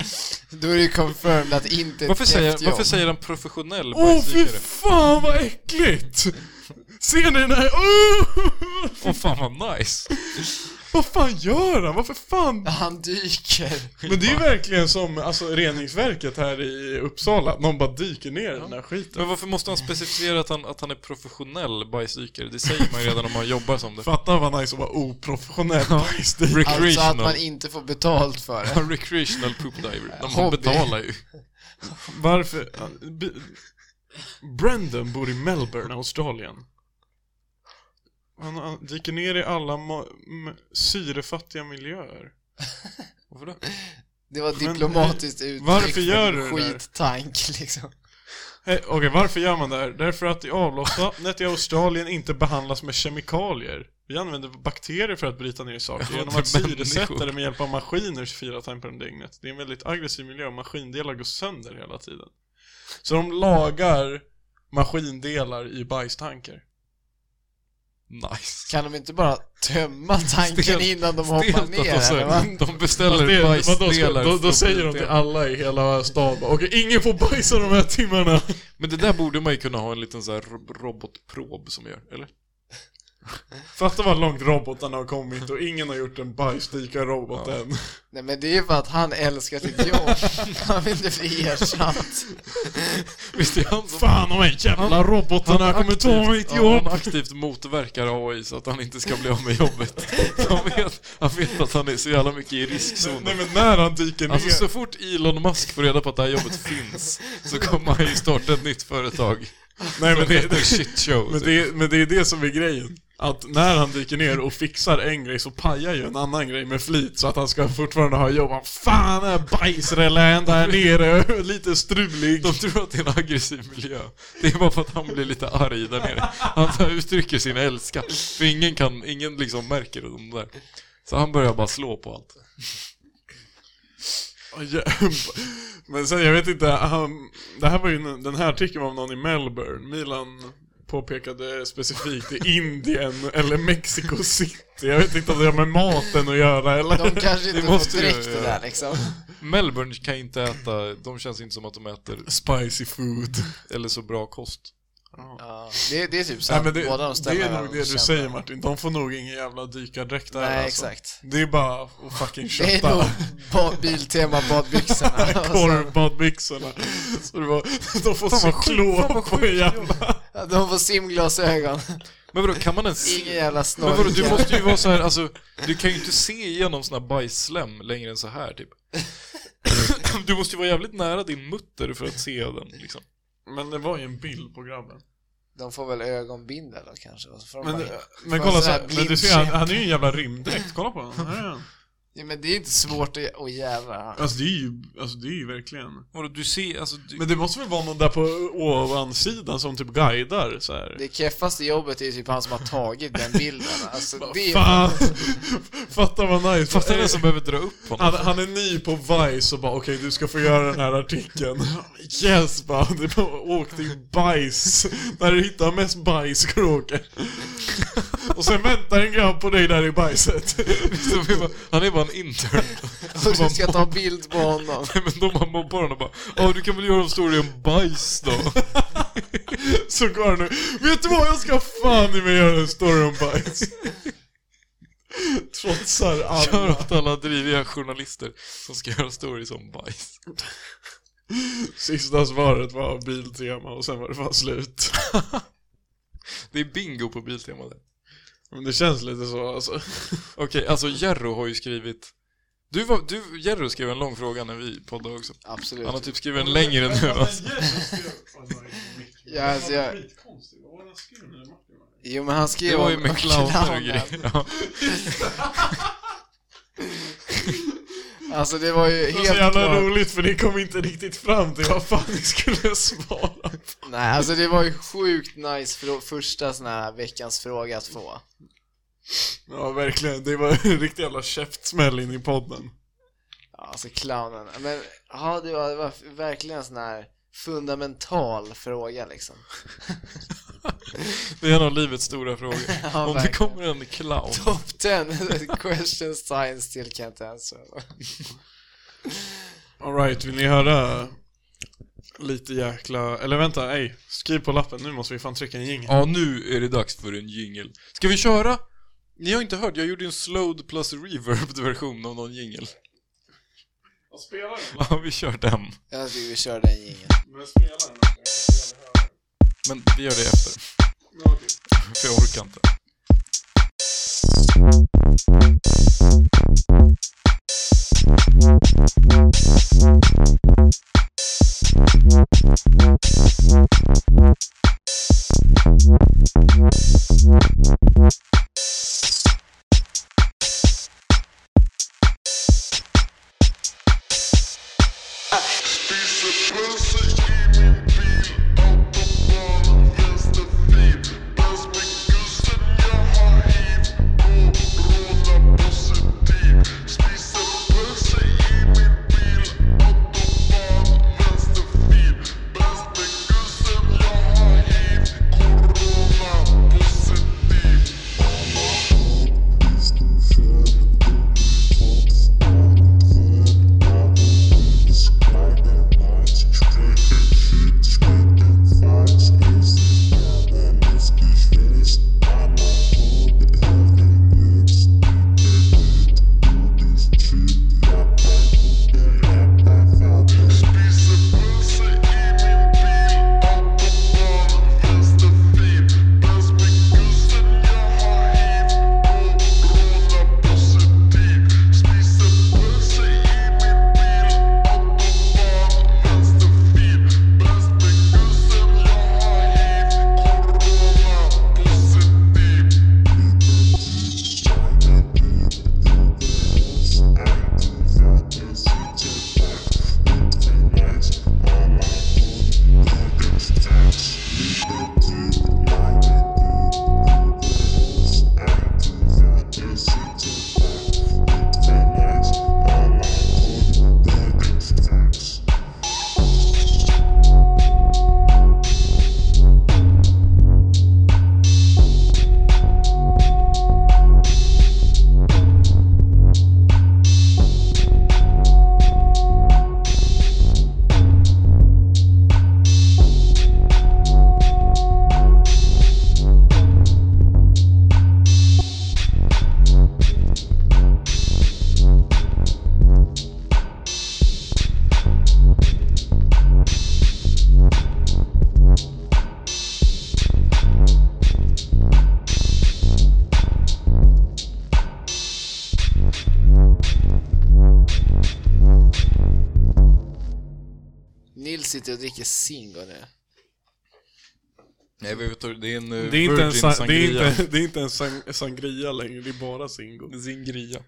Då är det ju confirmed att inte Varför ett säger, kräftjobb. varför säger en professionell Åh oh, fy bajsdykare? fan vad äckligt! Ser ni den här? Oh! Åh fan vad nice! Vad fan gör han? Varför fan? Han dyker. Men det är ju verkligen som alltså, reningsverket här i Uppsala. Någon bara dyker ner i den här skiten. Men varför måste han specificera att han, att han är professionell bajsdykare? Det säger man ju redan om man jobbar som det. Fatta vad nice att vara oprofessionell bajsdykare. Alltså att man Recreational. inte får betalt för det. Recreational poop diver. De Hobby. betalar ju. Varför? B- Brandon bor i Melbourne, Australien. Han, han dyker ner i alla ma- m- syrefattiga miljöer. Varför då? Det var ett Men- diplomatiskt uttryck Varför för gör du det där? skittank liksom. Hey, Okej, varför gör man det här? Därför att i avloppsvattnet i Australien inte behandlas med kemikalier. Vi använder bakterier för att bryta ner saker Ja, genom för att syresätta människor. det med hjälp av maskiner 24 timmar om dygnet. Det är en väldigt aggressiv miljö och maskindelar går sönder hela tiden. Så de lagar maskindelar i bajstanker. Nice. Kan de inte bara tömma tanken Stelt- innan de Stelt hoppar att de ner eller säger- va? De Fast beställer det- vadå, ska- bajsdelar. då, då från säger de till biblioteket. alla i hela staden bara, okej ingen får bajsa de här timmarna. Men det där borde man ju kunna ha en liten så här rob- robotprob som gör, eller? Fatta vad långt robotarna har kommit och ingen har gjort en bajsdykarrobot Ja. än. Nej men det är för att han älskar sitt jobb. Han vill inte bli ersatt. Visst är han som... Fan de här jävla robotarna kommer ta mitt Ja, han jobb! aktivt motverkar AI så att han inte ska bli av med jobbet. Han vet, han vet att han är så jävla mycket i Nej riskzonen. men när han dyker ner, Alltså så fort Elon Musk får reda på att det här jobbet finns så kommer han ju starta ett nytt företag. nej men det, Det är en shit show. typ. men, det, är- men det är det som är grejen. Att när han dyker ner och fixar en grej så pajar ju en annan grej med flit så att han ska fortfarande ha jobb. Han, Fan, den här bajsrelän där nere, lite strulig. De tror att det är en aggressiv miljö. Det är bara för att han blir lite arg där nere. Han så här uttrycker sin älska. För ingen kan, ingen liksom märker de där. Så han börjar bara slå på allt. Men sen, jag vet inte, han, det här var ju, en- den här artikeln var av någon i Melbourne. Milan påpekade specifikt i Indien eller Mexico City. Jag vet inte om det har med maten att göra eller? De kanske inte måste får ju- direkt det där liksom. Melbourne kan inte äta, de känns inte som att de äter Spicy food. eller så bra kost. Ja, det, det är typ så Nej, att men det, båda de det stämmer är varandra nog det på du käften. säger Martin, de får nog ingen jävla dykardräkt där Nej alltså. exakt. Det är bara att fucking Det är nog köpa ba- Biltema badbyxorna. Och sen- korvbadbyxorna. Så det var, de får cyklor på en jävla... De får simglasögon. Men vadå, kan man ens se? Ingen jävla Men vadå, snork. du måste ju vara så här, alltså, du kan ju inte se igenom såna här bajsslem längre än så här typ. Du måste ju vara jävligt nära din mutter för att se den liksom. Men det var ju en bild på grabben. De får väl ögonbindel då kanske? och så får de Men, eh, bara- men får kolla en så sån här här, men du ser, han, blindkäpp. han är ju en jävla rymddräkt, kolla på honom. Här är han. Ja, men det är inte svårt att... Åh jävlar. Alltså det är ju, alltså det är ju verkligen. Vadå, du ser, alltså, du, Men det måste väl vara någon där på ovansidan som typ guidar så här. Det keffaste jobbet är ju typ han som har tagit den bilden. Alltså, det är... Fan! Fatta vad nice. fattar den som behöver dra upp honom? Han, han är ny på Vice och bara okej du ska få göra den här artikeln. Yes bara, det är bara åk till bajs. När du hittar mest bajs ska du åka. Och sen väntar en grabb på dig där i bajset. Som är bara- Han är bara en intern. Och du ska ta bild på honom. Men de har mobbar honom och bara Ja, du kan väl göra en story om bajs då? Så går han nu. Vet du vad jag ska fan i mig göra en story om bajs. Trotsar Kör alla. åt alla driviga journalister som ska göra stories om bajs. Sista svaret var biltema och sen var det fan slut. Det är bingo på Biltema där. Men det känns lite så alltså. Okej, alltså Jerro har ju skrivit du, var, du, Jerro skrev en lång fråga när vi poddade också. Absolut. Han har typ skrivit en längre nu alltså. Ja, alltså, jag- Jo men han skrev Det var ju om- med om clowner och clownen. grejer. Ja. Alltså det var ju Det var helt så jävla klart. roligt för ni kom inte riktigt fram till vad fan ni skulle svara. Nej alltså det var ju sjukt nice för första sån här veckans fråga att få. Ja verkligen, det var en riktig jävla käftsmäll in i podden. Ja, Alltså clownen. Men ja, det var, det var verkligen en sån här fundamental fråga liksom. Det är en av livets stora frågor. Ja, Om det verkligen. kommer en clown. Top 10 questions science still can't answer. Alright, vill ni höra lite jäkla... Eller vänta, nej. Skriv på lappen, nu måste vi fan trycka en jingel. Ja, nu är det dags för en jingel. Ska vi köra? Ni har inte hört, jag gjorde en slowed plus reverbed version av någon jingel. Spela den, Ja, vi kör den. Jag tycker vi kör den jingeln. men spela den. Men vi gör det efter, för jag orkar inte. Positiv. Spisa pölse i min bil, autobahn Nils sitter och dricker Zingo nu. Nej, vi vet, inte, det är en eh, Det är, inte en virgin sa- det, är sangria. inte, det är inte en sang- sangria längre, det är bara Zingo. Sangria.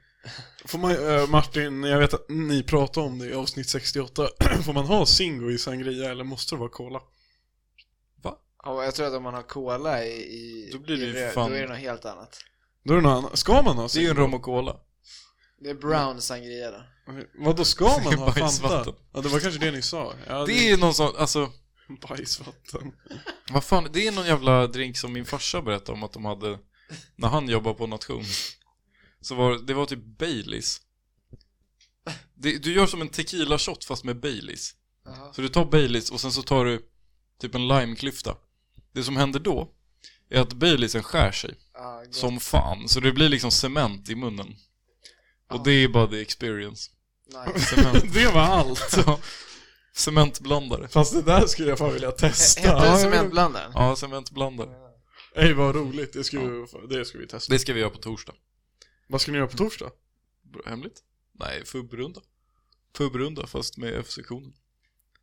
Får man, eh, Martin, jag vet att ni pratade om det i avsnitt 68. Får man ha Zingo i sangria eller måste det vara cola? Ja, jag tror att om man har cola i, i, Då blir det i ju röd, fan- då är det något helt annat. Då är det något annat. Ska man ha Det är ju Zingo? en rom och cola. Det är brown sangria då. Vadå, ska Det man är ha Fanta? bajsvatten. Ja, det var kanske det ni sa. Ja, Det är någon sån, alltså, bajsvatten. vad fan, det är någon jävla drink som min farsa berättade om att de hade när han jobbade på nation. Så var det var typ Baileys. Det, du gör som en tequila shot fast med Baileys. Jaha. Så du tar Baileys och sen så tar du typ en limeklyfta. Det som händer då är att Baileysen skär sig Ja, gott. som fan, så det blir liksom cement i munnen. Ja. Och det är bara the experience. nice. Cement, Det var allt. så, cementblandare. Fast det där skulle jag fan vilja testa. Hette Ja, det jag vill- cementblandaren? Ja, cementblandare. Ej vad roligt, det ska, vi, det ska vi testa. Det ska vi göra på torsdag. Vad ska ni göra på torsdag? Bra- Hemligt? Nej, pubrunda. Pubrunda fast med F-sektionen.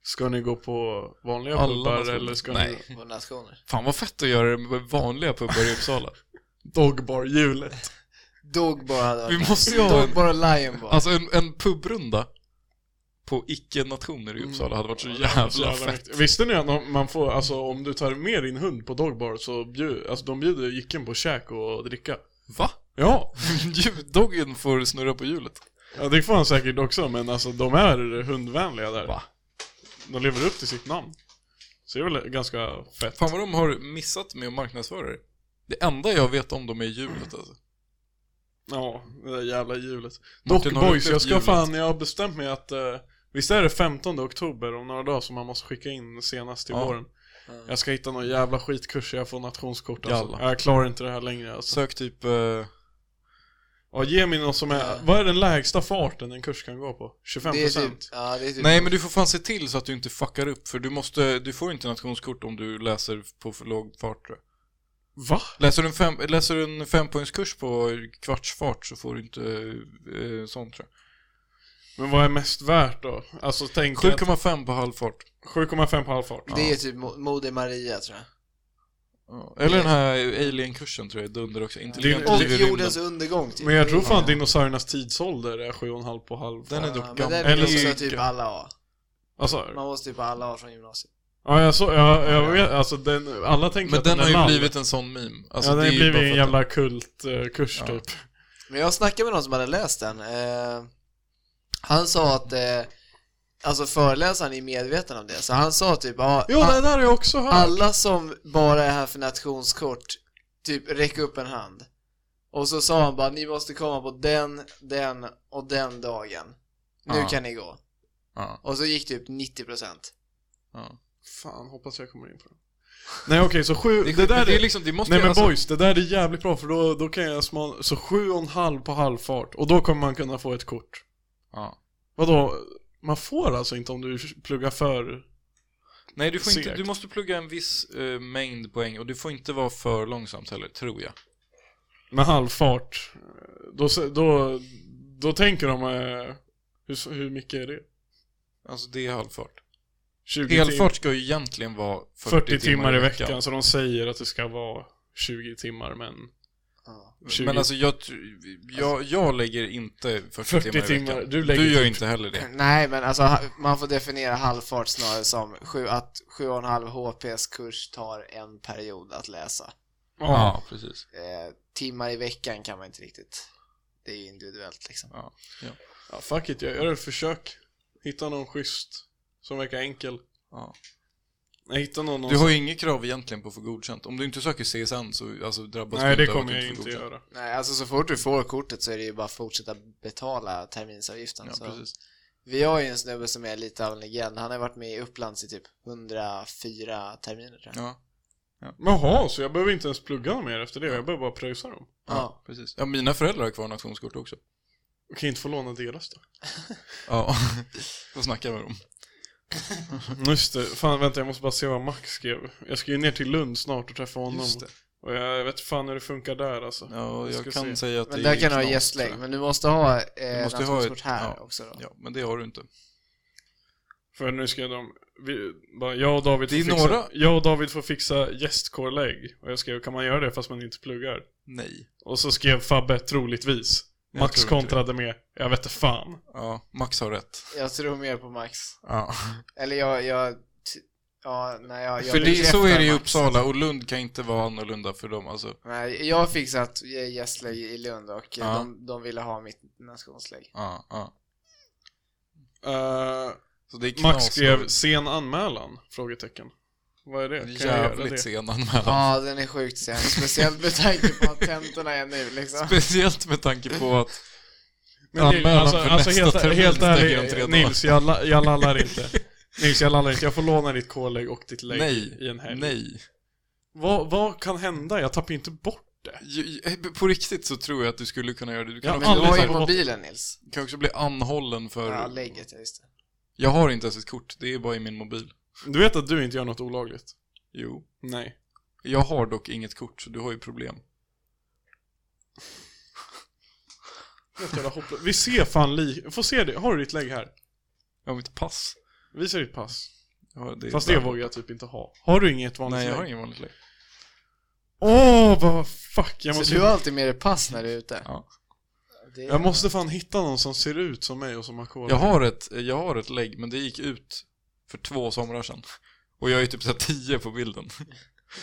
Ska ni gå på vanliga Alla pubbar nationer. eller ska ni Nej. På nationer. Fan vad fett att göra det med vanliga pubbar i Uppsala. dogbar-hjulet? Dogbar hade varit Vi nice. måste ju ha en, Dogbar och lionbar. alltså en, en pubrunda på icke-nationer i Uppsala Mm. hade varit så jävla fett. Mm. mäktigt. Visste ni att om man får, alltså om du tar med din hund på dogbar så bjud, alltså, de bjuder jicken på käk och dricka. Va? Ja, Doggen får snurra på hjulet. ja det får han säkert också men alltså de är hundvänliga där. Va? De lever upp till sitt namn. Så det är väl ganska fett. Fan vad de har missat med att marknadsföra det. Det enda jag vet om dem är hjulet alltså. Ja, det där jävla hjulet. Martin, Dock har du boys, jag upplevt ska hjulet? fan, jag har bestämt mig att eh, Visst är det 15 oktober om några dagar som man måste skicka in senast till Ja. våren? Jag ska hitta någon jävla skitkurs så jag får nationskort alltså. Jalla. Jag klarar inte det här längre alltså. Sök typ... eh, Ja, ge mig någon som är, vad är den lägsta farten en kurs kan gå på? 25%? det är typ, ja, det är typ Nej men du får fan se till så att du inte fuckar upp för du måste, du får inte nationskort om du läser på för låg fart tror jag. Va? Läser du en, fem, läser du en fempoängskurs på kvartsfart så får du inte eh, sånt tror Men vad är mest värt då? Alltså tänk jag. att- 7,5 på halvfart. 7,5 på halvfart. Det är typ Mo- Moder Maria tror jag. Ja. Eller den här alien-kursen tror jag är dunder också. Intelligent Det är- Och liv i rymden. jordens undergång typ. Men jag tror fan Ja. dinosauriernas tidsålder är 7,5 på halvfart. Den är dock Ja, men gammal. den Eller är också gick- typ alla A. Alltså, Man måste typ ha alla A från gymnasiet. ja jag, så, jag, jag vet, alltså den, alla tänker Men att den har ju är blivit en sån meme. Alltså, ja, den har det är ju blivit bara för en att jävla kultkurs Ja. typ. Men jag snackade med någon som hade läst den. Eh, han sa att eh, Alltså föreläsaren är medveten om det, så han sa typ ja, Ah. Jo, a- det där har jag också hört. alla som bara är här för nationskort, typ räck upp en hand. Och så sa han bara ni måste komma på den, den och den dagen. Nu Ja. kan ni gå. Ja. Och så gick typ 90%. Ja. Fan, hoppas jag kommer in på den. Nej okej, så sju, Det, det, är, där det är är liksom, det måste Nej ju- men alltså, boys, det där är jävligt bra för då, då kan jag smal, så sju och en halv på halvfart och då kommer man kunna få ett kort. Ja. Vadå? Man får alltså inte om du pluggar för... Nej, du, får inte, Segt. du måste plugga en viss eh, mängd poäng och du får inte vara för långsamt heller, tror jag. Med halvfart. Då, se- då, då tänker de, eh, hur, hur mycket är det? Alltså det är halvfart. 20 Helfart ska ju egentligen vara tim- 40, 40 typ timmar, i veckan. alltså, så de säger att det ska vara 20 timmar men... Ja. 20. Men alltså jag, tr- jag, jag lägger inte 40, 40 timmar i veckan. timmar, du lägger gör typ- inte heller det. Nej men alltså ha- man får definiera halvfart snarare som sju, att 7,5 HPs kurs tar en period att läsa. Ja, precis. Eh, timmar i veckan kan man inte riktigt. Det är ju individuellt liksom. Ja, fuck it, jag gör ett försök. Hitta någon schysst som verkar enkel. Ja. Jag hittar någon, någon Du har ju inget krav egentligen på att få godkänt. Om du inte söker CSN så alltså, som... drabbas Nej, du det inte av att kommer du jag får inte godkänt. göra. Nej alltså så fort du får kortet så är det ju bara att fortsätta betala terminsavgiften. Ja, så. precis. Vi har ju en snubbe som är lite av en legend. Han har varit med i Upplands i typ 104 terminer tror jag. Ja, Jaha, så jag behöver inte ens plugga dem mer efter det, jag behöver bara pröjsa dem. Ja. precis. Ja, mina föräldrar har kvar nationskort också. Jag kan inte få låna deras då. Ja, då snackar jag med dem. Mm, Just det, fan vänta jag måste bara se vad Max skrev. Jag ska ju ner till Lund snart och träffa honom. Just det. Och jag vet fan hur det funkar där alltså. Ja, jag ska kan se. säga att Men det där är kan du ha knas, gästlägg. tror Men du måste ha eh, måste ha nationskort ett- här ja. också då. jag. Ja, men det har du inte. För nu ska de, vi, bara, jag och David Det är får fixa, några- jag och David får fixa gästkorlägg. Och jag skrev, kan man göra det fast man inte pluggar? Nej. Och så skrev Fabbe, troligtvis. Jag tror Eh, Max inte kontrade med, jag vet inte fan. Ja, Max har rätt. Jag tror mer på Max. Ja. Eller jag, jag, t- ja, nej, jag, jag För det, så bekräftar är det i Max. Uppsala och Lund kan inte vara annorlunda för dem alltså. Nej, jag har fixat gästlägg i Lund och eh, Ja. de, de ville ha mitt nationslägg. Ja, ja. Eh, Så det är knas. Max skrev, sen anmälan? Frågetecken. Vad är det? Kan jag göra det? Jävligt sen anmälan. Ja, den är sjukt sen. Speciellt med tanke på att tentorna är nu liksom. Speciellt med tanke på att Men det- Anmälan alltså, för alltså nästa helt, termin helt stänger om tre ärligt, dagar. Nils, jag, la, jag lallar inte. Nils, jag lallar inte. Jag får låna ditt kollägg och ditt lägg nej, i en helg. nej. Vad, vad kan hända? Jag tappar ju inte bort det. Ju- ju- På riktigt så tror jag att du skulle kunna göra det. Du kan, Ja, Men också, du har ju aldrig- mobilen Nils. kan också bli anhållen för... Ja, lägget, ja, just det. Jag har inte ens ett kort, det är bara i min mobil. Du vet att du inte gör något olagligt? Jo. Nej. Jag har dock inget kort, så du har ju problem. Helt jävla hopplöst. Vi ser fan li... Får se det. Har du ditt lägg här? Jag har mitt pass. Visa ditt pass. Jag har Fast det där. vågar jag typ inte ha. Har du inget vanligt Nej, jag lägg? har inget vanligt lägg. Åh, vad fuck. Jag Så måste, du har alltid med dig pass när du är ute? Ja. Det är- jag måste fan hitta någon som ser ut som mig och som har kollägg. Jag har, ett, jag har ett lägg, men det gick ut för två somrar sedan. Och jag är typ såhär 10 på bilden.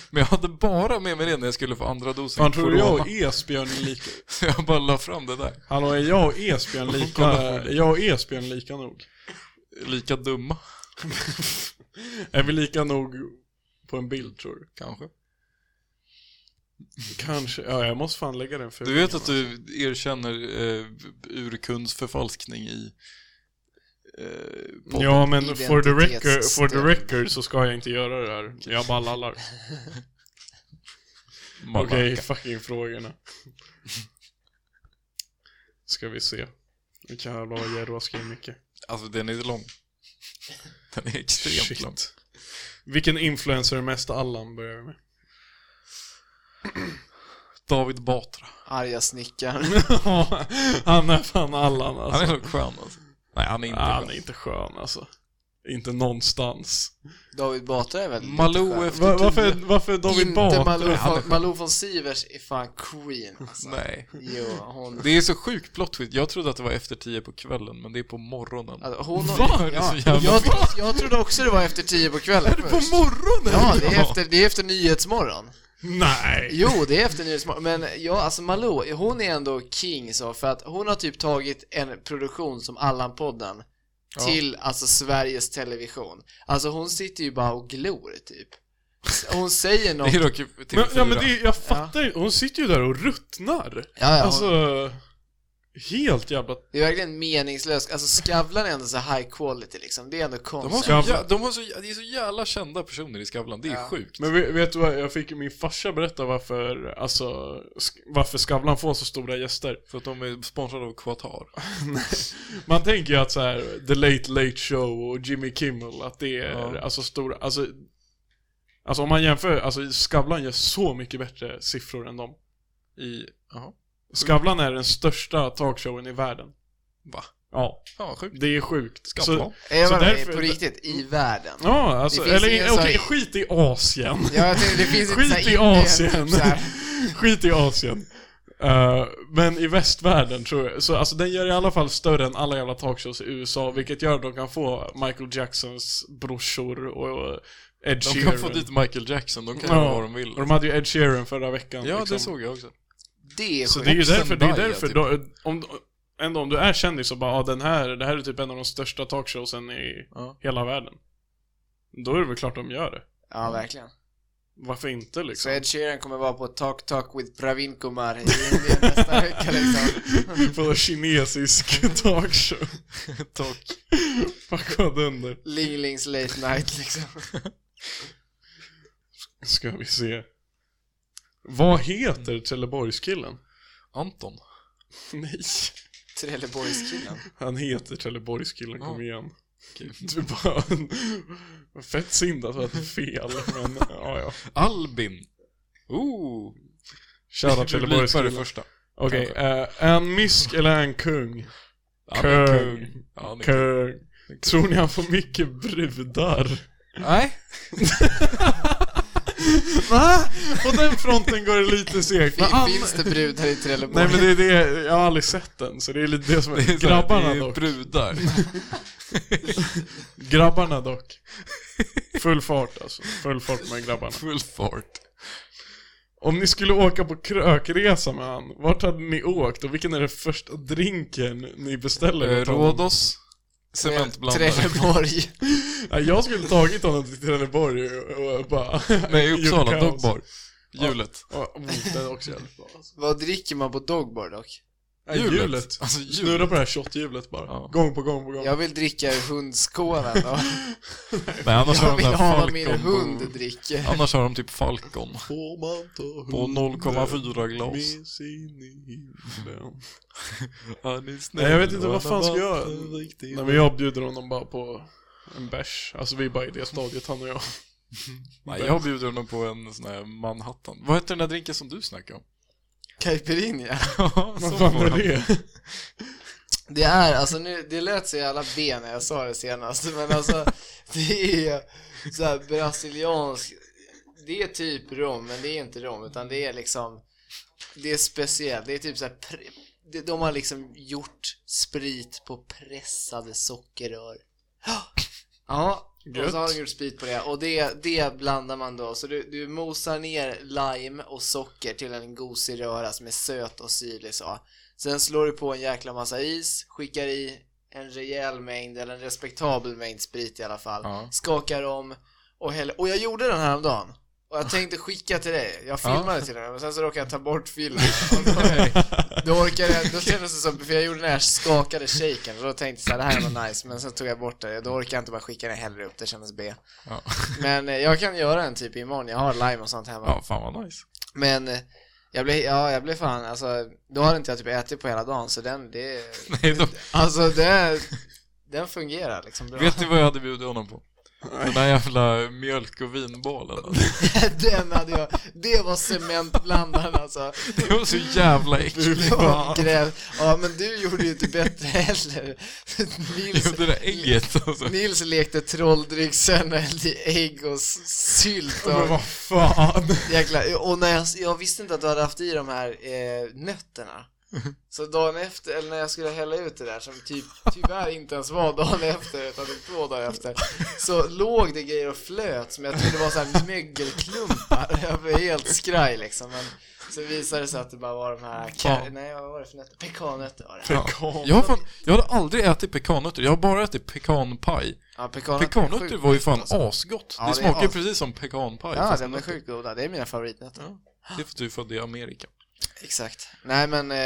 Men jag hade bara med mig det när jag skulle få andra dosen Fan, tror du jag corona. och Esbjörn är lika? Så jag bara la fram det där. Hallå, är jag och Esbjörn lika, Kolla på är jag och Esbjörn lika nog? Lika dumma, Är vi lika nog på en bild tror du? kanske. Mm. Kanske, ja jag måste fan lägga den för Du vet att du erkänner eh, urkundsförfalskning i... Eh, podden. Ja men for the, record, Identitetsstöld. for the record så ska jag inte göra det här. Jag bara lallar. Malaka. Okej, fucking frågorna. Ska vi se. Vilka jävla vad Jerry har skrivit mycket. Alltså den är lång. Den är extremt Shit. lång. Vilken influencer är mest Allan börjar vi med? David Batra. Arga snickaren. han är fan Allan alltså. Han är så skön alltså. Nej, han är inte Ah, skön. han är inte skön alltså. Inte någonstans. Typ David Batra är väl lite Malou skön. efter Va, tio. varför, varför är David Inte Batra? Malou von, Malou von Sivers är fan queen alltså. Nej. Jo, hon... Det är så sjukt plot twist. Jag trodde att det var efter tio på kvällen, men det är på morgonen. Alltså, hon Va? Det är Ja, så jävla jag, tro- jag trodde också det var efter tio på kvällen Är det på morgonen? Ja, det är efter, det är efter Nyhetsmorgon. Nej! Jo, det är efter Nyhetsmorgon. Men ja, alltså Malou, hon är ändå king så, för att hon har typ tagit en produktion som Allan-podden till alltså Sveriges Television. Alltså hon sitter ju bara och glor typ. Hon säger något. Det är dock till Men, ja, fyra. men det, jag fattar ju. Hon sitter ju där och ruttnar. Ja, ja, hon- Alltså, helt jävla... Det är verkligen meningslöst. Alltså Skavlan är ändå så high quality liksom. Det är ändå de har konstigt. så, jä... de har så... Det är så jävla kända personer i Skavlan, det är Ja. sjukt. Men vet, vet du vad, jag fick min farsa berätta varför, alltså, sk- varför Skavlan får så stora gäster. För att de är sponsrade av Qatar. Man tänker ju att så här, The Late Late Show och Jimmy Kimmel, att det är Ja. alltså stora, alltså, alltså om man jämför, alltså Skavlan gör så mycket bättre siffror än dem. I... Jaha. Skavlan är den största talkshowen i världen. Va? Ja, Fan vad sjukt. det är sjukt. Skavlan. Så- Är så man därför- på riktigt? I världen? Ja, alltså, Det finns eller ingen okej, sån- skit i Asien. Ja, jag tänkte, det finns inte Skit så här i Indien, Asien. Typ, så här. skit i Asien. Eh, men i västvärlden tror jag, så alltså den gör i alla fall större än alla jävla talkshows i USA, vilket gör att de kan få Michael Jacksons brorsor och Ed De Sheeran. kan få dit Michael Jackson, de kan Ja, göra vad de vill. Och de hade ju Ed Sheeran förra veckan. Ja, liksom. det såg jag också. Det är Så sjukt. det är ju Jackson därför, det är Daya, därför typ. då, om, ändå om du är kändis och bara ah, den här, det här är typ en av de största talkshowsen i Ja. hela världen. Då är det väl klart de gör det. Ja, verkligen. Varför inte Så liksom? Ed Sheeran kommer vara på Talk Talk with Pravin Kumar i Indien nästa vecka liksom. På kinesisk talkshow. Talk. Fuck vad dunder. Ling Lings Late Night liksom. Ska vi se. Vad heter Trelleborgskillen? Anton. Nej. Trelleborgskillen. Han heter Trelleborgskillen, kom Ja. igen. Okej. Du bara... Fett synd att du hade fel, men ja, ja. Albin. Ooh. Shoutout Vi blipar det Trelleborgskillen. första. Okej, eh, är han mysk eller är han kung? Han är Kung. Ja, han är Kung. Tror ni han får mycket brudar? Nej. Va? På den fronten går det lite segt. Men an... Finns det brudar i Trelleborg? Nej men det är det, jag har aldrig sett den, så det är lite det som är, Det är så här, grabbarna det är dock. brudar. Grabbarna dock. Full fart alltså. Full fart med grabbarna. Full fart. Om ni skulle åka på krökresa med han, vart hade ni åkt och vilken är den första drinken ni beställer Eh, åt honom? Rhodos. Cementblandare. Trelleborg. Nej, jag skulle tagit honom till Trelleborg och och bara... Nej, gjort Uppsala. kaos. Dogbar. Hjulet. Ja, oh, det är också jävligt bra. alltså. Vad dricker man på dogbar dock? Nej, Hjulet. Hjulet. Alltså, hjulet. Snurra på det här shothjulet bara. Ja. Gång på gång på gång. Jag vill dricka ur hundskålen då. Nej, annars har Jag de vill där ha vad min Falcon. hund dricker. Annars har de typ Falcon. Får man ta På hunden 0,4 glas. med sig in i himlen? Han är snäll Nej, jag vet inte och vad han fan har ska jag... varit en riktig Nej, men jag bjuder honom bara på en bärs. Alltså vi är bara i det stadiet, han och jag. Nej, jag bjuder honom på en sån här Manhattan. Vad heter den där drinken som du snackade om? Caipirinha. Så Vad fan får är han. det? Det är, alltså nu, det lät så jävla B när jag sa det senast, men alltså det är så här brasiliansk, det är typ rom, men det är inte rom, utan det är liksom, det är speciellt, det är typ så här, pre- det- de har liksom gjort sprit på pressade sockerrör. Ja, och Gött. så har de gjort sprit på det, och det, det blandar man då, så du, du mosar ner lime och socker till en gosig röra som är söt och syrlig så. Sen slår du på en jäkla massa is, skickar i en rejäl mängd, eller en respektabel mängd sprit i alla fall. Ja. Skakar om och häller. Och jag gjorde den här om dagen. Och jag tänkte skicka till dig. Jag filmade till dig, men sen så råkade jag ta bort filmen. Och då, då orkade jag, då kändes det som, för jag gjorde den här skakade shaken och då tänkte jag så här, det här var nice, men sen tog jag bort det. Då orkade jag inte bara skicka den heller upp, det kändes B. Ja. Men eh, jag kan göra en typ imorgon, jag har lime och sånt hemma. Ja, fan vad nice. Men eh, jag blev, ja, jag blev fan, alltså, då hade inte jag typ ätit på hela dagen så den, det, Nej, då, alltså det, den fungerar liksom bra. vet ni vad jag hade bjudit honom på? Den där jävla mjölk och vinbollen. alltså. den hade jag, det var cementblandaren alltså. Det var så jävla äckligt. Det var gräv. Ja men du gjorde ju inte bättre heller. Jo, Nils, det där ägget alltså. Nils lekte trolldryck, sen hällde i ägg och s- sylt Men och vad fan? jäkla, och när jag, jag visste inte att du hade haft i de här eh, nötterna. Så dagen efter, eller när jag skulle hälla ut det där som typ, tyvärr inte ens var dagen efter utan det var två dagar efter Så låg det grejer och flöt som jag trodde var så här mögelklumpar Jag blev helt skraj liksom men Så visade det sig att det bara var de här, ka- Pekan. nej vad var det för nötter? Pekannötter var det Pekan. Jag har, fan, jag har aldrig ätit pekannötter, jag har bara ätit pekanpaj. Ja pekannötter är Pekannötter sjukt var ju gott, fan alltså. asgott. Ja, det det är smakar ju as- precis som pekanpaj. Ja alltså, fast de är nötter. sjukt goda, det är mina favoritnötter Ja. Det är för att du är född i Amerika. Exakt, nej men eh,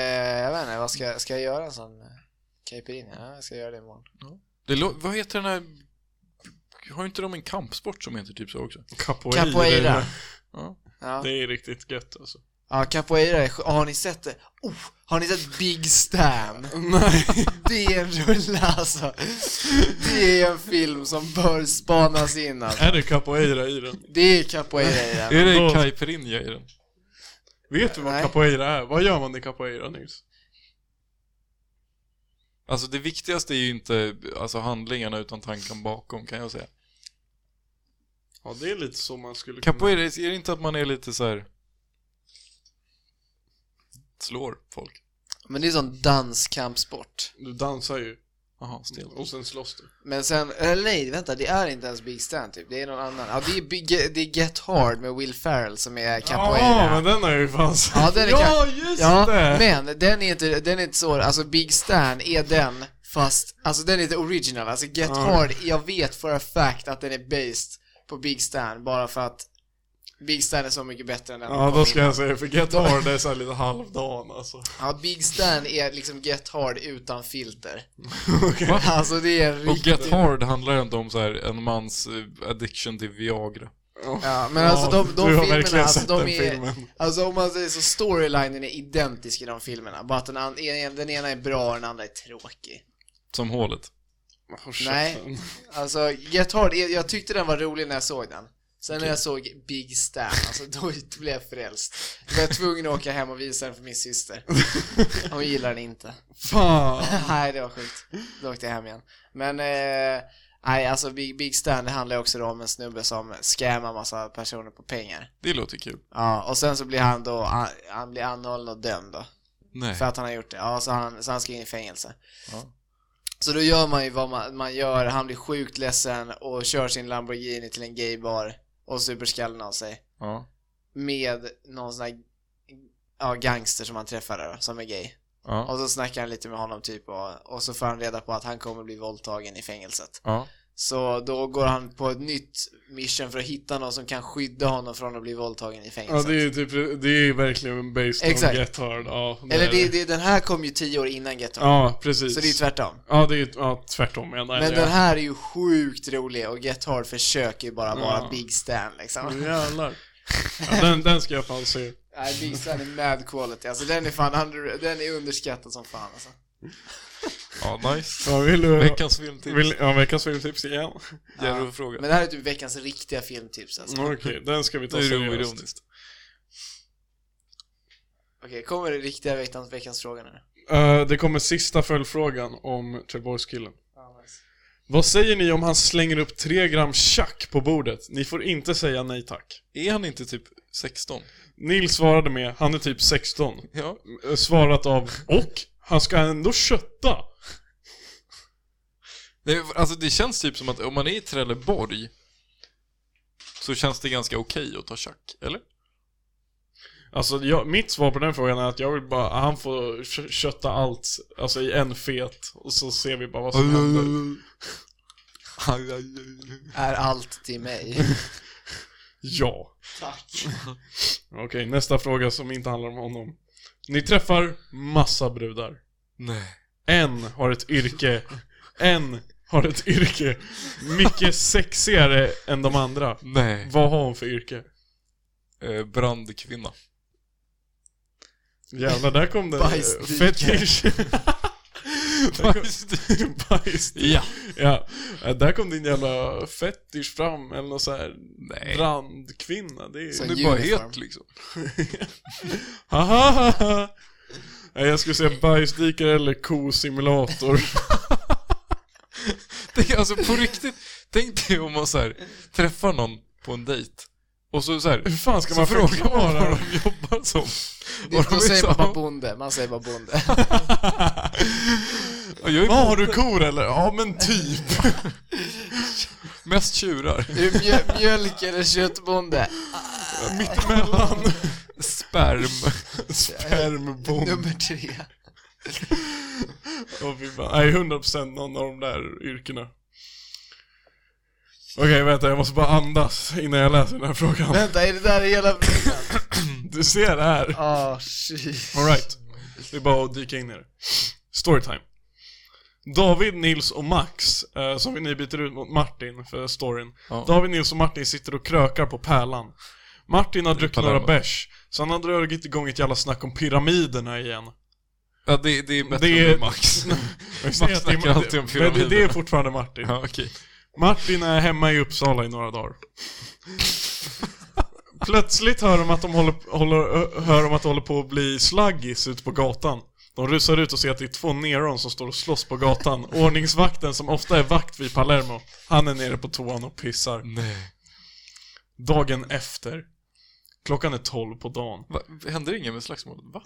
jag vet inte, vad ska, ska jag göra en sån eh, caipirinha? Ja jag ska göra det imorgon Det lå- vad heter den här... Har inte de en kampsport som heter typ så också? Capoeira. Capoeira Ja. Ja. Det är riktigt gött alltså. Ja, capoeira är sj- Har ni sett det? Oh, har ni sett Big Stan? Nej. Det är en rulle alltså. Det är en film som bör spanas in alltså. Är det capoeira i den? Det är capoeira i den. Är det då- caipirinha i den? Vet du vad Nej. capoeira är? Vad gör man i capoeira Nils? Alltså det viktigaste är ju inte alltså, handlingarna utan tanken bakom kan jag säga. Ja, det är lite så man skulle kunna... Capoeira, är det inte att man är lite så här slår folk? Men det är sån danskampsport. Du dansar ju Jaha, stelt. Mm. och sen slåss du. Men sen, eller nej vänta, det är inte ens Big Stan typ. Det är någon annan. Ja, det är, Big, det är Get Hard med Will Ferrell som är capoeira. Ja, men den har jag ju fan sett. Ja, den är ja just Ja, det! men den är inte, den är inte så, alltså Big Stan är den fast, alltså den är inte original, alltså Get Ja. Hard, jag vet for a fact att den är based på Big Stan bara för att Big Stan är så mycket bättre än den Ja, som då kom ska in. jag säga, för Get Hard är såhär lite halvdan alltså. Ja, Big Stan är liksom Get Hard utan filter. Okej. Alltså det är Och riktigt... Get Hard handlar inte om så här en mans eh, addiction till Viagra. Ja, men alltså Ja, de, de du har filmerna, verkligen alltså sett de den är... filmen. Alltså om man säger så, storylinen är identisk i de filmerna, bara att den, an- en- den ena är bra och den andra är tråkig. Som hålet. Håll Nej. käften. Alltså, Get Hard, är- jag tyckte den var rolig när jag såg den. Sen när jag såg Big Stan, alltså då blev jag frälst. Då var jag tvungen att åka hem och visa den för min syster. Hon gillar den inte. Fan! Nej, det var sjukt. Då åkte jag hem igen. Men, eh, nej alltså Big, Big Stan, det handlar ju också då om en snubbe som scammar massa personer på pengar. Det låter kul. Ja, och sen så blir han då, han, han blir anhållen och dömd då. Nej. För att han har gjort det. Ja, så han, så han ska in i fängelse. Ja. Så då gör man ju vad man, man gör, han blir sjukt ledsen och kör sin Lamborghini till en gaybar och super skallen av sig. Ja. Med någon sån här ja, gangster som han träffar där då, som är gay. Ja. Och så snackar han lite med honom typ och, och så får han reda på att han kommer bli våldtagen i fängelset. Ja. Så då går han på ett nytt mission för att hitta någon som kan skydda honom från att bli våldtagen i Ja fängelset. det är ju typ, det är verkligen based Exakt. on Get Hard, ja. Eller är det, det, den här kom ju tio år innan Get Hard, Ja, precis. så det är typ tvärtom. Ja, det är ju ja, tvärtom menar Men jag. den här är ju sjukt rolig och Get Hard försöker ju bara vara Ja. Big Stan liksom. Jävlar. Ja, den, den ska jag fan se. Nej, Big Stan är mad quality. Alltså den är fan under, den är underskattad som fan alltså. ja, nice. Ja, vill du... Veckans filmtips. Vill, ja, veckans filmtips igen. Järv fråga. Men det här är typ veckans riktiga filmtips alltså. Okej, den ska vi Mm. Det ta är seriöst. oironiskt. Okej, kommer det riktiga veckans, veckans fråga nu? Eh, det kommer sista följdfrågan om Trelleborgskillen. Vad säger ni om han slänger upp 3 gram tjack på bordet? Ni får inte säga nej tack. Är han inte typ 16? Nils svarade med, han är typ 16. Ja. Eh, Svarat av, och? Han ska ändå kötta. Det, är- alltså det känns typ som att om man är i Trelleborg så känns det ganska okej att ta tjack, eller? Alltså jag, mitt svar på den frågan är att jag vill bara, han får kö- kötta allt, alltså i en fet, och så ser vi bara vad som händer. Är allt till mig. Ja. Tack. Okej, nästa fråga som inte handlar om honom. Ni träffar massa brudar. Nej. En har ett yrke, en har ett yrke mycket sexigare än de andra. Nej. Vad har hon för yrke? Eh, brandkvinna. Jävlar, där kom den. eh, Bajsdike. Fetish. Där kom- Bajs. Ja. Ja, Eh, där kom din jävla fetish fram, eller något så här Nej. brandkvinna. Det är... Så- Hon är bara Uniform. het liksom. Hahaha. Nej, Jag skulle säga bajsdikare eller kosimulator. Tänk, alltså på riktigt, tänk dig om man så här, träffar någon på en dejt och så, så här, Hur fan ska så man frågar man förklara? vad de jobbar som. Och de Då är säger så- man bara bonde, man säger bara bonde. Ja, jag är Vad har du, bonde. kor eller? Ja men typ. Mest tjurar. Är du mjö- mjölk eller köttbonde? Mittemellan. Sperm. Spermbomb. Nummer tre. Åh fy fan. Nej, 100% någon av de där yrkena. Okej, vänta, jag måste bara andas innan jag läser den här frågan. Vänta, är det där hela frågan? Du ser det här. Ah, shit. Alright. Det är bara att dyka in i det. Storytime. David, Nils och Max, eh, som vi ni byter ut mot Martin för storyn. Ja. David, Nils och Martin sitter och krökar på Pärlan. Martin har druckit några Palermo. bärs, så han har dragit igång ett jävla snack om pyramiderna igen. Ja, det, det är bättre Det är- än Max. Max snackar alltid om pyramiderna. Det är fortfarande Martin. ja, okej. Martin är hemma i Uppsala i några dagar. Plötsligt hör de att de håller, håller, hör de att det håller på att bli slaggis ute på gatan. De rusar ut och ser att det är två neron som står och slåss på gatan. Ordningsvakten som ofta är vakt vid Palermo, han är nere på toan och pissar. Nej. Dagen efter. Klockan är tolv på dagen. Va, händer inget med slagsmålet? Va?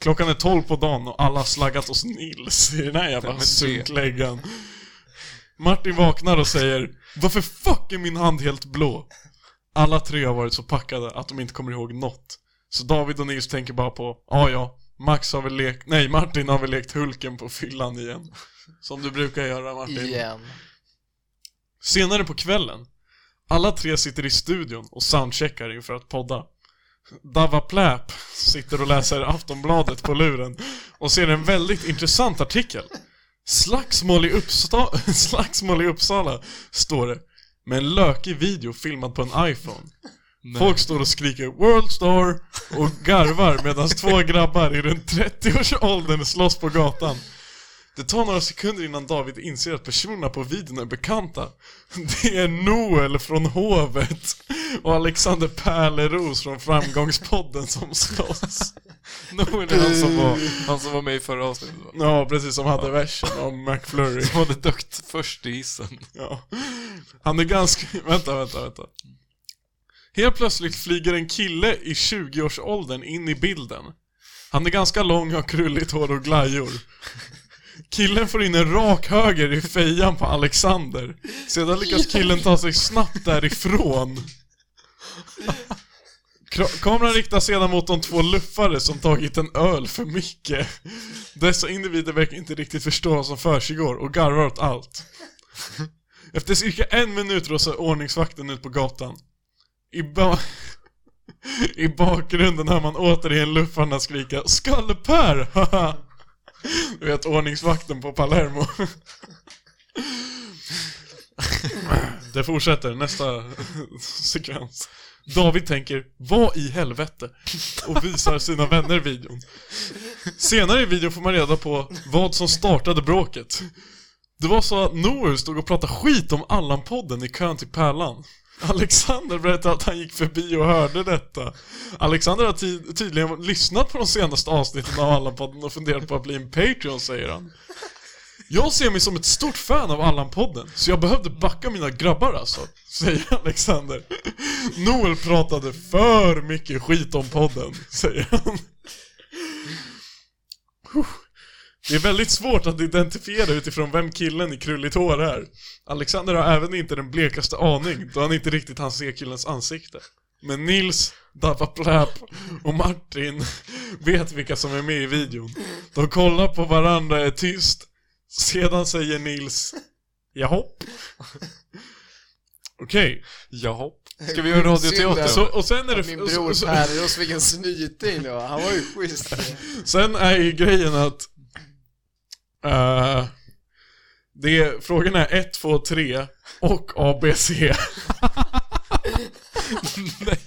Klockan är tolv på dagen och alla har slaggat hos Nils i den här Nej, jävla men det- sunkläggan. Martin vaknar och säger Varför fuck är min hand helt blå? Alla tre har varit så packade att de inte kommer ihåg något. Så David och Nils tänker bara på Ja, ja, Max har väl lekt, nej Martin har väl lekt Hulken på fyllan igen. Som du brukar göra Martin. Igen. Senare på kvällen, alla tre sitter i studion och soundcheckar inför att podda. Dava Pläp sitter och läser Aftonbladet på luren och ser en väldigt intressant artikel. Slagsmål i, Uppsta- Slagsmål i Uppsala, står det, med en lökig video filmad på en iPhone. Nej. Folk står och skriker 'World Star' och garvar medan två grabbar i runt 30-årsåldern slåss på gatan. Det tar några sekunder innan David inser att personerna på videon är bekanta. Det är Noel från Hovet och Alexander Pärleros från Framgångspodden som slåss. Noel är han som var, han som var med i förra avsnittet va? Ja, precis som hade versen om McFlurry. Som hade dökt först i hissen. Ja. Han är ganska... Vänta, vänta, vänta. Helt plötsligt flyger en kille i 20-årsåldern in i bilden. Han är ganska lång, har krulligt hår och glajjor. Killen får in en rak höger i fejan på Alexander. Sedan lyckas killen ta sig snabbt därifrån. Kra- Kameran riktas sedan mot de två luffare som tagit en öl för mycket. Dessa individer verkar inte riktigt förstå vad som försiggår och garvar åt allt. Efter cirka en minut rosar ordningsvakten ut på gatan. I, ba- I bakgrunden hör man återigen luffarna skrika ”Skallepär!” haha." Du vet ordningsvakten på Palermo. Det fortsätter, nästa sekvens. David tänker ”Vad i helvete?” och visar sina vänner videon. Senare i videon får man reda på vad som startade bråket. Det var så att Noor stod och pratade skit om Allan-podden i kön till Pärlan. Alexander berättade att han gick förbi och hörde detta. Alexander har ty- tydligen lyssnat på de senaste avsnitten av Allan-podden och funderat på att bli en Patreon, säger han. Jag ser mig som ett stort fan av Allan-podden, så jag behövde backa mina grabbar alltså, säger Alexander. Noel pratade för mycket skit om podden, säger han. Det är väldigt svårt att identifiera utifrån vem killen i krulligt hår är. Alexander har även inte den blekaste aning då han inte riktigt hann se killens ansikte. Men Nils, Dabba Pläp och Martin vet vilka som är med i videon. De kollar på varandra, är tyst. Sedan säger Nils Jahopp. Okej, Jahopp. Ska vi göra radioteater? så, Så, och sen är det... Min och så- bror och så- Pärleros fick en snyting då, han var ju schysst. Sen är ju grejen att... eh, det är, frågan är 1, 2, 3 och ABC. Nej.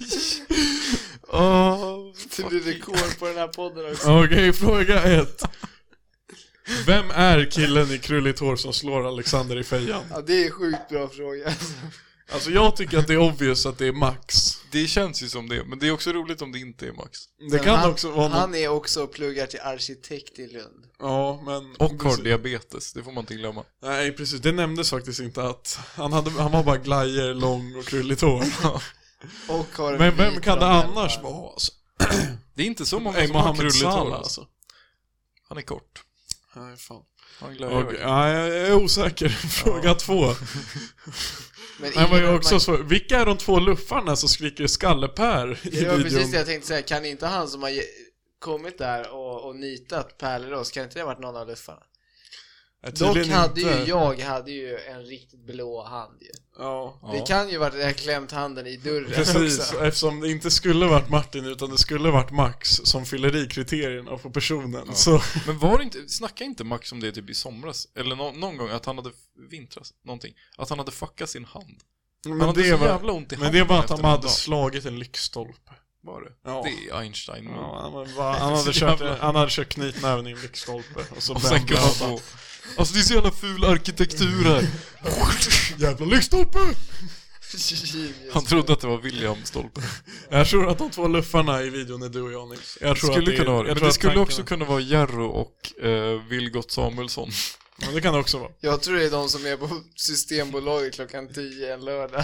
Åh. Det blir rekord på den här podden också. Okej, fråga 1. Vem är killen i krulligt hår som slår Alexander i fejan? Ja, det är en sjukt bra fråga. Alltså jag tycker att det är obvious att det är Max. det känns ju som det, men det är också roligt om det inte är Max. Det Men kan han, också vara någon... Han är också och pluggar till arkitekt i Lund. Ja, men... Och har diabetes, det får man inte glömma. Nej, precis. Det nämndes faktiskt inte att han, hade, han var bara glajer, lång och krulligt hår. Och har en Men vem vit kan det framhjälp. annars vara? Alltså? Det är inte så många Nej, som har Mohamed krulligt hår. Salah Alltså. alltså. Han är kort. Nej, fan. Han glömmer Okay. Ja, jag är osäker. Fråga två. Men Det var ju ingen- också svår. Vilka är de två luffarna som skriker skallepär i Det var precis videon? det jag tänkte säga, kan inte han som har ge- kommit där och, och nitat Pärleros, kan inte det ha varit någon av luffarna? Nej, Dock tydligen hade ju inte. jag hade ju en riktigt blå hand ju. Ja. Ja. Det kan ju varit att jag klämt handen i dörren Precis, också. eftersom det inte skulle varit Martin utan det skulle varit Max som fyller i kriterierna på personen. Så, Men var det inte, snacka inte Max om det typ i somras? Eller nå- någon gång, att han hade, vintras, någonting. Att han hade fuckat sin hand. Han men, hade det så var, jävla ont i handen men det var att efter han någon hade dag. slagit en lyktstolpe. Var det? Ja. Det är Einstein. men- Ja, han, var, han, hade Så kört, jävla- han hade kört knytnäven i en lyktstolpe och så Och sen brände kunde han han få... Alltså det är så jävla ful arkitektur här. Jävla lyktstolpe! Han trodde att det var William Stolpe. Jag tror att de två luffarna i videon är du och jag Nils. Jag tror att Skulle det, kunna vara det. jag Men tror det att skulle tanken- också kunna vara Jarro och eh, Vilgot Samuelsson. Men det kan det också vara. Jag tror det är de som är på Systembolaget klockan 10 en lördag.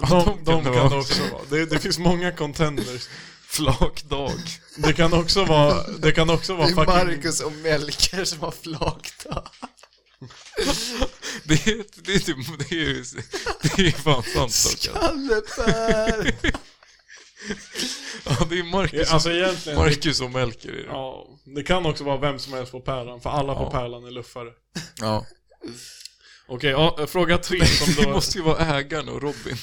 De, de, kan de kan det vara. också vara. Det, det finns många contenders. Flakdag. Det kan också vara, det kan också Det vara är fucking... Marcus och Melker som har flakdag. Det är, det är typ, det är ju, det är fan sant dock. Kallepär! Ja, det är Ja, Marcus, Alltså egentligen, Marcus och Melker är det. ja, det kan också vara vem som helst på Pärlan, för alla på Ja. Pärlan är luffare. Ja. Okej, ja, fråga tre som Det då... måste ju vara ägaren och Robin.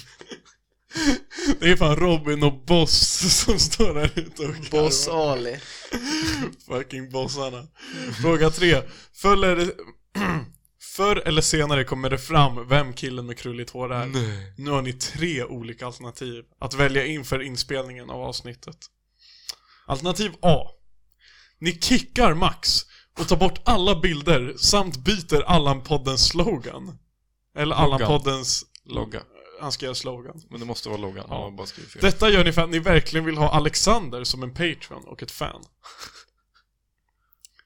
Det är fan Robin och Boss som står där ute och Boss Ali. Fucking bossarna. Fråga tre. Förr eller, förr eller senare kommer det fram vem killen med krulligt hår är. Nej. Nu har ni tre olika alternativ att välja inför inspelningen av avsnittet. Alternativ A. Ni kickar Max och tar bort alla bilder samt byter Allan-poddens slogan. Eller Loggan. Allan-poddens... Logga. Han ska göra slogan. Men det måste vara loggan. Ja. Bara skriver fel. Detta gör ni för att ni verkligen vill ha Alexander som en Patreon och ett fan.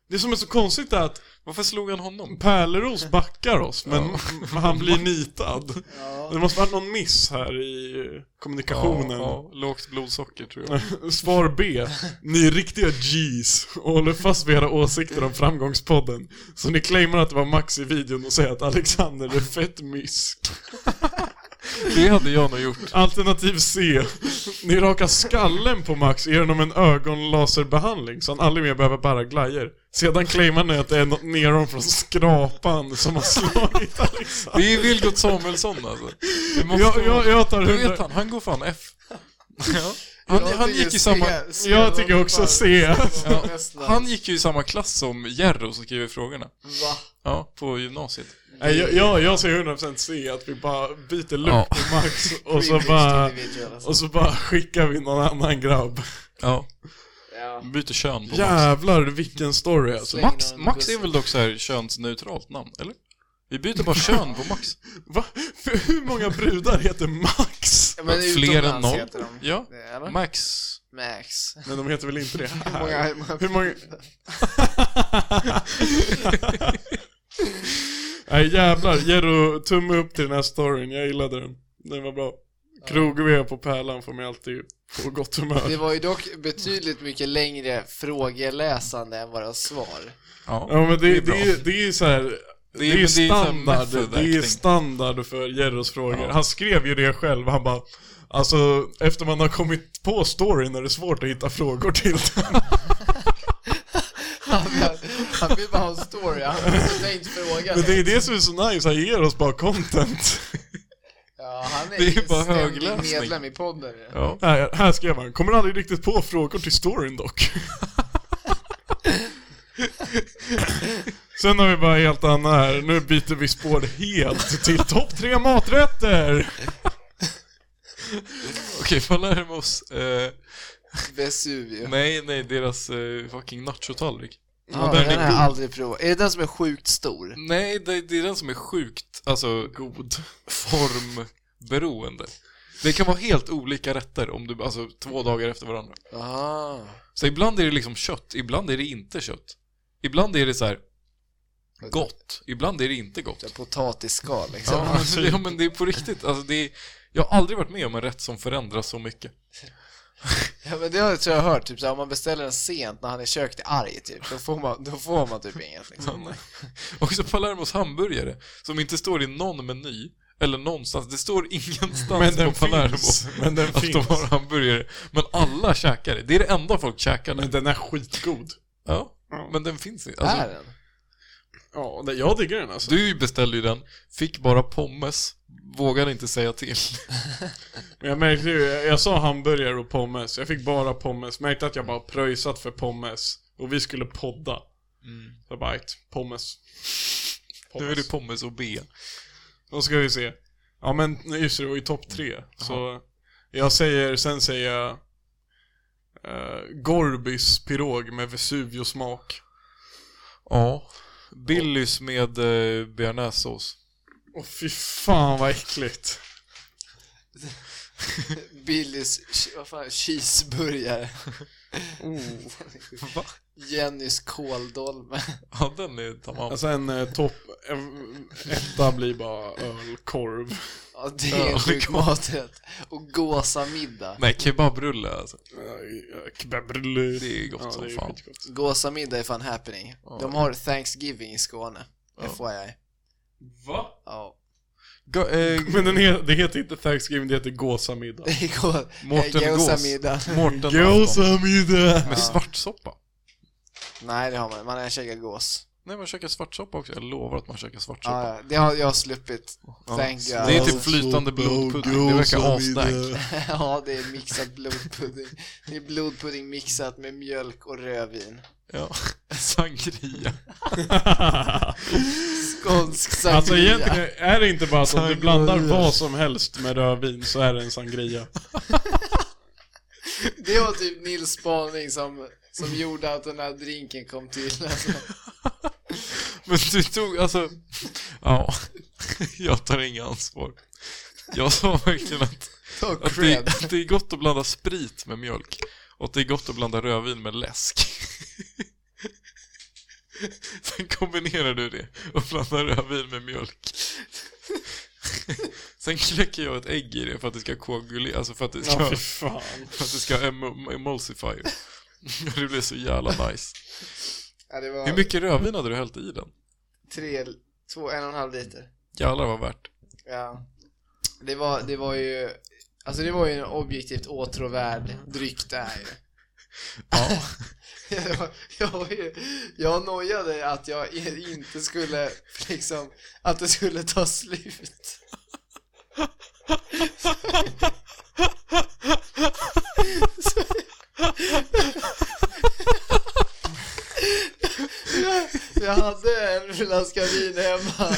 Det som är så konstigt är att Varför slog han honom? Pärleros backar oss, men Ja. han blir nitad. Ja. Det måste varit någon miss här i eh, kommunikationen. Ja, ja, lågt blodsocker tror jag. Svar B. Ni är riktiga G's och håller fast vid era åsikter om framgångspodden. Så ni claimar att det var Max i videon och säger att Alexander är fett mysk. Det hade jag nog gjort. Alternativ C. Ni rakar skallen på Max genom en ögonlaserbehandling så han aldrig mer behöver bära glajjor. Sedan claimar ni att det är något neron från skrapan som har slagit Alexander. Det är Vilgot Samuelsson alltså. Det måste Jag, jag, jag tar Du vet hundra... han, han går fan F. Han, han, gick i samma, Jag tycker också C. han gick ju i samma klass som Jerro som skriver frågorna. Va? Ja, på gymnasiet. Nej, jag, jag, jag säger 100% C, att vi bara byter look Ja. på Max och så Privileged bara... individual, alltså. Och så bara skickar vi någon annan grabb. Ja, Ja. byter kön på Max. Jävlar vilken story alltså. Släng Max. någon Max är bussen. väl dock så här könsneutralt namn, eller? Vi byter bara kön på Max. Va? För hur många brudar heter Max? Ja, men Fler än utomlands noll. heter de. Ja. Eller? Max. Max. Nej de heter väl inte det Hur många, hur många, Hur många... Nej jävlar, Jerro, tumme upp till den här storyn, jag gillade den. Den var bra. Krog-V på Pärlan får mig alltid på gott Det humör. var ju dock betydligt mycket längre frågeläsande än våra svar. Ja. Ja men Det det, är bra. det, är, det är ju så här. Det är, men så här standard, method det är acting. standard för Jerros frågor. Ja. Han skrev ju det själv, han bara Alltså, efter man har kommit på storyn är det svårt att hitta frågor till den. Han vill- Han vill bara ha en story, han har inte frågan. Men det är det som är så nice, han ger oss bara content. Ja, han är, Det är ju bara ständig högläsning. medlem i podden ju. Ja. Här, här skrev han, kommer aldrig riktigt på frågor till storyn dock. Sen har vi bara helt annat här, nu byter vi spår helt till topp tre maträtter! Okej, Palermos... Eh, Vesuvio. nej, nej, deras eh, fucking nachotallrik. Ja, den är den har jag god. aldrig provat. Är det den som är sjukt stor? Nej, det, det är den som är sjukt, alltså god formberoende. Det kan vara helt olika rätter om du, alltså två dagar efter varandra. Ah. Så ibland är det liksom kött, ibland är det inte kött. Ibland är det så här gott, ibland är det inte Det är gott. potatisskal liksom. Ja, men, ja, men det är på riktigt. Alltså, det är, jag har aldrig varit med om en rätt som förändras så mycket. Ja men det har jag- tror jag har hört, typ såhär, om man beställer den sent när han är i köket är arg typ, då får man, då får man typ inget liksom. Också Palermos hamburgare, som inte står i någon meny, eller någonstans. Det står Men ingenstans på den Palermo finns, men den att de finns. har hamburgare. Men alla käkar det. Det är det enda folk käkar nu. Men den är skitgod. Ja, men den finns inte. är Alltså, den? Ja, nej, jag diggar den alltså. du beställde ju den, fick bara pommes, vågade inte säga till. Men jag märkte ju, jag, jag sa hamburgare och pommes, jag fick bara pommes, märkte att jag bara pröjsat för pommes. Och vi skulle podda. Så jag bara, "Ajt, pommes. Nu är det pommes och B. Då ska vi se. Ja men just det, det var ju topp tre. Så jag säger, sen säger jag eh, Gorbys pirog med Vesuviosmak. Ja. Billys med eh, bearnaisesås. Åh fy fan vad äckligt. Billys, che- vad fan, cheeseburgare. Va? Jennys kåldolme. Ja, den är tamam. Alltså en eh, topp, en etta blir bara ölkorv. Ja det är en sjuk maträtt. Och gåsamiddag. Nej, kebabrulle alltså. Eh, Kebabrulle. Det är gott ja, som det är fan. skitgott. Gåsamiddag är fan happening. De har Thanksgiving i Skåne. FYI. Va? Ja. Go- eh, Men den he, det heter inte Thanksgiving, det heter gåsamiddag. Det är gå- Mårten eh, Gås. Gåsamiddag. Mårten Anton. Gåsamiddag! Med svartsoppa. Nej det har man Man har käkat gås. Nej, man käkar svartsoppa också. Jag lovar att man käkar svartsoppa. Ja, ja. det har jag sluppit. Ja. Thank Det God. är typ flytande blodpudding. Det verkar asdank. Ja, det är mixat blodpudding. Det är blodpudding mixat med mjölk och rödvin. Ja. Sangria. Skånsk sangria. Alltså egentligen är det inte bara att om du Sangria. blandar vad som helst med rödvin så är det en sangria. Det var typ Nils spaning som, som gjorde att den här drinken kom till. Alltså, Men du tog, alltså... Ja, jag tar inga ansvar. Jag sa verkligen att, ta att, det, cred. att det är gott att blanda sprit med mjölk och att det är gott att blanda rödvin med läsk. Sen kombinerar du det och blandar rödvin med mjölk. Sen kläcker jag ett ägg i det för att det ska koagulera, alltså för att det ska, Ja, fy fan. för att det ska emo- emulsifier. Och Det blir så jävla nice. Ja, det Hur var mycket rödvin hade du hällt i den? tre, två, en och en halv liter. Jävlar vad värt. Ja. Det var, det var ju, alltså det var ju en objektivt åtråvärd dryck det här ju. Ja. jag, jag, var ju- jag nojade att jag i- inte skulle, liksom, att det skulle ta slut. Så- jag, jag hade en flaska vin hemma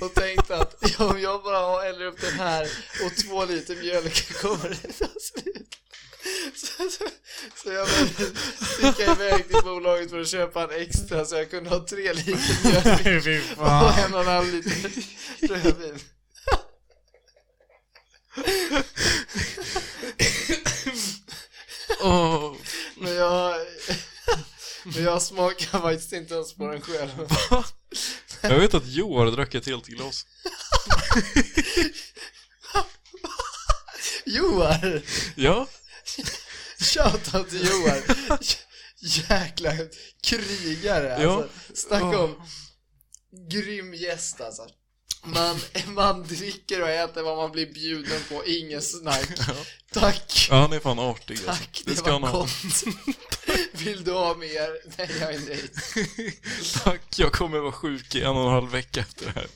och tänkte att ja, om jag bara har- häller upp den här och två liter mjölk kommer det ta slut. Så, så, så jag började sticka iväg till bolaget för att köpa en extra så jag kunde ha tre liter mjölk Nej, fy och fan. en och en halv liter rödvin. Åh, Men jag, men jag smakar faktiskt inte ens på den själv. Jag vet att Joar drack ett helt glas. Joar! Ja, Shoutout till Johan! Jäkla krigare Ja. alltså. Snacka om grym gäst alltså. Man, man dricker och äter vad man blir bjuden på, inget snack. Tack! ja han är fan artig alltså. Tack, det, var gott. Vill du ha mer? Nej, jag är nöjd. Tack, jag kommer vara sjuk i en och en halv vecka efter det här.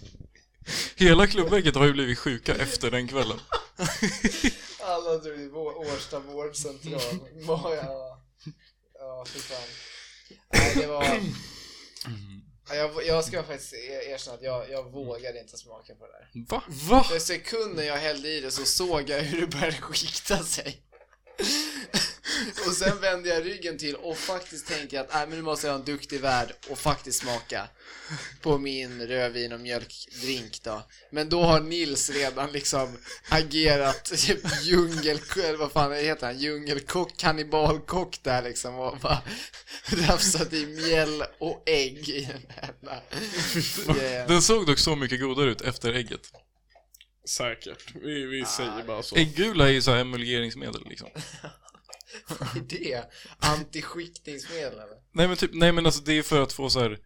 Hela klubblägget har ju blivit sjuka efter den kvällen. Alla drog till Vå- Årsta vårdcentral. Må- Ja, ja för fan. Nej, det var... Ja, Jag, jag ska faktiskt er- erkänna att jag, jag vågade inte smaka på det där. Va? Va? För sekunden jag hällde i det så såg jag hur det började skikta sig. och sen vände jag ryggen till och faktiskt tänkte att nej men nu måste jag ha en duktig värd och faktiskt smaka på min rödvin och mjölkdrink då. Men då har Nils redan liksom agerat typ djungel... Eller vad fan heter han? Djungelkock, kannibalkock där liksom och bara rafsat i mjäll och ägg i den här jävla grejen. Den såg dock så mycket godare ut efter ägget. Säkert. Vi, vi säger bara så. Äggula är ju så här emulgeringsmedel liksom. Vad är det? Antiskiktningsmedel eller? Nej men typ, nej men alltså det är för att få så här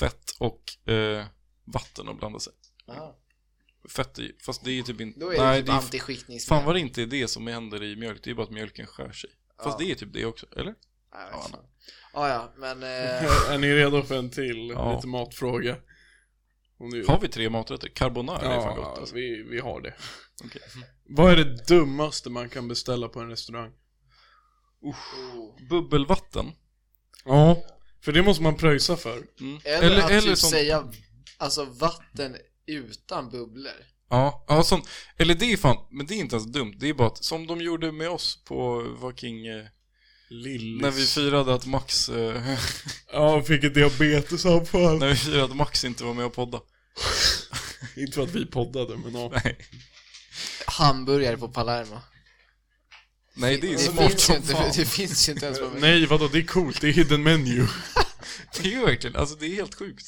fett och eh, vatten att blanda sig. Jaha. Fett i, fast det är ju typ inte... Då är nej, det det typ är, antiskiktningsmedel. fan vad det inte är det som händer i mjölk, det är bara att mjölken skär sig. Fast Ja. det är typ det också, eller? Ja, jag Ja, vet fan. ja, ja, men... Eh, Är ni redo för en till Ja. lite matfråga? Om ni- Har vi tre maträtter? Carbonara är fan gott Ja, alltså. vi, vi har det. Okej. Vad är det dummaste man kan beställa på en restaurang? oh. Bubbelvatten? Ja. För det måste man pröjsa för. Mm. Eller, att typ sånt- säga alltså, vatten utan bubblor. Ja, ja sånt. Eller det är fan, men det är inte ens dumt. Det är bara att, som de gjorde med oss på fucking... Eh, Lillis. när vi firade att Max... Eh, Ja, fick ett diabetesanfall. när vi firade att Max inte var med och podda. Inte för att vi poddade, men ja. Nej. Hamburgare på Palermo. Nej, det är Det, smart finns, ju som inte, fan. det finns ju inte ens på Nej, vadå, det är coolt. Det är hidden menu. Det är ju verkligen, alltså det är helt sjukt.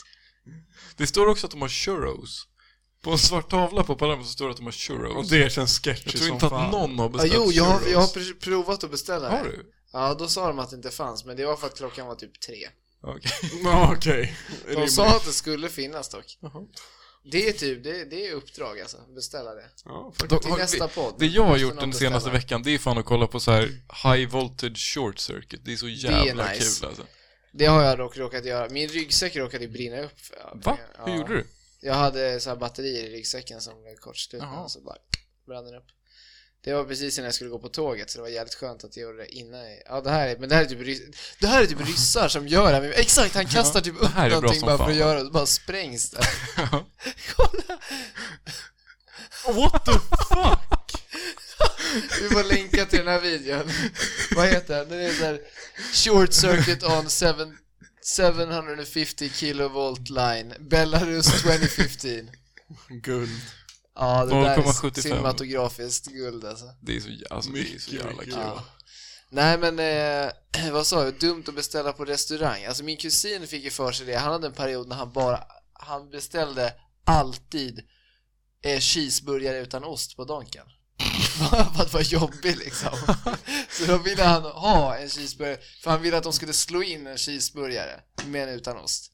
Det står också att de har churros. På en svart tavla på Palermo så står det att de har Och churros. det känns sketchy jag tror som inte att fan. någon har Ja, beställt jo, jag har, churros. jag har pr- provat att beställa Har det. du? Ja, då sa de att det inte fanns, men det var för att klockan var typ tre. Okej. Ja, okej. De sa att det skulle finnas dock. Jaha. Det är typ, det, det är uppdrag alltså, beställa det. Ja, Till nästa podd. Det jag har måste gjort någon den beställa. senaste veckan, det är fan att kolla på så här High Voltage Short Circuit. Det är så jävla nice. kul alltså. Det har jag dock råkat göra. Min ryggsäck råkade ju brinna upp. Va? Hur Ja. gjorde du? Jag hade så här batterier i ryggsäcken som blev kortslutna Jaha. och så bara brann den upp. Det var precis innan jag skulle gå på tåget så det var jävligt skönt att jag gjorde det innan jag... Ja det här är, men det här är typ, rys- det här är typ ryssar som gör det här. Exakt, han kastar typ det upp här är bra någonting som bara fan. för att göra det och bara sprängs det. Kolla! What the fuck? Vi får länka till den här videon. Vad heter den? Den heter Short Circuit on 7, 750 kilovolt line. Belarus 2015. Guld. Ja, det där är 0,75. cinematografiskt guld alltså. Det är så, jä- alltså, det är så Mycket, jävla mycket. kul. Ja. Nej men, eh, vad sa jag? Dumt att beställa på restaurang. Alltså min kusin fick ju för sig det. Han hade en period när han bara, han beställde alltid eh, cheeseburgare utan ost på Donken. För att vara jobbig liksom. Så då ville han ha en cheeseburgare, för han ville att de skulle slå in en cheeseburgare, men utan ost.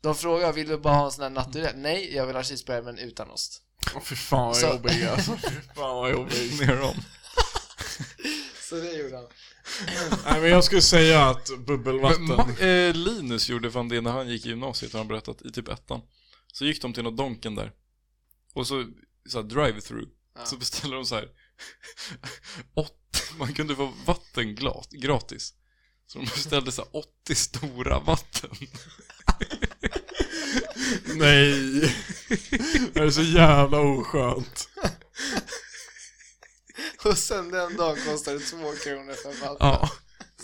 De frågade, vill du bara ha en sån här naturell? Nej, jag vill ha cheeseburgare men utan ost. Åh fy fan vad Så- jobbig alltså. Fy fan vad jobbig. Ner om. Så det gjorde han. Nej men jag skulle säga att Men, bubbelvatten. ma- eh, Linus gjorde fan det när han gick i gymnasiet, har han berättat, i typ ettan. Så gick de till något Donken där. Och så, så här, drive-through. Ja. Så beställde de så här. åt, man kunde få vatten glat, gratis. Så de beställde så här 80 stora vatten. Nej. Det är så jävla oskönt. Och sen den dagen kostade det två kronor för vatten. Ja.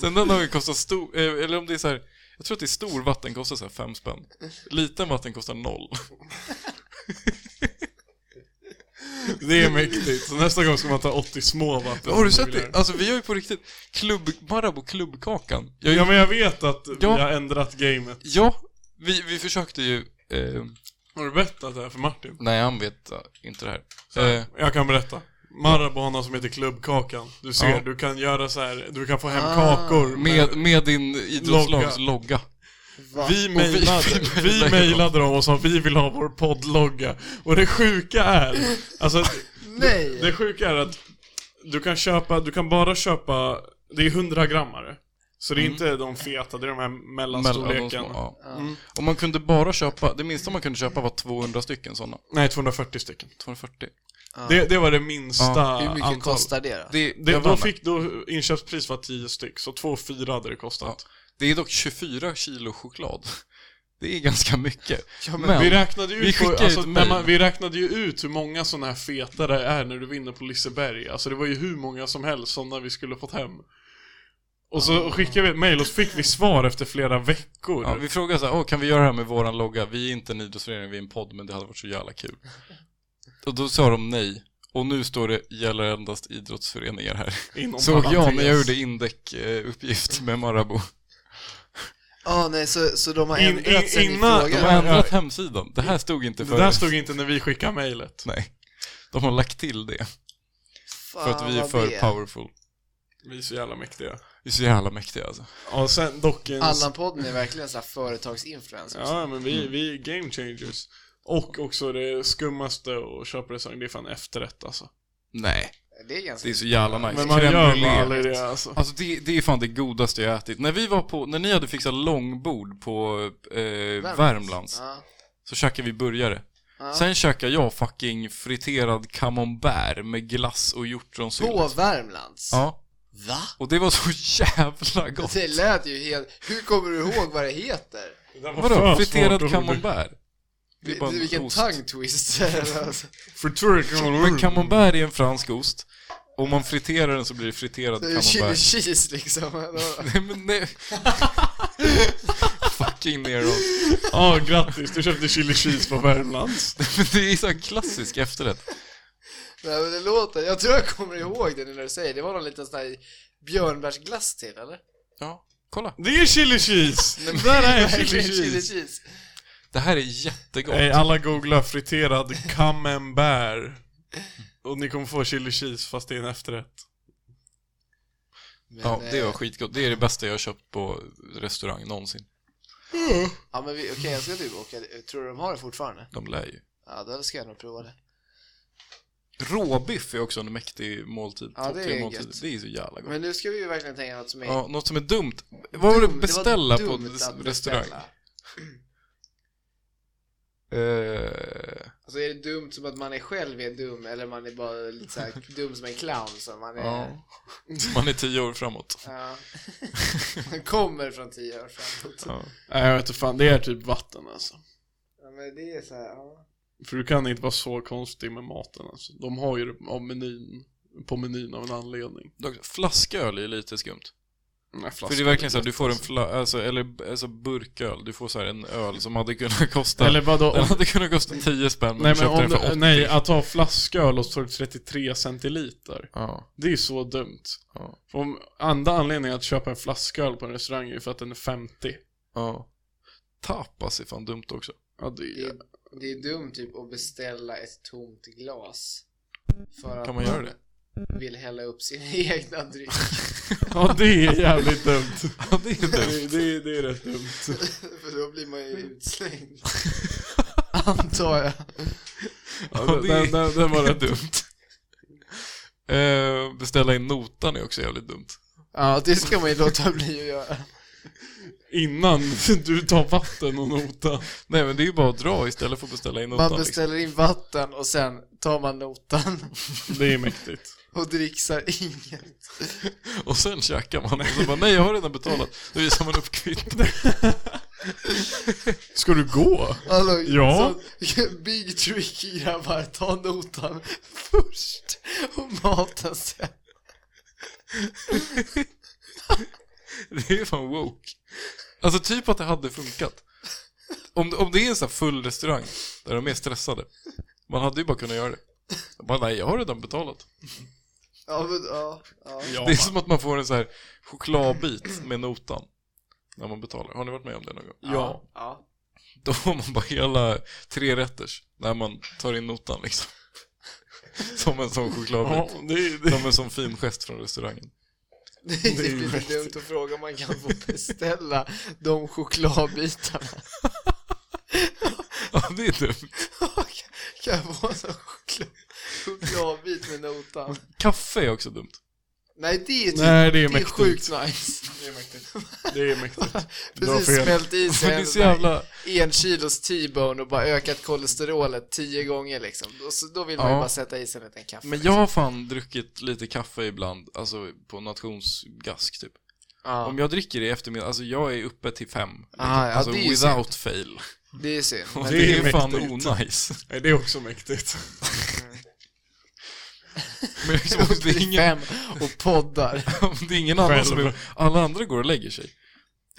Sen den dagen kostar stor, eh, eller om det är så här, jag tror att det är stor vatten kostar så här fem spänn. Liten vatten kostar noll. Det är mäktigt. Så nästa gång ska man ta 80 små vatten. Har du sett det? Alltså vi har ju på riktigt, klubb, Marabou klubbkakan. Jag är ju Ja men jag vet att vi Ja. har ändrat gamet. Ja, vi, vi försökte ju... Eh, Har du berättat det här för Martin? nej, han vet eh, inte det här. Eh, Eh, Jag kan berätta. Marabou har något som heter Klubbkakan. Du ser, Ja. du kan göra så här, du kan få hem Ah. kakor. med, med din idrottslags logga. Va? Vi vi- mejlade, vi vi mejlade mejlade dem och sa vi vill ha vår poddlogga. Och det sjuka är, alltså Nej! det sjuka är att du kan köpa, du kan bara köpa, det är 100 grammare. Så det är inte de feta, det är de här Mellan de små, mellanstorleken. ja. Mm. Och man kunde bara köpa, det minsta man kunde köpa var 200 stycken sådana. Nej, 240 stycken. 240. Ja. Det, det var det minsta Ja. Hur mycket antalet. kostar det då? Det, Det, jag då vann. fick då inköpspris var 10 styck, så 2,4 hade det kostat. det är dock 24 kilo choklad. Det är ganska mycket. men, vi räknade ju vi ut, på, skickade alltså, ut när mejl. man, vi räknade ju ut hur många sådana här feta det är när du vinner på Liseberg. Alltså det var ju hur många som helst sådana vi skulle fått hem. Och så skickade vi ett mejl och så fick vi svar efter flera veckor. ja, vi frågade så här, "Åh, kan vi göra det här med våran logga? Vi är inte en idrottsförening, vi är en podd, men det hade varit så jävla kul. Och då sa de nej. Och nu står det, gäller endast idrottsföreningar här. Inom Såg jag parentes. när jag gjorde indäckuppgift med Marabou. Ja, nej, så, så de har In- ändrat in- sig i innan- De frågan? har Ja. ändrat hemsidan. Det här stod inte Det förut. där stod inte när vi skickade mejlet. Nej. De har lagt till det. Fan, För att vi är Ah, vad för det powerful. Vi är så jävla mäktiga. Vi är så jävla mäktiga alltså. Ja, sen dock en... Allan-podden är verkligen så här företagsinfluencers. Ja, men vi, vi är game changers. Och också det skummaste och köprestaurang, det är fan efterrätt alltså. Nej. Det är ganska... Det är så jävla nice. Men man Crème gör brûlée. man aldrig det alltså. Alltså det, det är fan det godaste jag ätit. När vi var på, när ni hade fixat långbord på eh, Värmlands, Ja. så käkade vi burgare. Ja. Sen käkade jag fucking friterad camembert med glass och hjortronsylt. På Värmlands? Ja. Va? Och det var så jävla gott. Det lät ju helt... Hur kommer du ihåg vad det heter? Det där var Vadå? för svårt Friterad ord. camembert? Det är bara en Vilken ost. tongue-twist. alltså. Friterad Men camembert. camembert är en fransk ost. Om man friterar den så blir det friterad Det är ju chili camembert. cheese liksom. Nej men nej. Fucking Nero. Ja, grattis. Du köpte chili cheese på Värmlands. Men det är så här klassisk efterrätt. Nej, men det låter... Jag tror jag kommer ihåg det nu när du säger det. Det var någon liten sån här björnbärsglass till, eller? Ja, kolla. Det är chili cheese! Där är chili Verkligen chili cheese. cheese. Det här är jättegott. Nej, alla googlar friterad camembert. Och ni kommer få chili cheese fast det är en efterrätt. Men, Ja, det eh, var skitgott. Det är det bästa jag har köpt på restaurang någonsin. Ja men vi- okej, jag ska typ åka. Tror du de har det fortfarande? De lär ju. Ja, då ska jag nog prova det. Råbiff är också en mäktig måltid. Ja, det Topp är tre måltid. gött. Det är så jävla gott. Men nu ska vi ju verkligen tänka något som är... Ja, något som är dumt. Vad var det dumt. beställa var på dumt res- att restaurang? beställa. Eh, Alltså är det dumt som att man är själv är dum eller man är bara lite så här dum som en clown så man är... ja. Ja. Man är tio år framåt. man kommer från tio år framåt. Ja. Nej, jag vet inte fan. Det är typ vatten alltså. Ja men det är så här, ja. För du kan inte vara så konstig med maten alltså. De har ju det av menyn. på menyn av en anledning. Dock, Flasköl är lite skumt. Nej, För det är verkligen så här, du får en fla, alltså, eller alltså burköl, du får så här en öl som hade kunnat kosta, Eller vadå? den hade kunnat kosta 10 spänn men nej du men köpte om den för du, 80. nej, att ha flasköl och så tar du 33 centiliter. Ja, Det är så dumt. ja, Om andra anledningen att köpa en flasköl på en restaurang är för att den är 50. ja. Tapas är fan dumt också. Ja, det Det är, är, det är dumt typ att beställa ett tomt glas. För att Kan man göra det? vill hälla upp sin egna dryck. ja, det är jävligt dumt. Ja, det är dumt. Det, det, det är rätt dumt. för då blir man ju utslängd. Antar jag. Ja, det, den- den- den var rätt dumt. Eh, beställa in notan är också jävligt dumt. Ja, det ska man ju låta bli att göra. Innan du tar vatten och nota. Nej men det är ju bara att dra istället för att beställa in notan. liksom. liksom. Man beställer in vatten och sen tar man notan Det är mäktigt. och dricksar inget. liksom. Och sen käkar man och så bara nej jag har redan betalat. Då visar man upp kvittot. Ska du gå? Alltså, Ja. så, big trick grabbar, ta notan först och maten sen. Det är fan woke. Alltså typ att det hade funkat. Om, om det är en sån här full restaurang där de är stressade. Man hade ju bara kunnat göra det. Jag bara, nej jag har redan betalat. Ja, men, ja, ja. Ja. Det är som att man får en så här chokladbit med notan. När man betalar. Har ni varit med om det någon gång? Ja. ja. Då har man bara hela tre rätters när man tar in notan liksom. Som en sån ja chokladbit. det, är- det, Som en sån fin gest från restaurangen. Det är Det är typ lite mäktigt. dumt att fråga om man kan få beställa de chokladbitarna. Ja, det är dumt. kan jag få en sån choklad, chokladbit med notan? Kaffe är också dumt. Nej, det är typ, Nej, det är det är mäktigt. sjukt nice. det är mäktigt. Det är mäktigt. Du har Precis fel. smält i sig Men det är så jävla... en kilos T-bone och bara ökat kolesterolet tio gånger liksom. Då, så, då vill man ju Ja. bara sätta i sig en liten kaffe. Men jag har fan druckit lite kaffe ibland, alltså på nationsgask typ. ja. Om jag dricker det i eftermiddag, alltså jag är uppe till fem. liksom. Ah, ja, alltså det är ju without fail. Det är synd. Och Men det, det, är, är fan mäktigt. onajs. Nej, det är också mäktigt. Men liksom, om det, är ingen, fem och poddar. om det är ingen annan som Själv. är, Alla andra går och lägger sig.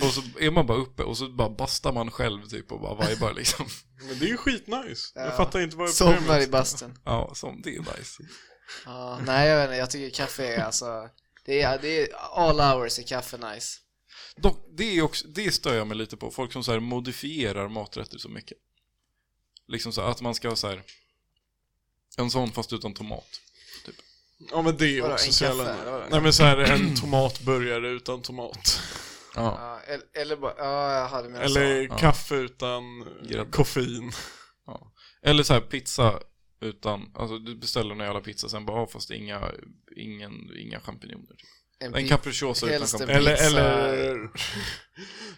Och så är man bara uppe och så bara bastar man själv typ och bara vibar liksom. Men det är ju skitnice. Jag Ja. fattar inte vad det är Somnar i problemet. bastun. Ja, som det är nice. Ja, nej, jag vet inte. Jag tycker kaffe är alltså... Det är, det är all hours är kaffe nice. Dock, det, är också, det stör jag mig lite på, folk som så här modifierar maträtter så mycket. Liksom så här, att man ska ha så här en sån fast utan tomat. Ja men det är Vadå, också en så kaffe, eller jävla... vadå? Nej men såhär en tomatburgare utan tomat. Ja. Ja, eller, eller bara... Ja, jag hade menar Eller ja. kaffe utan Grädde. koffein. Eller så här pizza utan, alltså du beställer en jävla pizza sen bara, ah, fast inga, ingen, inga champinjoner. så. En pi- capricciosa utan helst en champinjoner. Eller, Pizza. eller...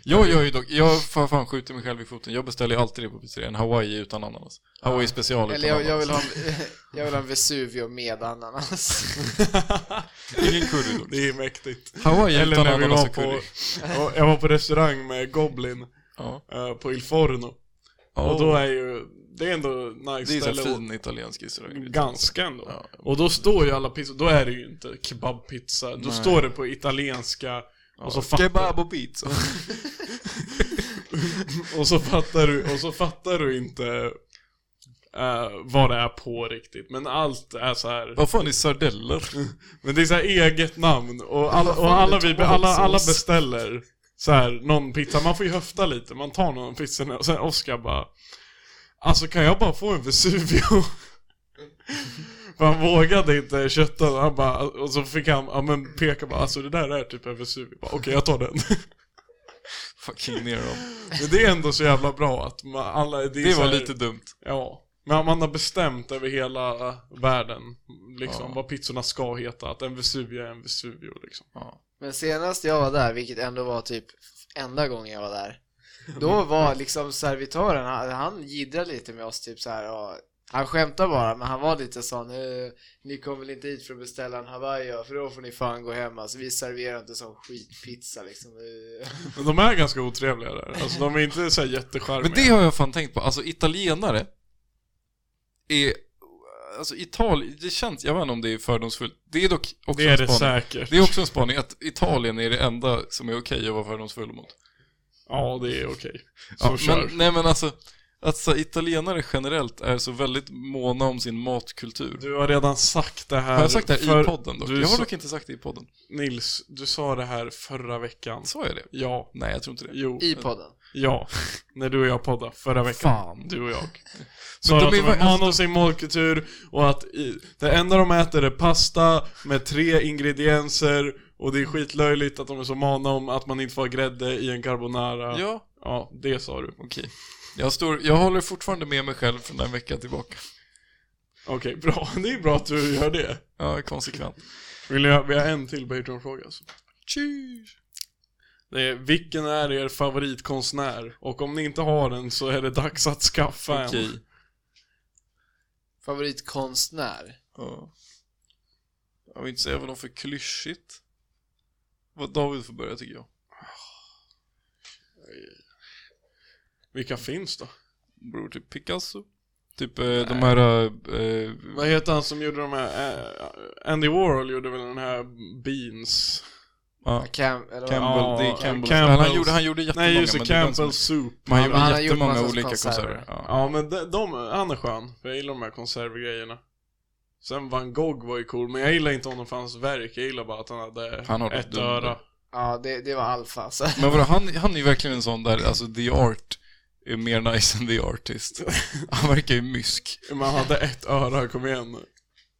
Jag gör ju dock, jag får fan skjuter mig själv i foten, jag beställer ju alltid det på pizzeria, en hawaii utan ananas. Hawaii special utan Eller jag, ananas. jag, vill ha, en- jag vill ha en Vesuvio med ananas. Ingen curry dock. Det är mäktigt. Hawaii Eller utan när vi ananas var och curry. på... ja, Jag var på restaurang med Goblin Ja. eh, på Il Forno. Och då är ju... Det är ändå nice det är så här ställe. och- fin italiensk Mm. restaurang. Ganska ändå. Ja. Och då står ju alla pizzor, då är det ju inte kebabpizza. Då Nej. står det på italienska och så fattar Kebab och pizza. Och så fattar du, och så fattar du inte eh, vad det är på riktigt. Men allt är så här. Vad fan är sardeller? Men det är så här eget namn och alla, fan, och alla, det är typ vi, alla, tomatsås. alla beställer så här någon pizza. Man får ju höfta lite, man tar någon pizza och sen Oskar bara Alltså kan jag bara få en Vesuvio? För han vågade inte kötta han bara, och så fick han, ja men peka bara, alltså det där är typ en Vesuvio. Bara, Okej jag tar den. Fucking ner dem. Men det är ändå så jävla bra att man, alla, det, är Det så var här- lite dumt. Ja, men man har bestämt över hela världen liksom Ja. vad pizzorna ska heta, att en Vesuvio är en Vesuvio liksom. Ja. Men senast jag var där, vilket ändå var typ enda gången jag var där, då var liksom servitören, han, han jiddrade lite med oss typ så här och han skämtade bara, men han var lite sån "Eh, Ni kommer väl inte hit för att beställa en hawaii för då får ni fan gå hem alltså, vi serverar inte sån skitpizza liksom Eh." Men de är ganska otrevliga där, alltså de är inte så här jättecharmiga. Men det har jag fan tänkt på, alltså italienare är alltså Italien, det känns, jag vet inte om det är fördomsfullt. Det är dock också Det är en det spaning. säkert. Det är också en spaning, att Italien är det enda som är okej att vara fördomsfull mot. Ja, det är okej. Så Ja, kör. men, nej men alltså, att så, italienare generellt är så väldigt måna om sin matkultur. Du har redan sagt det här. Har jag sagt det här för- i podden dock? Du, Jag har sa- dock inte sagt det i podden. Nils, du sa det här förra veckan. Sa jag det? Ja. Nej, jag tror inte det. Jo. I podden. Ja. När du och jag poddade förra veckan. Fan. Du och jag. Sa Men de att de är är ju- måna om sin matkultur och att i, det enda de äter är pasta med tre ingredienser och det är skitlöjligt att de är så måna om att man inte får ha grädde i en carbonara. Ja, Ja, det sa du. okej. Jag, står, jag håller fortfarande med mig själv från den veckan tillbaka. Okej, bra. Det är bra att du gör det. Ja, konsekvent. Vill jag, vi har en till Patreon-fråga alltså. Tjur. Det är, vilken är er favoritkonstnär? Och om ni inte har den så är det dags att skaffa en. Okej. Favoritkonstnär. Ja. Jag vill inte säga vad de för klyschigt. Vad David får börja tycker jag. Vilka finns då? Bror, typ Picasso. Typ eh, de här... Eh, Vad heter han som gjorde de här, eh, Andy Warhol gjorde väl den här Beans? ja, Cam, eller vad? Campbell, det är Ja, Campbell. Campbell's. Han, gjorde, han gjorde jättemånga. Nej just det, men det är den Campbell som- Soup. Man gjorde men han har gjort jättemånga massa olika konserver. konserter. Ja. Ja men de, de, han är skön, för jag gillar de här konservgrejerna. Sen van Gogh var ju cool, men jag gillar inte honom för hans verk, jag gillar bara att han hade Han har ett ett dunder. öra. Ja, det, det var alfa. Så. Men vadå, han, han är ju verkligen en sån där, alltså the art är mer nice än the artist. Han verkar ju mysk. Men han hade ett öra, kom igen nu.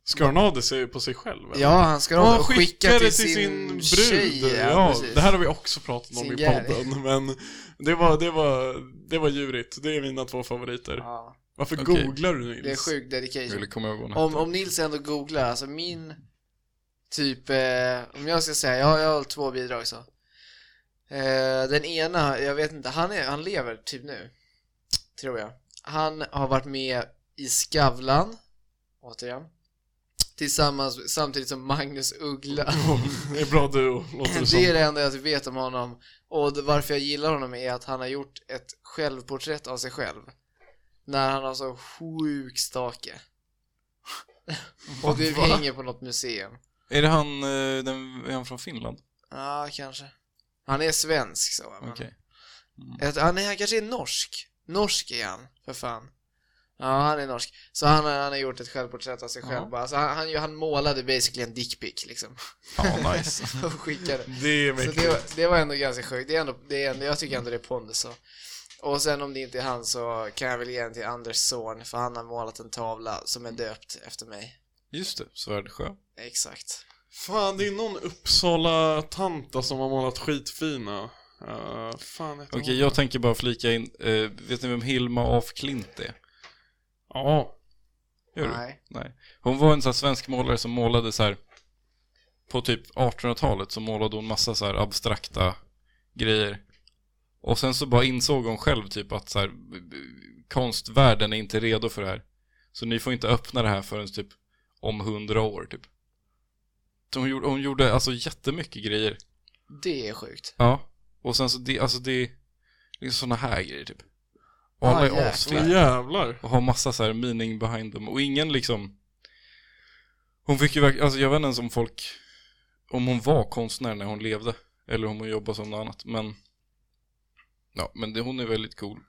Ska han ha det sig på sig själv eller? Ja, han ska Ja, ha skicka till, sin, tjej. Ja, precis. det här har vi också pratat om Sin i gäri. podden, men det var, det var, det var djurigt. Det är mina två favoriter. Ja, Varför Okej. googlar du Nils? det är sjuk dedication. Eller kommer jag ihåg Om, om Nils ändå googlar, alltså min typ, eh, om jag ska säga, jag, har- jag har två bidrag så. Eh, den ena, jag vet inte, han, är, han lever typ nu. Tror jag. Han har varit med i Skavlan, återigen. Tillsammans, samtidigt som Magnus Uggla. det är bra du låter det Det är som. det enda jag vet om honom. Och det- varför jag gillar honom är att han har gjort ett självporträtt av sig själv. När han har så sjuk stake. Och det Va? hänger på något museum. Är det han, eh, den, är han från Finland? Ja, kanske. Han är svensk så. Men... Okej. Mm. Ett- Han, är, han kanske är norsk. Norsk är han, för fan. Ja, han är norsk. Så han, har- han har gjort ett självporträtt av sig Ja. själv. bara. Alltså, han, han, han målade basically en dickpic liksom. Ja, nice. Och skickade. Det är Så mäktigt. det, var- det var ändå ganska sjukt. Det är ändå, det är ändå, jag tycker ändå det är pondus. så. Och sen om det inte är han så kan jag väl ge den till Anders son för han har målat en tavla som är döpt efter mig. Just det, Svärdsjö. Exakt. Fan, det är någon Uppsala-tanta som har målat skitfina. Uh, fan heter Okej, hon? jag tänker bara flika in, eh, vet ni vem Hilma af Klint är? Ja. Gör du? Nej. Nej. Hon var en sån här svensk målare som målade så här på typ 1800-talet så målade hon massa så här abstrakta grejer. Och sen så bara insåg hon själv typ att så här, b- b- konstvärlden är inte redo för det här. Så ni får inte öppna det här förrän typ om hundra år typ. Så hon gjorde, hon gjorde alltså jättemycket grejer. Det är sjukt. Ja. Och sen så det, alltså det, det är såna här grejer typ. Och Ah, alla är jäklar. asfeta. Åh jävlar. Och har massa så här meaning behind them. Och ingen liksom... Hon fick ju verkligen, alltså jag vet inte ens om folk... Om hon var konstnär när hon levde. Eller om hon jobbade som något annat. Men... Ja, men det, hon är väldigt cool.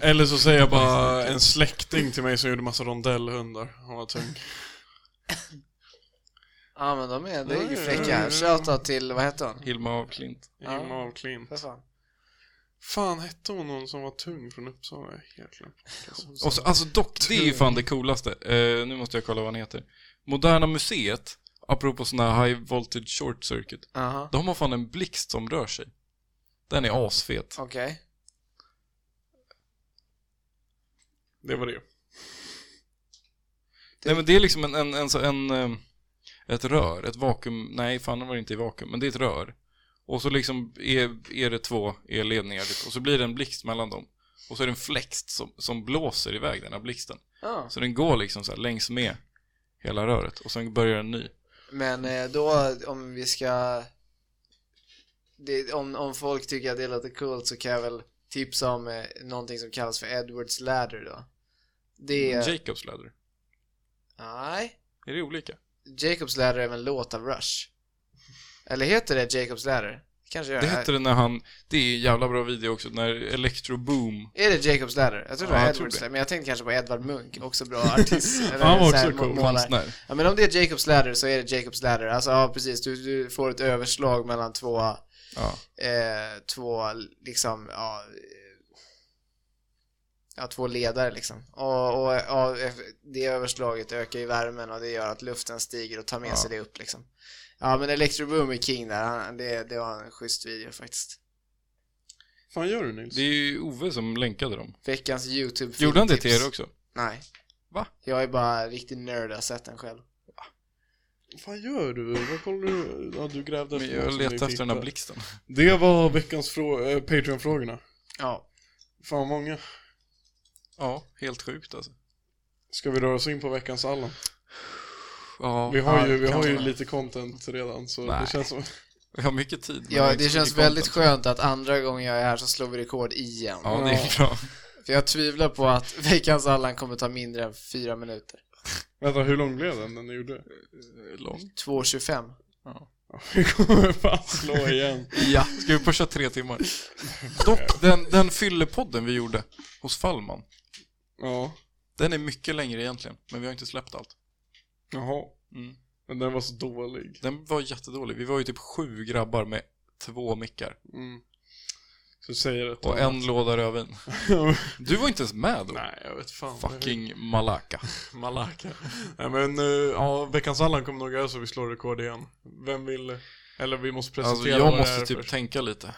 Eller så säger jag bara en släkting till mig som gjorde massa rondellhundar. Han var tung. Ja men de är, det är ju fräcka. Shoutout till, vad heter hon? Hilma af Klint. Ja. Hilma af Klint. För fan. Fan hette hon någon som var tung från Uppsala? Helt glömt. Och så, alltså dock, det är ju fan det coolaste. Eh, nu måste jag kolla vad han heter. Moderna Museet, apropå såna här high voltage short circuit. Jaha, De har fan en blixt som rör sig. Den är asfet. okej. Det var det. Nej men det är liksom en, en, en, så- en, eh, ett rör, ett vakuum, nej fan det var inte i vakuum, men det är ett rör. Och så liksom är, är det två elledningar typ, och så blir det en blixt mellan dem. Och så är det en fläkt som, som blåser iväg den här blixten. Ja. Så den går liksom så här längs med hela röret och sen börjar en ny. Men eh, då om vi ska... Det, om, om folk tycker att det låter coolt så kan jag väl tipsa om eh, någonting som kallas för Edwards ladder då. Det är... Jacobs Ladder. Nej. Är det olika? Jacob's Ladder är väl en låt av Rush? Eller heter det Jacob's Ladder? Kanske gör Det hette det när han, det är en jävla bra video också, när Electro Boom Är det Jacob's Ladder? Jag tror det Ja, var jag tror Edwards det. Ladder, men jag tänkte kanske på Edvard Munch, också bra artist. Eller Han var så här, också cool målare. konstnär. Ja men om det är Jacob's Ladder så är det Jacob's Ladder. Alltså ja, precis, du, du får ett överslag mellan två, Ja. eh, två liksom, ja, eh, ja, två ledare liksom. Och, och ja, det överslaget ökar ju värmen och det gör att luften stiger och tar med Ja. sig det upp liksom. Ja men Electro Boom är king där, Han- det, det var en schysst video faktiskt. fan gör du Nils? Det är ju Ove som länkade dem. Veckans youtube Gjorde han det till er också? Nej. Va? Jag är bara riktig nörd, jag har sett den själv. fan gör du? Vad kollar du? Ja, du grävde Men något jag som vi letar fick efter den där där. blixten. Det var veckans frå- eh, Patreon-frågorna. Ja. Fan många. Ja, helt sjukt alltså. Ska vi röra oss in på veckans Allan? Ja, Vi har ju, vi kan har ju man- lite content redan så Nej. det känns som... Vi har mycket tid. men Ja, inte det så känns mycket väldigt content. skönt att andra gången jag är här så slår vi rekord igen. Ja, det är bra. För jag tvivlar på att veckans Allan kommer ta mindre än fyra minuter. Vänta, hur lång blev den den ni gjorde? Lång. 2.25. Vi kommer fan slå igen. Ja, ska vi pusha tre timmar? Dock, den, den fyllepodden vi gjorde hos Fallman, Ja, den är mycket längre egentligen, men vi har inte släppt allt. jaha. Mm. Men den var så dålig. Den var jättedålig. Vi var ju typ sju grabbar med två mickar Mm. Så säger det. och en låda rödvin. Du var inte ens med då. Nej, jag vet fan. Fucking Malaka. Malaka. Nej men, eh, ja, veckans Allan kommer nog göra så vi slår rekord igen. Vem vill... Eller vi måste presentera Alltså vad jag det är måste typ först. tänka lite.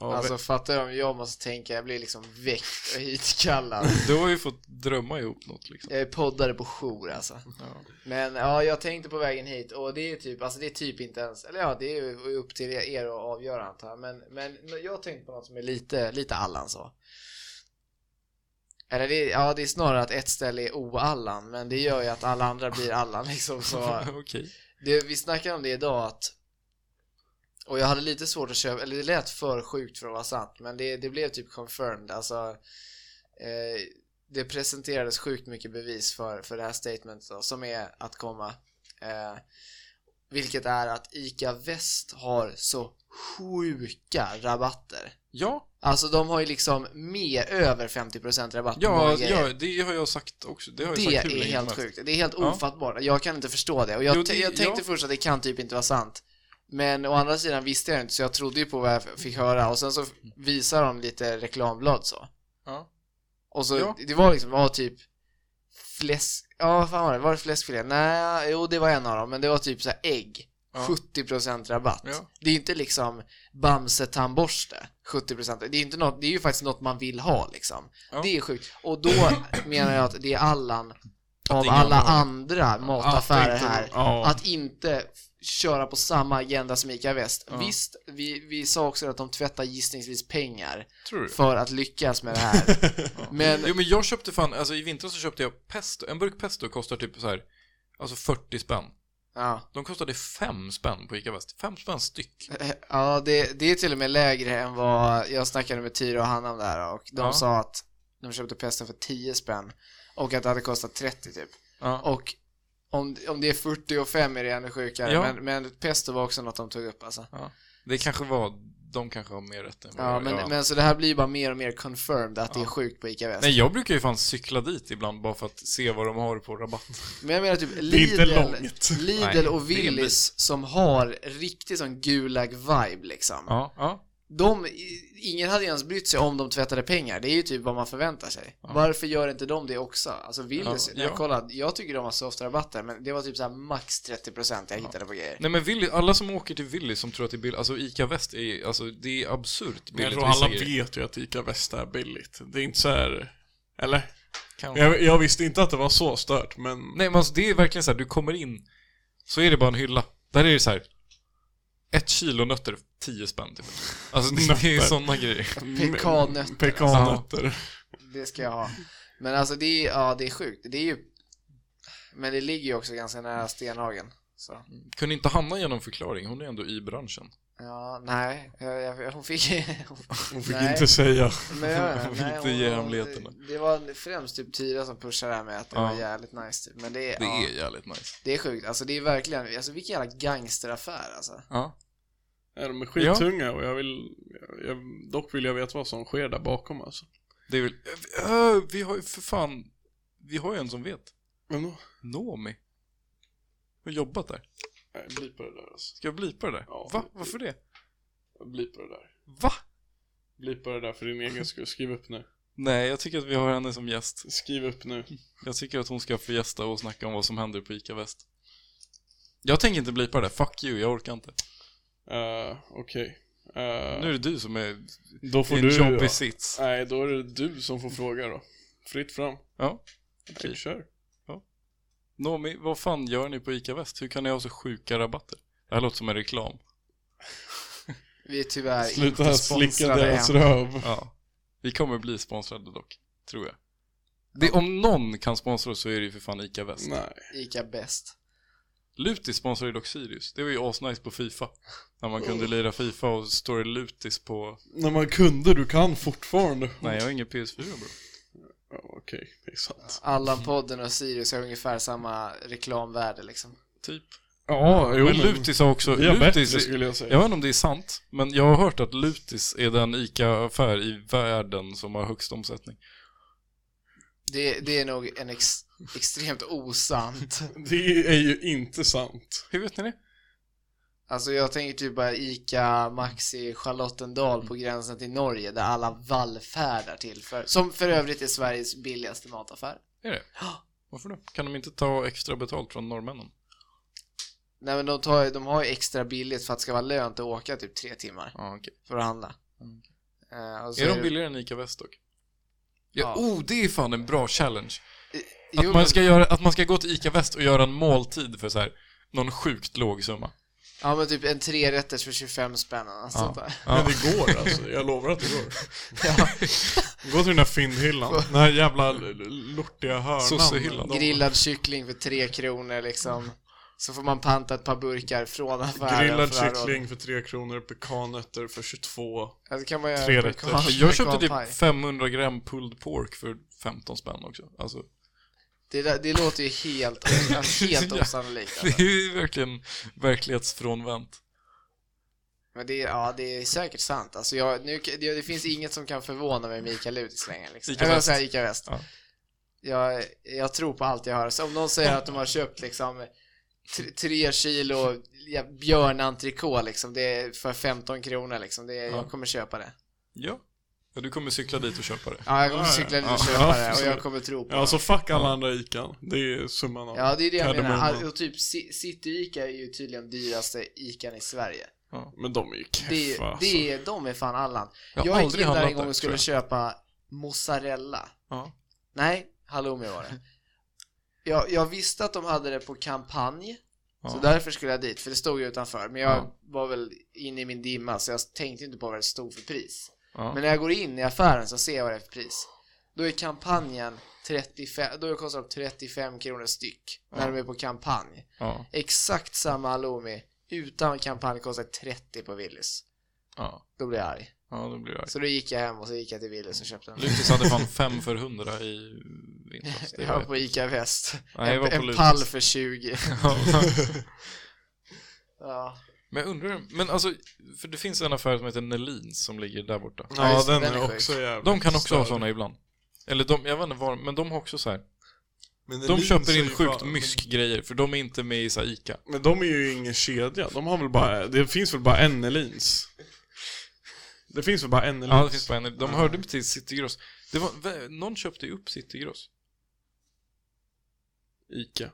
Ja, alltså fattar du om jag måste tänka, jag blir liksom väckt och hitkallad. Du har ju fått drömma ihop något liksom. Jag är poddare på jour alltså. Ja. Men ja, jag tänkte på vägen hit och det är typ, alltså det är typ inte ens, eller ja, det är ju upp till er att avgöra antar jag. Men, men jag tänkte på något som är lite, lite Allan så. Eller det, är- ja, det är snarare att ett ställe är o-Allan, men det gör ju att alla andra blir Allan liksom så. Okej. Det, vi snackade om det idag att och jag hade lite svårt att köpa, eller det lät för sjukt för att vara sant, men det, det blev typ confirmed. Alltså, eh, det presenterades sjukt mycket bevis för, för det här statementet då, som är att komma. Eh, vilket är att ICA Väst har så sjuka rabatter. Ja, Alltså de har ju liksom mer, över 50% rabatt på många ja, grejer. ja, det har jag sagt också. Det har jag Det sagt hur är länge helt som helst. sjukt. Det är helt Ja. ofattbart. Jag kan inte förstå det. Och jag, Jo, det- t- jag tänkte ja. först att det kan typ inte vara sant. Men å andra sidan visste jag inte, så jag trodde ju på vad jag f- fick höra. Och sen så visar de lite reklamblad så. Ja. Och så, Ja. det var liksom, var typ fläsk... Ja, vad fan var det? Var det fläskfilé? Nej, jo det var en av dem, men det var typ så här ägg. Ja. 70% rabatt. Ja. Det är ju inte liksom Bamse-tandborste, 70%. Det är, ju inte något, det är ju faktiskt något man vill ha liksom. Ja. Det är sjukt. Och då menar jag att det är Allan av ingen alla har det. andra mataffärer tänkte- här, ja. att inte f- köra på samma agenda som ICA Väst. Ja. Visst, vi, vi sa också att de tvättar gissningsvis pengar Tror du? för att lyckas med det här. Men Jo men jag köpte fan, alltså i vintras så köpte jag pesto, en burk pesto kostar typ så här, alltså 40 spänn. ja, De kostade 5 spänn på ICA Väst, 5 spänn styck. Eh, ja det, det är till och med lägre än vad jag snackade med Tyra och Hanna om där och de Ja. sa att de köpte pesten för 10 spänn och att det hade kostat 30 typ. Ja. Och om, om det är 40 och 5 är det ännu sjukare, Ja. men, men pesto var också något de tog upp alltså. Det kanske var, de kanske har mer rätt än vad Ja, jag men, har. men så det här blir ju bara mer och mer confirmed att det är sjukt på ICA Väst. Nej jag brukar ju fan cykla dit ibland bara för att se vad de har på rabatt. Men jag menar typ är inte Lidl, långt. Nej, Lidl och det är en bit. Willys som har riktigt sån gulag-vibe liksom. Ja, ja. De, i- ingen hade ens brytt sig om de tvättade pengar, det är ju typ vad man förväntar sig. Varför gör inte de det också? Alltså Willys, Ja, när jag ja. kollade, jag tycker de har soft rabatter, men det var typ så här max 30% jag hittade på grejer. Nej men Willy, alla som åker till Willy som tror att det är billigt, alltså ICA Väst är, alltså det är absurt Men jag billigt tror vissa alla grejer. vet ju att ICA Väst är billigt. Det är inte så här... Eller? Kanske. Jag, jag visste inte att det var så stört, men... Nej men alltså det är verkligen så här, du kommer in, så är det bara en hylla. Där är det så här. ett kilo nötter, 10 spänn typ. Alltså det, det är Nötter. sådana grejer. Pekannötter. Pekannötter. Det ska jag ha. Men alltså det är, ja, det är sjukt. Det är ju... Men det ligger ju också ganska nära Stenhagen. Så. Kunde inte Hanna ge någon förklaring? Hon är ändå i branschen. Ja, nej, jag, jag, hon fick... Hon fick Nej. inte säga. Men jag, Hon vill nej, inte ge hemligheterna. Det var främst typ Tyra som pushade det här med att det Ja. var jävligt nice typ. Men det är, Det ja, är jävligt nice. det är sjukt. Alltså det är verkligen, alltså vilken jävla gangsteraffär alltså. Ja. Nej, de är skittunga och jag vill, jag, jag, dock vill jag veta vad som sker där bakom alltså. Det är väl... Ö, vi har ju för fan... Vi har ju en som vet. Men då? Nomi. Har jobbat där. Nej, bli på det där alltså. Ska jag blipa det där? Ja. Va? Varför det? Bli på det där. Va? Bli på det där för din egen skull. Skriv upp nu. Nej, jag tycker att vi har henne som gäst. Skriv upp nu. Jag tycker att hon ska få gästa och snacka om vad som händer på ICA Väst. Jag tänker inte blipa det där. Fuck you, jag orkar inte. Eh, Okej. Eh, Nu är det du som är då får i en du... jobbig sits. Nej, då är det du som får fråga då. Fritt fram. Ja. Okay. Kör. Nomi, vad fan gör ni på ICA Väst? Hur kan ni ha så sjuka rabatter? Det här låter som en reklam. Vi är tyvärr Sluta inte slicka sponsrade deras än. röv. Ja. Vi kommer bli sponsrade dock, tror jag. Det, om någon kan sponsra oss så är det ju för fan ICA Väst. Nej. Ica bäst. Lutis sponsrar ju dock Sirius. Det var ju asnice på Fifa. När man kunde lira Fifa och står det Lutis på... När man kunde, du kan fortfarande. Nej, jag har ingen PS4 bro. Ja, Okej, det är sant. Allan-podden och Sirius har ungefär samma reklamvärde liksom. Typ. Ja, jo Men Lutis har också... Vi har Lutis, bättre skulle jag säga. jag vet inte om det är sant, men jag har hört att Lutis är den ICA-affär i världen som har högst omsättning. Det, det är nog en ex, extremt osant. Det är ju inte sant. Hur vet ni det? Alltså jag tänker typ bara Ica Maxi Charlottendal på gränsen till Norge där alla vallfärdar till för, som för övrigt är Sveriges billigaste mataffär. Är det? Ja. Varför då? Kan de inte ta extra betalt från norrmännen? Nej men de, tar, ju- de har ju extra billigt för att det ska vara lönt att åka typ tre timmar Ja, okej. för att handla. Mm. Eh, och så Är de det- billigare än ICA Väst dock? Ja, Ja. Oh, det är fan en bra challenge. Jo, Att, men- man ska göra, att man ska gå till ICA Väst och göra en måltid för så här, någon sjukt låg summa. Ja men typ en trerätters för 25 spänn eller något sånt där. Men det går alltså, jag lovar att det går. Ja. Gå till den där fyndhyllan, den här jävla l- l- lortiga hörnan. Sossehyllan. De- Grillad kyckling för 3 kronor liksom. Så får man panta ett par burkar från affären. Grillad för det här rådet. kyckling för 3 kronor, pekanötter för 22. Ja, det kan man göra. Tre på rätter. Karl- Jag på köpte Karlpaj. typ 500 gram pulled pork för 15 spänn också. Alltså, Det, där, det låter ju helt, alltså, helt Ja. osannolikt. det Alltså. är ju verkligen verklighetsfrånvänt. Men det, är- ja, det är säkert sant. Alltså jag, nu, det, det finns inget som kan förvåna mig med Ica Lutis längre. Liksom. Ica Ica Väst. Väst. Säga, Ica Väst. Ja. Jag, jag tror på allt jag hör. Så om någon säger att de har köpt liksom tre, tre kilo ja, björnentrecôte liksom, det är för 15 kronor liksom. Det, är- Ja. Jag kommer köpa det. Ja. ja, du kommer cykla dit och köpa det. Ja, jag kommer Ja, ja. cykla dit och Ja, köpa ja, det och jag absolut. kommer tro på Ja, så fuck alla andra Ican. Det är summan av. Ja, det är det jag menar. Kardemumma. Och typ Ci- City-Ica är ju tydligen dyraste Ican i Sverige. Men de är ju Det, keffa alltså. det, är- de är fan Allan. Jag har Jag gick in aldrig där en handlat gång där, och skulle tror köpa mozzarella. Ja. Nej, halloumi var det. Jag, jag visste att de hade det på kampanj, så Ja. därför skulle jag dit, för det stod ju utanför. Men jag Ja. var väl inne i min dimma, så jag tänkte inte på vad det stod för pris. Ja. Men när jag går in i affären så ser jag vad det är för pris. Då är kampanjen 35, då kostar de 35 kronor styck, när de är på kampanj. Ja. Exakt samma halloumi, utan kampanj kostar 30 på Willys. Ja. Då blir jag arg. ja, då blir det arg. Så då gick jag hem och så gick jag till Willys och köpte en. Lutis hade fan 5 för 100 i vintras. Det Jag var var... på ICA Väst. Nej, jag var på en en Lutis. pall för 20. Ja. Ja. Men jag undrar, men alltså, för det finns en affär som heter Nelins som ligger där borta. Ja, Ja, just det, den den är är sjuk. också jävligt De kan också ha störd. såna ibland. Eller de, jag vet inte var, men de har också så här. Men De Elin köper säger in ju sjukt fan- mysk-grejer, för de är inte med i så här ICA. Men de är ju ingen kedja, de har väl bara, det finns väl bara en Elins? Det finns väl bara en Elins? Ja, det finns på en. De hörde till Citygross. Det var, vä- någon köpte ju upp Citygross. Ica.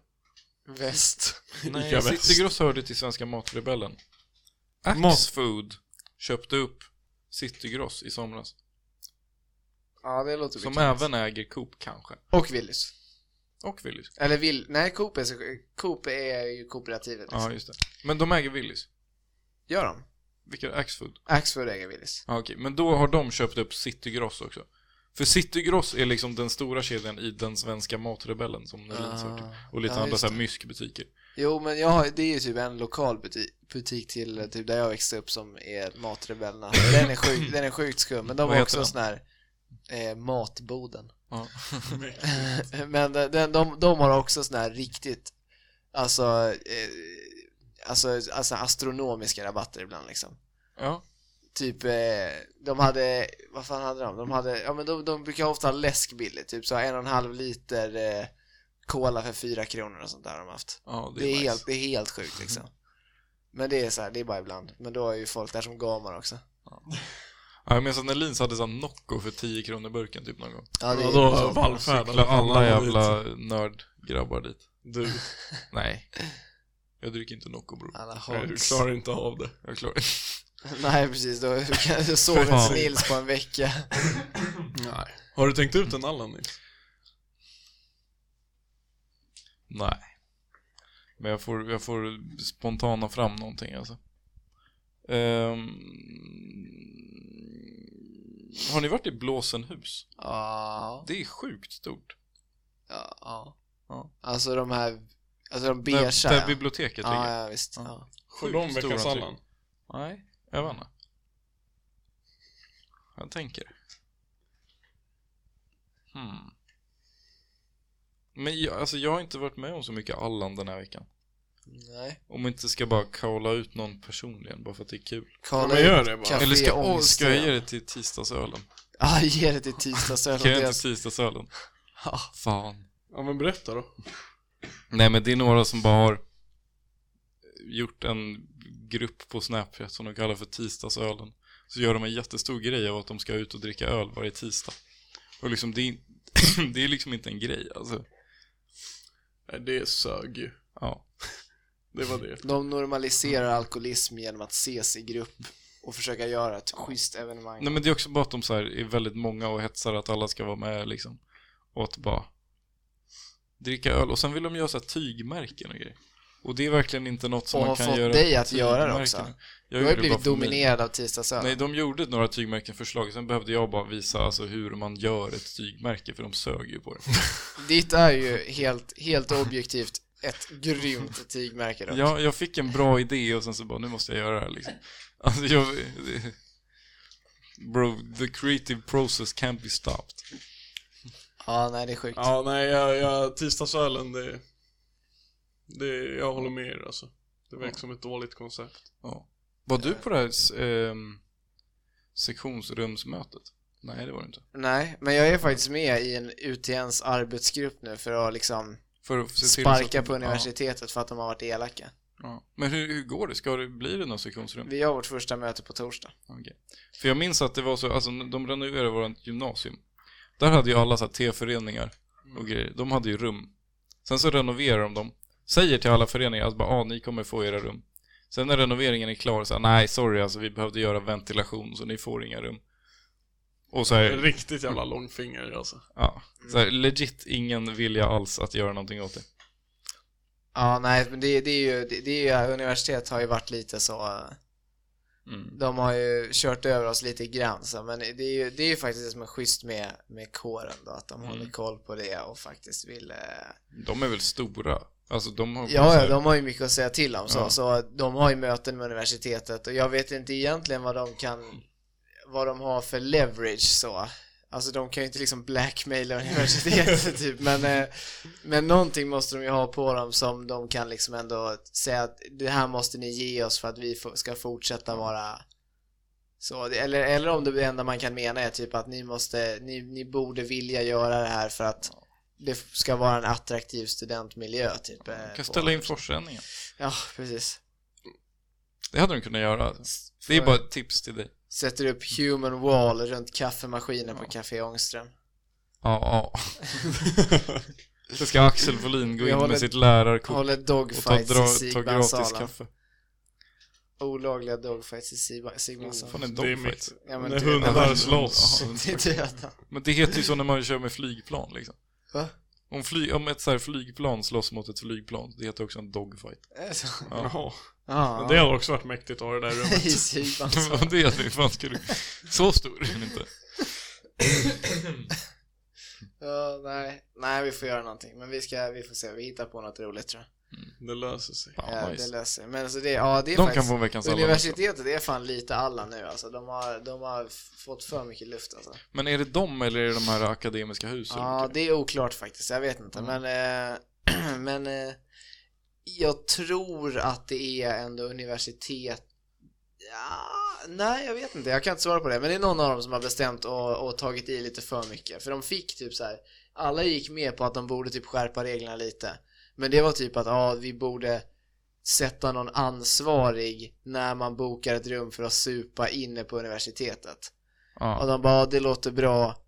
Väst. Nej, Ica Väst. Citygross hörde till Svenska Matrebellen. Mat- Axfood köpte upp Citygross i somras. Ja, det låter Som bekant. även äger Coop kanske. Och Willys. Och Willys. Eller vill... Nej, Coop är, så... Coop är ju kooperativet. Liksom. Ja, just det. Men de äger Willys. Gör de? Vilka? Axfood? Axfood äger Willys. Ja, okej, men då har de köpt upp Citygross också. För Citygross är liksom den stora kedjan i den svenska matrebellen som Nelins har typ. Och lite Ah. ja, andra just så här myskbutiker. Jo, men jag har, det är ju typ en lokal buti- butik till eh, typ där jag växte upp som är Matrebellerna. Den är, sjuk, den är sjukt skum, men de Vad har heter också den? sån här eh, Matboden. Ja. men den, den, de, de har också sån här riktigt, alltså, eh, alltså, alltså astronomiska rabatter ibland liksom. ja. Typ, eh, de hade, vad fan hade de? De hade, ja men de, de brukar ofta ha läsk billigt, typ så här en och en halv liter eh, cola för fyra kronor och sånt där har de haft. ja Det är, helt, det är helt sjukt liksom. Men det är så här, det är bara ibland. Men då är ju folk där som gamar också. Ja, jag minns att när Lins hade sån Nocco för 10 kronor burken typ någon gång. Ja, det är, liksom Ja, då så. vallfärdade Cyklade alla jävla nördgrabbar dit. Du, Nej. Jag dricker inte Nocco bror. Alla du honks. klarar inte av det. Jag klarar Nej precis, då då sover Fan. inte Nils på en vecka. Nej. Har du tänkt ut en Allan Nils? Nej. Men jag får, jag får spontana fram någonting alltså. Ehm, har ni varit i Blåsenhus? Ja, Det är sjukt stort. ja, ja. Ja. Alltså de här, alltså de beigea. Där, där biblioteket ja, ligger. ja, visst. Ja. Ja. Får de Sjukt veckans stora typ. tryck. Allan? Nej, jag vet inte. Jag tänker. Hmm. Men jag, alltså jag har inte varit med om så mycket Allan den här veckan. Nej. Om vi inte ska bara calla ut någon personligen bara för att det är kul. Ja, Kolla men ut. gör det bara. Kaffe. Eller ska, Ångestö. åh, ska jag ge det till tisdagsölen? Ja, ge det till Kan jag tisdagsölen. inte tisdagsölen? Ja. Fan. Ja men berätta då. Nej men det är några som bara har gjort en grupp på Snapchat som de kallar för tisdagsölen. Så gör de en jättestor grej av att de ska ut och dricka öl varje tisdag. Och liksom det är, det är liksom inte en grej alltså. Nej, det sög ju. Ja. Det var det. De normaliserar alkoholism genom att ses i grupp och försöka göra ett schysst evenemang. Nej men det är också bara att de så här är väldigt många och hetsar att alla ska vara med liksom. Och att bara dricka öl. Och sen vill de göra så här tygmärken och grejer. Och det är verkligen inte något som Och man har kan fått göra. dig att göra det också. tygmärken. Jag Du har gjorde ju det bara blivit för mig. dominerad av tisdagsölen. Nej, de gjorde några tygmärkenförslag, sen behövde jag bara visa alltså, hur man gör ett tygmärke, för de sög ju på det. Ditt är ju helt, helt objektivt ett grymt tygmärke dock. Jag, jag fick en bra idé och sen så bara, nu måste jag göra det här liksom. Alltså, jag... Bro, the creative process can't be stopped. Ja, nej det är sjukt. Ja nej, jag, jag, tisdagsölen det, det... Jag håller med er alltså. Det verkar som ett dåligt koncept. Ja. Var du på det här eh, sektionsrumsmötet? Nej, det var du inte. Nej, men jag är faktiskt med i en UTNs arbetsgrupp nu för att liksom För att se till så att- sparka på universitetet för att de har varit elaka. Ja, ja. Men hur, hur går det? Ska det bli det något sektionsrum? Vi har vårt första möte på torsdag. Okej. För jag minns att det var så, alltså de renoverade vårt gymnasium. Där hade ju alla så här T-föreningar Mm. och grejer. De hade ju rum. Sen så renoverar de dem. Säger till alla föreningar att bara, ah, ni kommer få era rum. Sen när renoveringen är klar så här, nej sorry alltså vi behövde göra ventilation så ni får inga rum. Och så Det är här, riktigt jävla långfinger alltså. ja, så här, legit ingen vilja alls att göra någonting åt det. Ja, nej, men det, det är ju, det, det är ju, universitet har ju varit lite så, eh, Mm. de har ju kört över oss lite grann så, men det är ju, det är ju faktiskt det som är schysst med, med kåren då, att de Mm. håller koll på det och faktiskt vill eh, De är väl stora? Alltså de har så Ja, här- ja, de har ju mycket att säga till om så, Ja. så de har ju möten med universitetet och jag vet inte egentligen vad de kan, vad de har för leverage så. Alltså de kan ju inte liksom blackmaila universitetet typ, men, eh, men någonting måste de ju ha på dem som de kan liksom ändå säga att det här måste ni ge oss för att vi få- ska fortsätta vara så, det- eller, eller om det enda man kan mena är typ att ni måste, ni, ni borde vilja göra det här för att det ska vara en attraktiv studentmiljö typ. eh, kan på- ställa in forsränningen. Ja, precis. Det hade de kunnat göra. Det är bara ett tips till dig. Sätter upp human wall runt kaffemaskinen på Ja. Café Ångström. Ja, ja. Så ska Axel Wåhlin gå Jag in håller- med sitt lärarkort Håller och ta, dogfights dra, i ta gratis Sigbandsalen. kaffe. Olagliga dogfights i Sigba- Vad fan Sigbandsalen. är Det är dogfight? mitt. Ja, men När du- hundar slåss. Ja, Det är döda. Men det heter ju så när man kör med flygplan liksom. Va? Om, fly, om ett så här flygplan slåss mot ett flygplan, det heter också en dogfight. Är det så? Ja. Jaha. Ja. Men det hade också varit mäktigt att ha det där rummet. I alltså. Sigbandsalen. Vad det är nu, fan ska du... Så stor är den inte. Ja, nej. nej, vi får göra någonting. Men vi ska, vi får se. Vi hittar på något roligt tror jag. Det löser sig. Fan, Ja, det nice. löser sig. Men alltså det, ja, det är De kan faktiskt... få en veckans Allan också. Universitetet är fan lite alla nu alltså. De har, de har f- fått för mycket luft alltså. Men är det dem eller är det de här akademiska husen? Ja, det är oklart faktiskt. Jag vet inte. Mm. Men, eh, men eh, jag tror att det är ändå universitet. Ja, nej, jag vet inte. Jag kan inte svara på det. Men det är någon av dem som har bestämt och, och tagit i lite för mycket. För de fick typ så här. Alla gick med på att de borde typ skärpa reglerna lite. Men det var typ att ja, vi borde sätta någon ansvarig när man bokar ett rum för att supa inne på universitetet. Och Ja. de bara, "Ja, det låter bra.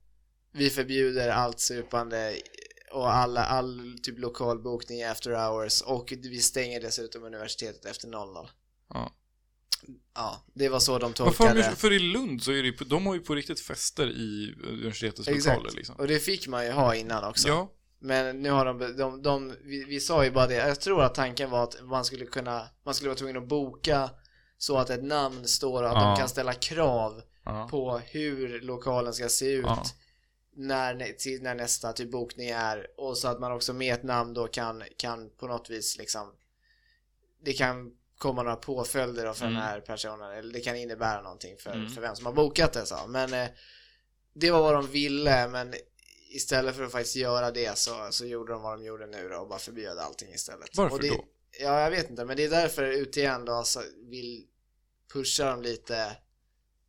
Vi förbjuder allt supande och alla, all typ lokalbokning i after hours och vi stänger dessutom universitetet efter 00. Ja. Ja, det var så de Varför har tolkade de, det. ju- för i Lund så är det ju, de har ju på riktigt fester i universitetets lokaler Exakt. liksom. Och det fick man ju ha innan också. Ja, Men nu har de, de, de vi, vi sa ju bara det, jag tror att tanken var att man skulle kunna, man skulle vara tvungen att boka så att ett namn står och att Ja. de kan ställa krav ja. på hur lokalen ska se ut Ja. när, nä- till, när nästa typ bokning är och så att man också med ett namn då kan, kan på något vis liksom det kan komma några påföljder då för Mm. den här personen eller det kan innebära någonting för, Mm. för vem som har bokat det så. men eh, det var vad de ville men istället för att faktiskt göra det så, så gjorde de vad de gjorde nu då och bara förbjöd allting istället. Varför och det, då? Ja, jag vet inte, men det är därför UTN då alltså vill pusha dem lite,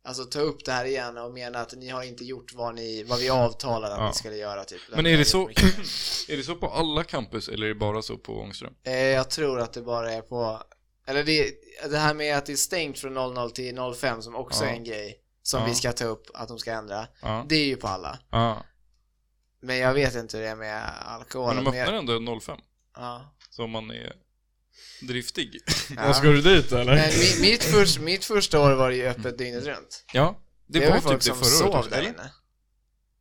alltså ta upp det här igen och mena att ni har inte gjort vad, ni, vad vi avtalade att Ja. ni skulle göra. Typ. Men är det, så, Mycket. är det så på alla campus eller är det bara så på Ångström? Eh, Jag tror att det bara är på, eller det, det här med att det är stängt från 00 till 05 som också Ja. är en grej som Ja. vi ska ta upp att de ska ändra, Ja. det är ju på alla. ja. Men jag vet inte hur det är med alkohol. Men de men jag- öppnar ändå 05, ja. så om man är driftig. Ja. Ska du dit eller? Men mi- mitt, först, mitt första år var det ju öppet dygnet runt. Ja, det, var var ju typ det förra året också, där eller? inne.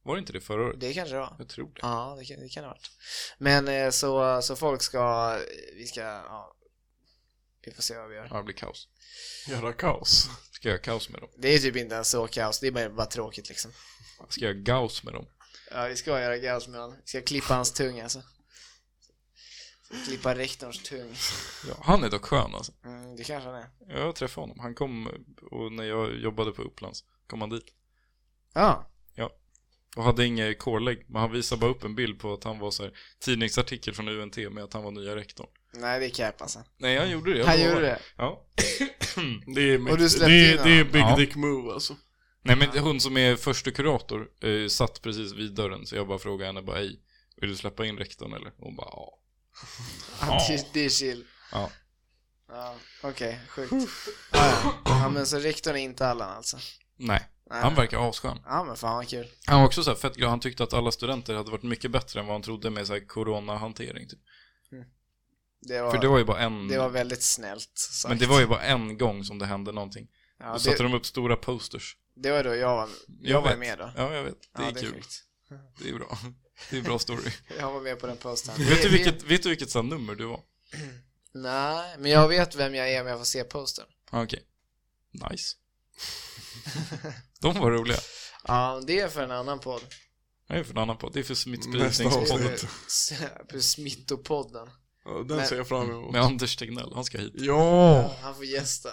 Var det inte det förra året? Det kanske det var. Jag tror det. Ja, det kan det kan ha varit. Men eh, så, så folk ska, vi ska, ja, vi får se vad vi gör. Ja, det blir kaos. Göra kaos. Ska jag göra kaos med dem? Det är typ inte ens så kaos, det är bara, bara tråkigt liksom. Ska jag göra gaos med dem? Ja, vi ska göra kaos med honom. Vi ska klippa hans tunga alltså. Klippa rektorns tung. Ja, han är dock skön alltså. Mm, det kanske han är. Jag träffade honom. Han kom och när jag jobbade på Upplands kom han dit. Ja, Och hade inget kårlägg, men han visade bara upp en bild på att han var så här, tidningsartikel från UNT med att han var nya rektorn. nej det är cap alltså. Nej, han gjorde det. jag Han lovar. gjorde det. Ja. Det är, mitt, Och du det, släppte in är, det är honom? big Ja. dick move alltså. Nej men hon som är första kurator eh, satt precis vid dörren så jag bara frågade henne bara hej, vill du släppa in rektorn eller? Hon bara ja. Det, det är chill. Ja. Ja, okej, sjukt. Ja, ja. ja, men så rektorn är inte Allan alltså. Nej, Nej. han verkar asskön. Ja, men fan vad kul. Han var också så här fett glad, han tyckte att alla studenter hade varit mycket bättre än vad han trodde med så här coronahantering typ. Det var, För det var ju bara en, det var väldigt snällt sagt. men det var ju bara en gång som det hände någonting. Ja, Då det- satte de upp stora posters. Det var då jag var, jag var vet. med då. Ja, jag vet. Det Ja, är kul. sjukt. Det är bra. Det är bra story. Jag var med på den posten. vet du vilket, vet du vilket så här nummer du var? Nej, men jag vet vem jag är om jag får se posten. Ah, Okej. Nice. de var roliga. Ja, det är för en annan podd. Nej, för en annan podd. Det är för Nästa smittspridningspodden. avsnitt. På Smittopodden. Ja, den Men- ser jag fram emot. Med Anders Tegnell, han ska hit. Ja! Han får gästa.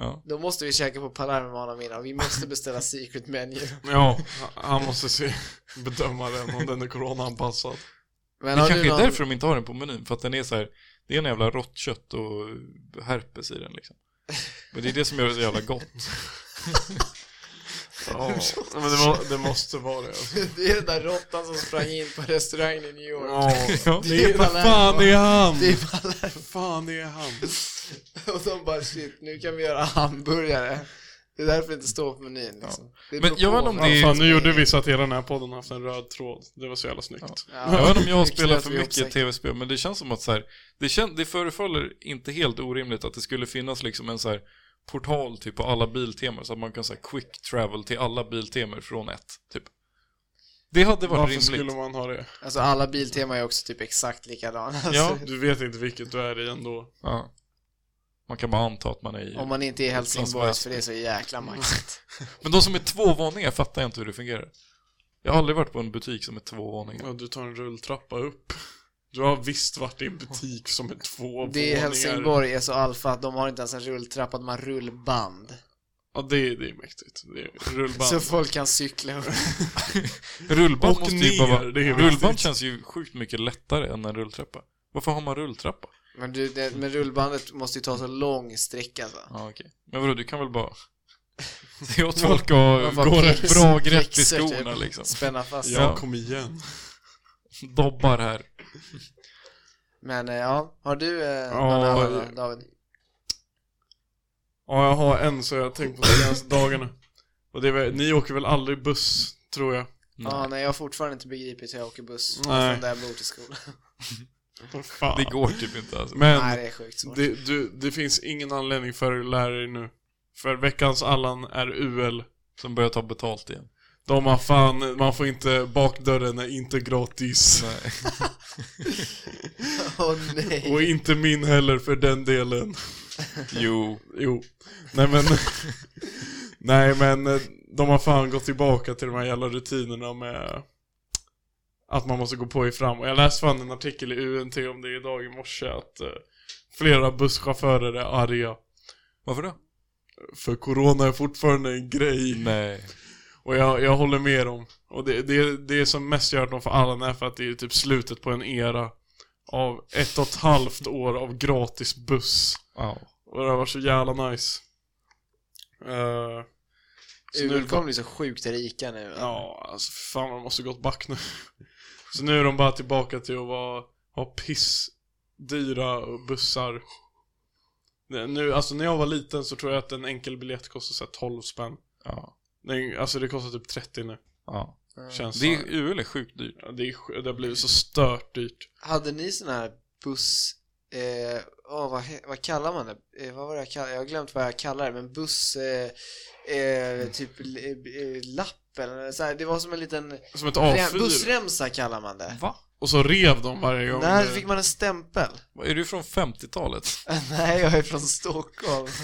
Ja. Då måste vi käka på Palermo med honom innan. Vi måste beställa secret menu. Ja, han måste se, bedöma den om den är coronaanpassad. Det Men har kanske du är någon... därför de inte har den på menyn, för att den är så här, det är en jävla rått kött och herpes i den liksom. Men det är det som gör det så jävla gott. Ja, men det, må, det måste vara det alltså. det är den där råttan som sprang in på restaurangen i New York. Ja, Ja. det är, Palermo. fan det är han! Det är Palermo. Fan det är han! Och de bara shit, nu kan vi göra hamburgare. Det är därför det inte står på menyn liksom. Det Men beror jag på vet inte om vad det är- som Fan, nu gjorde är- vi så att hela den här podden har haft en röd tråd. Det var så jävla snyggt. Ja. Jag vet inte om jag Nu knöt spelar för vi ihop mycket säcken. tv-spel, men det känns som att så här, det, kän, det förefaller inte helt orimligt att det skulle finnas liksom en så här portal typ på alla biltemer så att man kan så här quick travel till alla biltemer från ett, typ. Det hade varit Varför rimligt. skulle man ha det? Alltså alla biltema är också typ exakt likadana. Ja. Alltså, Du vet inte vilket du är i ändå. Ja. Man kan bara anta att man är Mm. i... Om man inte är i Helsingborg, Upplands för det är så jäkla maxigt. Men de som är två våningar fattar jag inte hur det fungerar. Jag har aldrig varit på en butik som är två våningar. Ja, du tar en rulltrappa upp. Du har visst varit i en butik som är två Det är våningar. Helsingborg är så alfa att de har inte ens en rulltrappa, de har rullband. Ja, det, det är mäktigt. Det är rullband. Så folk kan cykla upp. Rullband Och måste ju bara ner, vara... det är ju Rullband viktigt. känns ju sjukt mycket lättare än en rulltrappa. Varför har man rulltrappa? Men, du, det, men rullbandet måste ju ta så lång sträcka alltså. så. Ja, okej. Men vadå, du kan väl bara... Se åt folk och Man bara gå Mm. ett bra pix- grepp i pixar typ. skorna liksom. Spänna fast. Ja, kom igen. Dobbar här. Men eh, ja, har du eh, Ja, någon annan det- då, David? Ja, jag har en så jag har tänkt på de senaste dagarna. Och det är, väl- ni åker väl aldrig buss, tror jag? Nej. Ja, nej jag har fortfarande inte begripit hur jag åker buss Nej. från där jag bor till skolan. Fan. Det går typ inte alltså. Men nej, det är sjukt svårt. det, du, det finns ingen anledning för er att lära er nu. För veckans Allan är UL. Som börjar ta betalt igen. De har fan, man får inte, bakdörren är inte gratis. Nej. Åh nej. Och inte min heller för den delen. Jo. Jo. Nej men... Nej men eh, de har fan gått tillbaka till de här jävla rutinerna med att man måste gå på i fram. Och jag läste fan en artikel i UNT om det idag i morse att eh, flera busschaufförer är arga. Varför då? För corona är fortfarande en grej. Nej. Och jag, jag håller med dem. Och det, det, det som mest gör att de får Allan är för att det är typ slutet på en era av ett och ett halvt år av gratis buss. Ja. Och det har varit så jävla nice. Eh, så nu- UL kommer bli så sjukt rika nu. Ja, alltså för fan de måste gått back nu. Så nu är de bara tillbaka till att vara, ha pissdyra bussar. Nej, Nu, alltså när jag var liten så tror jag att en enkel biljett kostade så här 12 spänn. Ja. Nej, alltså det kostar typ 30 nu, ja. Mm. känns Det det. är, UL är sjukt dyrt. Ja, det, är, sj- det har blivit så stört dyrt. Hade ni sån här buss... Eh, åh, vad, he- vad kallar man det? Eh, vad var det jag kallade Jag har glömt vad jag kallar det, men buss... Eh, eh, typ l- eh, lapp eller så här, Det var som en liten... Som ett Rem, A4. bussremsa kallar man det. Va? Och så rev de varje gång. Där det- fick man en stämpel. Är du från 50-talet? Nej, jag är från Stockholm.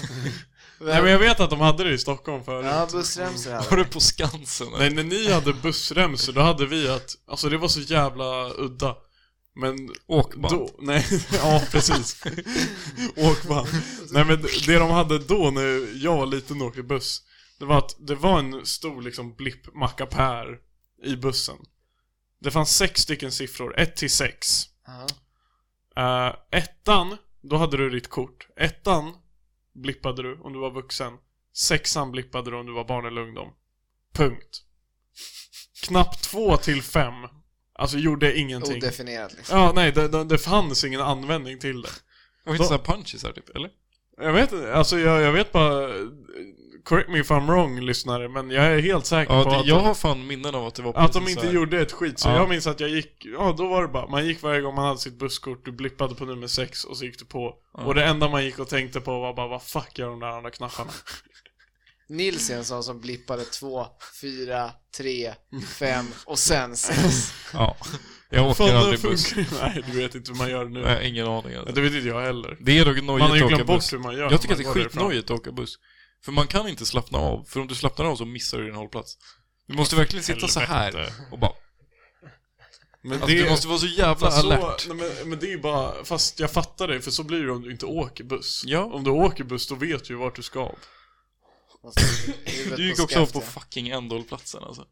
Nej men jag vet att de hade det i Stockholm förut. Ja, bussremsor Var hade du på Skansen? eller? Nej, när ni hade bussremsor då hade vi att, alltså det var så jävla udda. Men Åkband. då, nej, ja precis. Åkband. Nej men det de hade då när jag var liten och åkte buss, det var att det var en stor liksom blipp mackapär i bussen. Det fanns sex stycken siffror, ett till sex. Ja. Eh, ettan, då hade du ditt kort. Ettan blippade du om du var vuxen. Sexan blippade du om du var barn eller ungdom. Punkt. Knapp två till fem, alltså gjorde ingenting. Odefinierat liksom. ja, nej, det, det, det fanns ingen användning till det. Var det inte såhär punchisar typ, eller? Jag vet inte, alltså jag, jag vet bara... Correct me if I'm wrong, lyssnare, men jag är helt säker på Ja, att... det, jag har fan minnen av att det var Att de precis inte så här. gjorde ett skit, så Ja. jag minns att jag gick, ja då var det bara, man gick varje gång man hade sitt busskort, du blippade på nummer 6 och så gick du på. Och det enda man gick och tänkte på var bara, vad fuck gör de där andra knapparna? Nils är en sån som blippade två, fyra, tre, fem och sen sex. Ja. Jag åker Fan, det aldrig buss. funkar ju. Nej, du vet inte hur man gör nu. Jag har ingen aning. Ja, Alltså. det vet inte jag heller. Det är dock Man har nojigt ju att åka glömt buss. bort hur man gör. Jag tycker när att det är man går därifrån. skitnojigt att åka buss. För man kan inte slappna av, för om du slappnar av så missar du din hållplats. Du måste verkligen sitta så här Helvete. och bara... Men Alltså, det, du måste vara så jävla fast så, alert. nej, men, men det är ju bara, fast jag fattar det, för så blir det om du inte åker buss. Ja. Om du åker buss, då vet du ju vart du ska. Du gick också av på fucking ändhållplatsen alltså.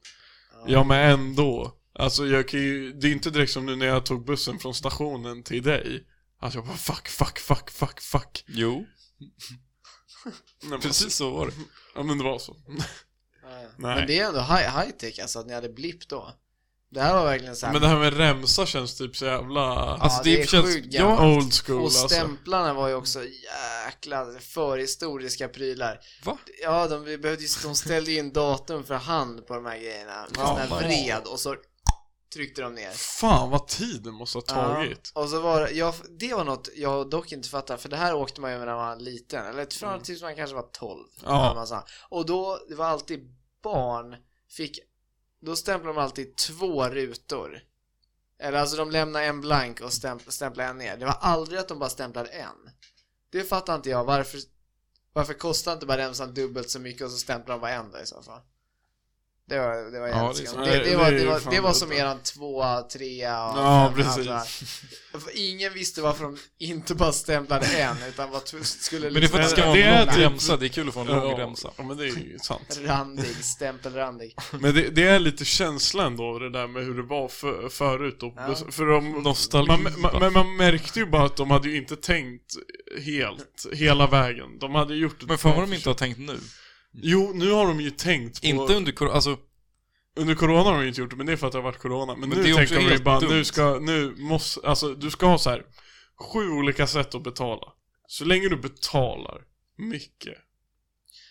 Ja men ändå. Alltså jag kan ju, det är inte direkt som nu när jag tog bussen från stationen till dig. Alltså jag bara fuck, fuck, fuck, fuck, fuck. Jo, Nej, men alltså, precis så var det. Ja men det var så. Nej. Nej. Men det är ändå high, high tech alltså att ni hade blipp då. Det här var verkligen såhär, Men det här med remsa känns typ så jävla Alltså det det, är känns... sjukt gammalt. Ja, old school och alltså. stämplarna var ju också jäkla förhistoriska prylar. Va? Ja, de, vi behövde ju, de ställde ju in datum för hand på de här grejerna. Med Ja, sån här nice. vred och så tryckte de ner. Fan vad tiden måste ha tagit. Ja, och så var det, ja, det var något jag dock inte fattar för det här åkte man ju när man var liten, eller från tills man kanske var 12. Mm. Ja. eller vad man sa. Och då, det var alltid barn fick, då stämplade de alltid två rutor. Eller alltså de lämnade en blank och stämp, stämplade en ner. Det var aldrig att de bara stämplade en. Det fattar inte jag, varför varför kostar inte bara remsan dubbelt så mycket och så stämplar de bara en där i så fall? Det var, det var Ja, jävligt det är skumt. så. Det, Nej, det, var, det är det, var, fan det var som brutalt. eran tvåa, trea och Ja, femma, precis. sådär. För Ingen visste varför de inte bara stämplade en, utan vad t- skulle Men det är för att det ska vara Det är en lång typ- remsa, det är kul att få en lång remsa. Ja, men det är ju sant. liksom randig, stämpelrandig. Men det, det är lite känslan då, det där med hur det var för, förut då. Ja. För de, Nostalgi. man, man, men man märkte ju bara att de hade ju inte tänkt helt, hela vägen. De hade gjort ett Men fan vad de försök. inte har tänkt nu. Jo, nu har de ju tänkt på... Inte under corona, alltså Under corona har de ju inte gjort det, men det är för att det har varit corona. Men, Men det nu är tänker också de ju helt bara, dumt. nu ska, nu måste, alltså du ska ha så här sju olika sätt att betala. Så länge du betalar mycket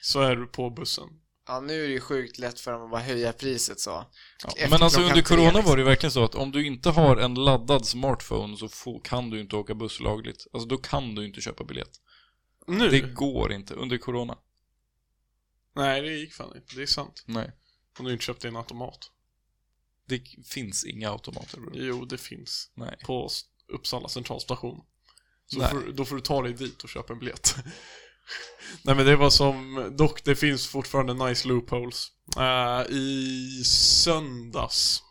så är du på bussen. Ja, nu är det ju sjukt lätt för dem att bara höja priset så. Efter Men alltså klockan under tre, corona liksom. var det ju verkligen så att om du inte har en laddad smartphone så få, kan du inte åka buss lagligt. Alltså då kan du inte köpa biljett. Nu? Det går inte under corona. Nej, det gick fan inte. Det är sant. Nej. Om du inte köpte en automat. Det finns inga automater. bro. Jo, det finns. Nej. På S- Uppsala centralstation. Så Nej. får, då får du ta dig dit och köpa en biljett. Nej men det var som, dock det finns fortfarande nice loopholes. Eh, I söndags.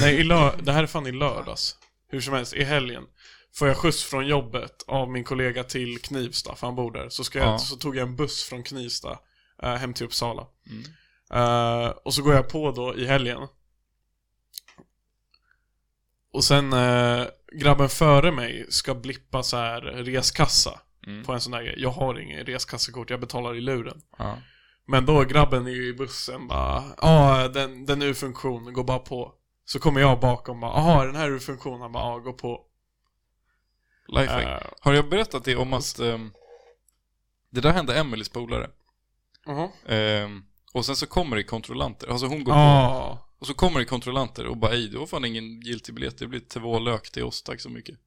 Nej, i lö- det här är fan i lördags. Hur som helst, i helgen. Får jag skjuts från jobbet av min kollega till Knivsta, för han bor där. Så, ska jag, Ja. så tog jag en buss från Knivsta eh, hem till Uppsala. Mm. Eh, och så går jag på då i helgen. Och sen eh, grabben före mig ska blippa så här reskassa Mm. på en sån där grej. Jag har ingen reskassekort, jag betalar i luren. Ja. Men då grabben i bussen bara, ja den, den är ur funktion, gå bara på. Så kommer jag bakom bara, jaha den här är ur funktion, han bara, ja gå på. Lifehack. Eh, Har jag berättat det om att ehm, det där hände Emelies polare. jaha. Ehm, och sen så kommer det kontrollanter. Alltså hon går på. Ja. Och så kommer det kontrollanter och bara ej, du har fan ingen giltig biljett. Det blir två lök till oss, tack så mycket.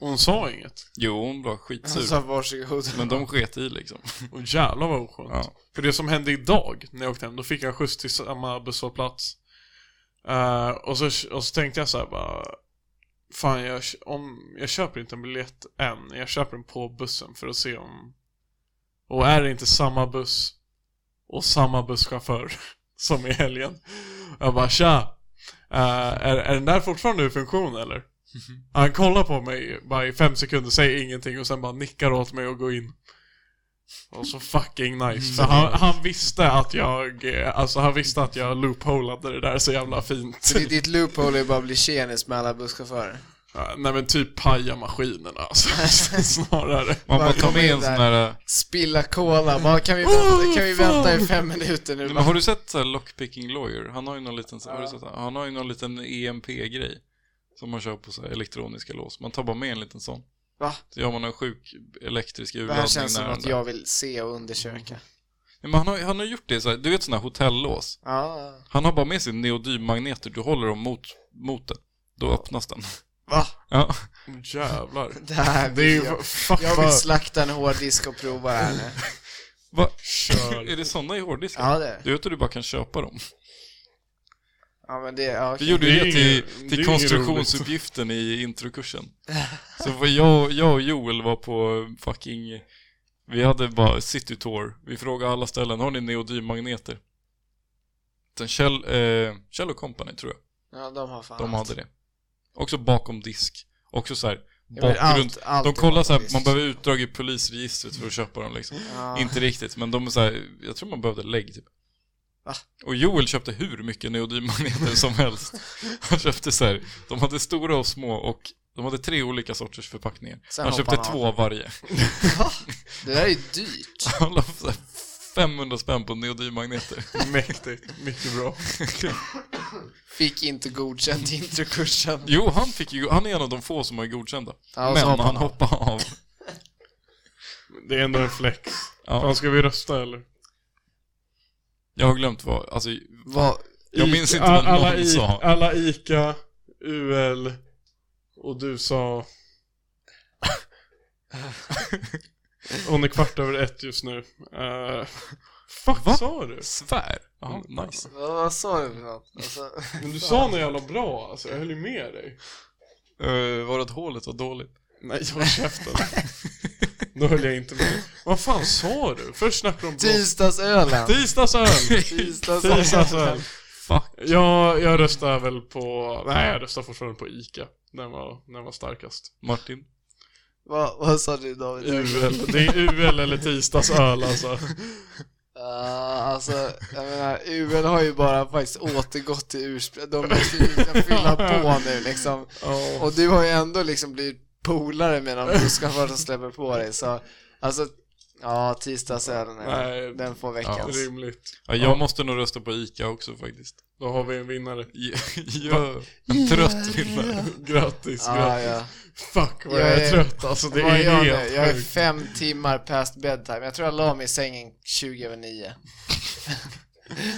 Hon sa inget. Jo, hon var Han skitsur. sa varsågod. Typ. Men de sket i liksom. Och jävlar vad oskönt. Ja. För det som hände idag när jag åkte hem, då fick jag skjuts till samma busshållplats. Eh, och, så, och så tänkte jag så här bara, fan jag, om, jag köper inte en biljett än, jag köper den på bussen för att se om, och är det inte samma buss och samma busschaufför som i helgen. Jag bara tja, eh, är, är den där fortfarande ur funktion eller? Han kollar på mig bara i fem sekunder, säger ingenting och sen bara nickar åt mig och går in. Och så fucking nice. För han, han visste att jag, eh, alltså han visste att jag loopholade det där så jävla fint. Ditt- Ditt loophole är bara att bli tjenis med alla busschaufförer. Ja, Nej men typ paja maskinerna alltså, snarare. Man bara Varför tar med är en det sån där? här... Spilla cola, bara, kan vi vänta, kan vi vänta i fem minuter nu? Nej, men har du sett så här Lockpicking Lawyer? Han har ju någon liten, har du sett, han? han har ju någon liten EMP-grej. Som man kör på så här elektroniska lås. Man tar bara med en liten sån. Va? Så gör man en sjuk elektrisk Det här urladdning känns som nära något den där. jag vill se och undersöka. Nej, men han, har, han har gjort det så här, du vet såna här hotellås? Ja, Han har bara med sig neodymmagneter, du håller dem mot, mot den. Då öppnas den. va? Ja. Åh, Jävlar. Det här Det är ju vill jag. fuck Jag vill vad... slakta en hårddisk och prova det här nu. Va? Kör. Är det såna i hårddiskar? Ja, det. Du vet att du bara kan köpa dem. Ja, men det, ja, Vi okej. gjorde ju Det är det inget- till, det är till inget konstruktionsuppgiften i introkursen. Så var jag, jag och Joel var på fucking... Vi hade bara city tour. Vi frågade alla ställen, har ni neodymmagneter? Sen Kjell, eh, Kjell Company tror jag, Ja, de har fan de allt. hade det. Också bakom disk. Också så här, Ja, men allt- bakgrund. allt de är kollar så här, bakom man disk. Ah. behöver utdrag i polisregistret för att köpa dem liksom. Ja. Inte riktigt, men de är så här, jag tror man behövde lägg typ. Va? Och Joel köpte hur mycket neodymmagneter som helst. Han köpte så här, de hade stora och små och de hade tre olika sorters förpackningar. Sen han köpte hoppade han två av varje. Va? Det där är ju dyrt. Han la så här 500 spänn på neodymmagneter. Mäktigt. Mycket bra. Fick inte godkänt introkursen. Jo, han, fick ju, han är en av de få som har godkända. Ja, och så men hoppade han han av. hoppade av. Det är ändå en flex. Ja, Fan, ska vi rösta eller? jag har glömt vad, alltså, Vad, jag minns inte vad alla någon I- sa. Alla Ica, UL och du sa... Hon är kvart över ett just nu. Uh, fuck Va? sa du? Svär? Ja, nice. vad, vad sa du för något? Alltså, Men du sa något jävla bra alltså, jag höll ju med dig. Eh, Uh, var det att hålet var dåligt? Nej, jag var käften. Då höll jag inte med. Vad fan sa du? Först snackade du om blå... Tisdagsölen. Tisdagsöl! Tisdagsölen. Tisdagsöl. Fuck. Jag, jag röstar väl på... Nej, jag röstar fortfarande på ICA. Den var, den var starkast. Martin? Vad, vad sa du David? UL. Det är UL eller tisdagsöl alltså. Uh, alltså, jag menar, UL har ju bara faktiskt återgått till ursprung. De måste ju liksom fylla på nu liksom. Ja. Och du har ju ändå liksom blivit polare med de busschaufförer som släpper på dig, så alltså, ja, tisdagsölen, Nej. är- den får Ja. väckas. Rimligt. Ja, jag måste nog rösta på ICA också faktiskt. Då har vi en vinnare. Ja, en trött vinnare. Grattis, Ja, grattis. ja. Fuck vad Jag jag är, är- trött alltså. Det Vad är är jag helt nu? Jag är sjukt. fem timmar past bedtime. Jag tror jag la mig i sängen 20 över 9.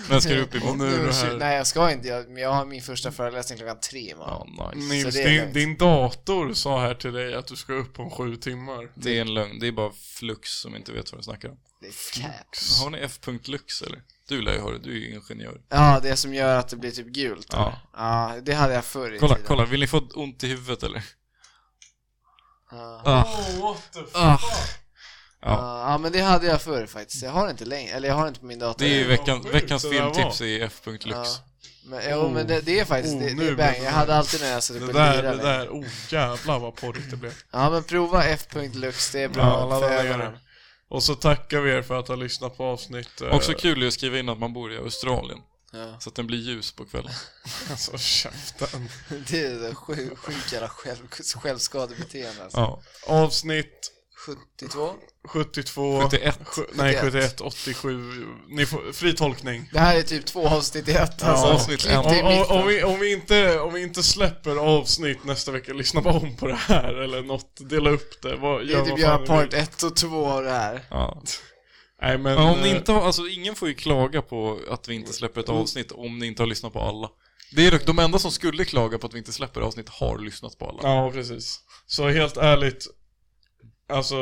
Men ska du upp imorgon? Nu är det här. tjugo- Nej, jag ska inte. Jag, men jag har min första föreläsning klockan tre imorgon. Ja, nice. Nils, Så det är din, lugnt. din dator sa här till dig att du ska upp om sju timmar. Det är en lögn. Det är bara Flux som inte vet vad de snackar om. Det är cap. Har ni F.Lux eller? Du lär ju ha det, du är ju ingenjör. Ja, det som gör att det blir typ gult. Ja. Ja, det hade jag förr i Kolla, tiden. kolla. Vill ni få ont i huvudet eller? Ja. Ah. Oh, what the fuck? Ja. Ja, men det hade jag förr faktiskt. Jag har det inte längre, eller jag har det inte på min dator. Det är ju veckan, sjukt veckans det där var. filmtips i F.Lux. Ja. Men, jo, men det, det är faktiskt, Oh, det, det nu är blev bang. det Jag där. hade alltid när jag satt upp Det och där, det lirade. där. Oh jävlar vad porrigt det blev. Ja, men prova f.lux, det är bra Ja, ladda för ner ögonen. det. Och så tackar vi er för att ha lyssnat på avsnitt... eh, Också kul är att skriva in att man bor i Australien. Ja. Så att den blir ljus på kvällen. Alltså käften. Det är det sju- sjukt jävla själv, självskadebeteende alltså. Ja. Avsnitt 72. 72... 71. Sju, nej, 71. 71, 87. Ni får, fri tolkning. Det här är typ två avsnitt i ett alltså. avsnitt Klipp en. till Om, om, mitten. om, vi, om, vi inte, om vi inte släpper avsnitt nästa vecka, lyssna bara om på det här eller något. Dela upp det. Vad, Det är gör typ vad göra fan ni vill. part 1 och 2 av det här. Ja. Nej, men, Men om eh, ni Mm. inte har, alltså ingen får ju klaga på att vi inte släpper ett avsnitt om ni inte har lyssnat på alla. Det är dock de enda som skulle klaga på att vi inte släpper avsnitt har lyssnat på alla. Ja, precis. Så helt ärligt, alltså,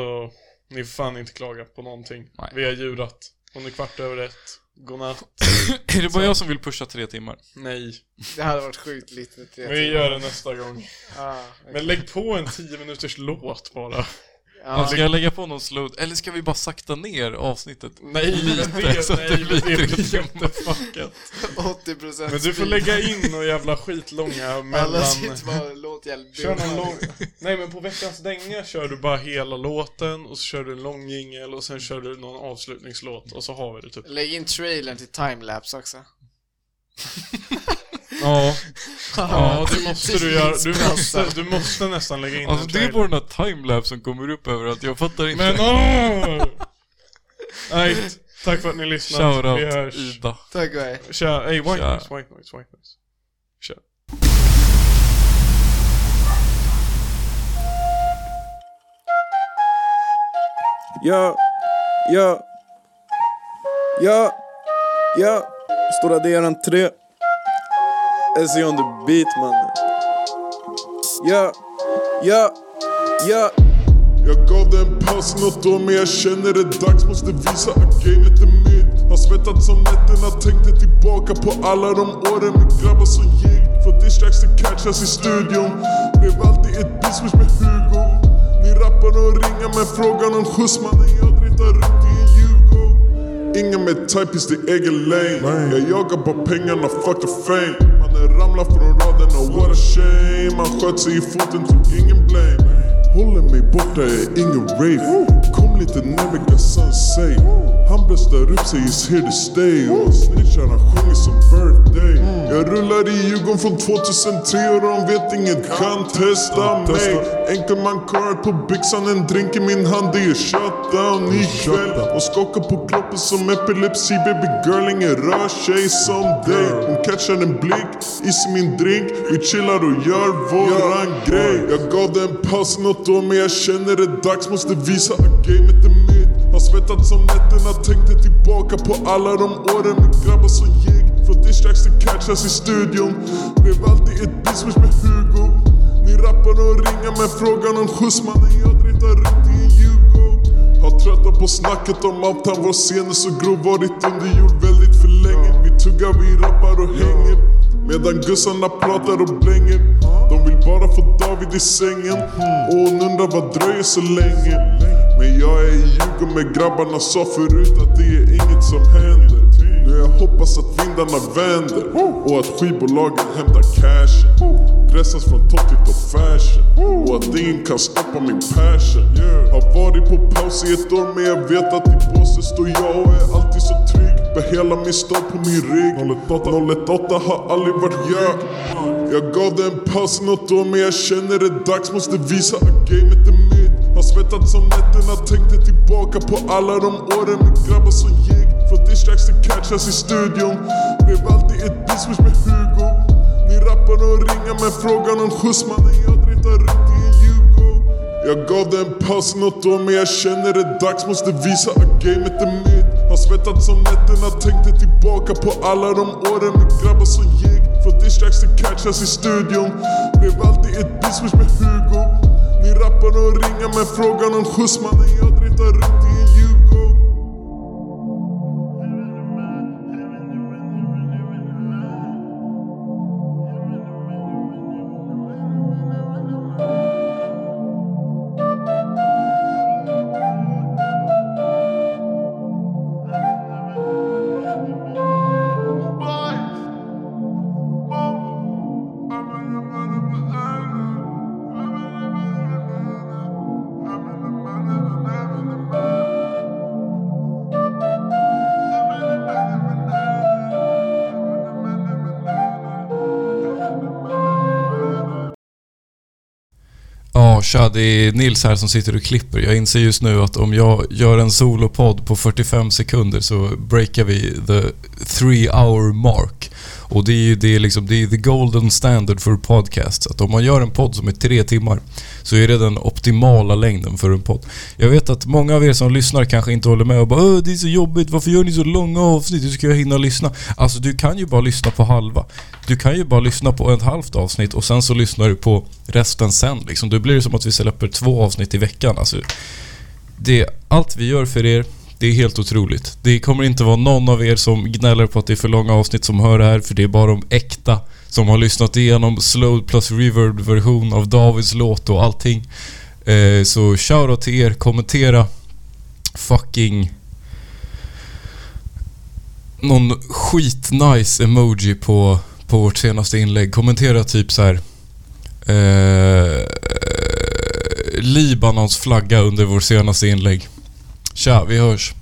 ni får fan inte klaga på någonting. Nej. Vi har djurat. Om det är kvart över ett, godnatt. Är det bara jag som vill pusha tre timmar? Nej. Det hade varit sjukt lite med tre Vi timmar. gör det nästa gång. Ja, Men lägg på en 10 minuters låt bara. ja. Alltså, alltså, Ska jag lägga på någon slow... Eller ska vi bara sakta ner avsnittet? Nej, lite, nej, så att det blir det tre blir inte fuckat. 80% Men du får speed. lägga in och jävla skitlånga Alla mellan... sitter bara och låter jävligt Kör någon dumma. lång... Nej men på veckans dänga kör du bara hela låten och så kör du en lång jingel och sen kör du någon avslutningslåt och så har vi det typ. Lägg in trailern till timelapse också. Ja, Ja, det Tio- måste du tio göra. Du minutspassa. måste, du måste nästan lägga in Alltså en det är trailer. bara den där timelapse som kommer upp överallt, jag fattar inte. Men åh! Nej, tack för att ni lyssnade. Vi Shoutout hörs. Ida. Tack och hej. Tja, ey, white Tja. noise, white noise, white noise. Tja. Ja, ja, ja, ja. Stora Deran 3. SE on the beat mannen. Ja, ja, ja. Jag gav dig en paus i något år men jag känner det dags Måste visa att gamet är mitt Har svettats som nätterna, tänkte tillbaka på alla de åren med grabbar som gick Från distracks till catchas i studion Blev alltid ett bismatch med Hugo Ni rappar och ringer men frågar någon skjuts mannen Jag driftar runt i en Djurgård Inga med typies, det är egen lane Jag jagar bara pengarna, fuck the fame Mannen ramlar från raden och what a shame Han sköt sig i foten, tog ingen blame Håller mig borta, jag är ingen rave Kom lite närmare sensei Han bröstar upp sig, is here to stay Och snitcharna sjunger som birthday Jag rullar i Djurgården från 2003 och de vet inget kan testa mig Enkelman card på byxan, en drink i min hand, det är shutdown ikväll Hon skakar på kroppen som epilepsi, baby girl ingen rör sig som dig Hon catchar en blick, is i min drink, vi chillar och gör våran grej Jag gav den en paus i något år men jag känner det dags, måste visa att gamet är mitt Har svettats om nätterna, tänkte tillbaka på alla de åren med grabbar som gick Från distracks till catchas i studion, blev alltid ett bismatch med Hugo ni rappar och ringer men frågar någon skjuts mannen jag driftar runt i en Djurgård Har tröttnat på snacket om allt han var sen är så grov Varit underjord väldigt för länge Vi tuggar, vi rappar och hänger Medan gussarna pratar och blänger De vill bara få David i sängen Och hon undrar vad dröjer så länge Men jag är i Djurgården med grabbarna sa förut att det är inget som händer Nu jag hoppas att vindarna vänder och att skivbolagen hämtar cashen Dressas från topp till topp fashion och att ingen kan stoppa min passion Har varit på paus i ett år men jag vet att i båset står jag och är alltid så trygg Bär hela min stad på min rygg 018 har aldrig varit jag Jag gav det en paus i något år men jag känner det dags Måste visa att gamet är mitt Har svettats om nätterna, tänkte tillbaka på alla de åren med grabbar som gick Från distracks till catchas i studion Blev alltid ett biswish med Hugo Ni rappar och ringer men frågan om skjuts mannen jag driftar runt i en Djurgård jag gav det en paus i något år men jag känner det dags Måste visa att gamet är mitt Har svettats om nätterna, tänkte tillbaka på alla de åren med grabbar som gick Från distracks till catchas i studion Blev alltid ett biswish med Hugo Ni rappar och ringer men frågan om skjuts mannen jag driftar runt i en Djurgård Ja, tja, det är Nils här som sitter och klipper. Jag inser just nu att om jag gör en solopodd på 45 sekunder så breakar vi the three hour mark. Och det är ju det är liksom, det är the golden standard för podcasts. Att om man gör en podd som är tre timmar så är det den optimala längden för en podd. Jag vet att många av er som lyssnar kanske inte håller med och bara "Åh, det är så jobbigt, varför gör ni så långa avsnitt? Hur ska jag hinna lyssna? Alltså du kan ju bara lyssna på halva. Du kan ju bara lyssna på ett halvt avsnitt och sen så lyssnar du på resten sen liksom. Då blir det som att vi släpper två avsnitt i veckan. Alltså, det, allt vi gör för er, det är helt otroligt. Det kommer inte vara någon av er som gnäller på att det är för långa avsnitt som hör det här, för det är bara de äkta som har lyssnat igenom slow plus reverb version av Davids låt och allting. Eh, så shoutout till er, kommentera fucking någon skitnice emoji på, på vårt senaste inlägg. Kommentera typ så här. Eh, Libanons flagga under vårt senaste inlägg. Tja, vi hörs.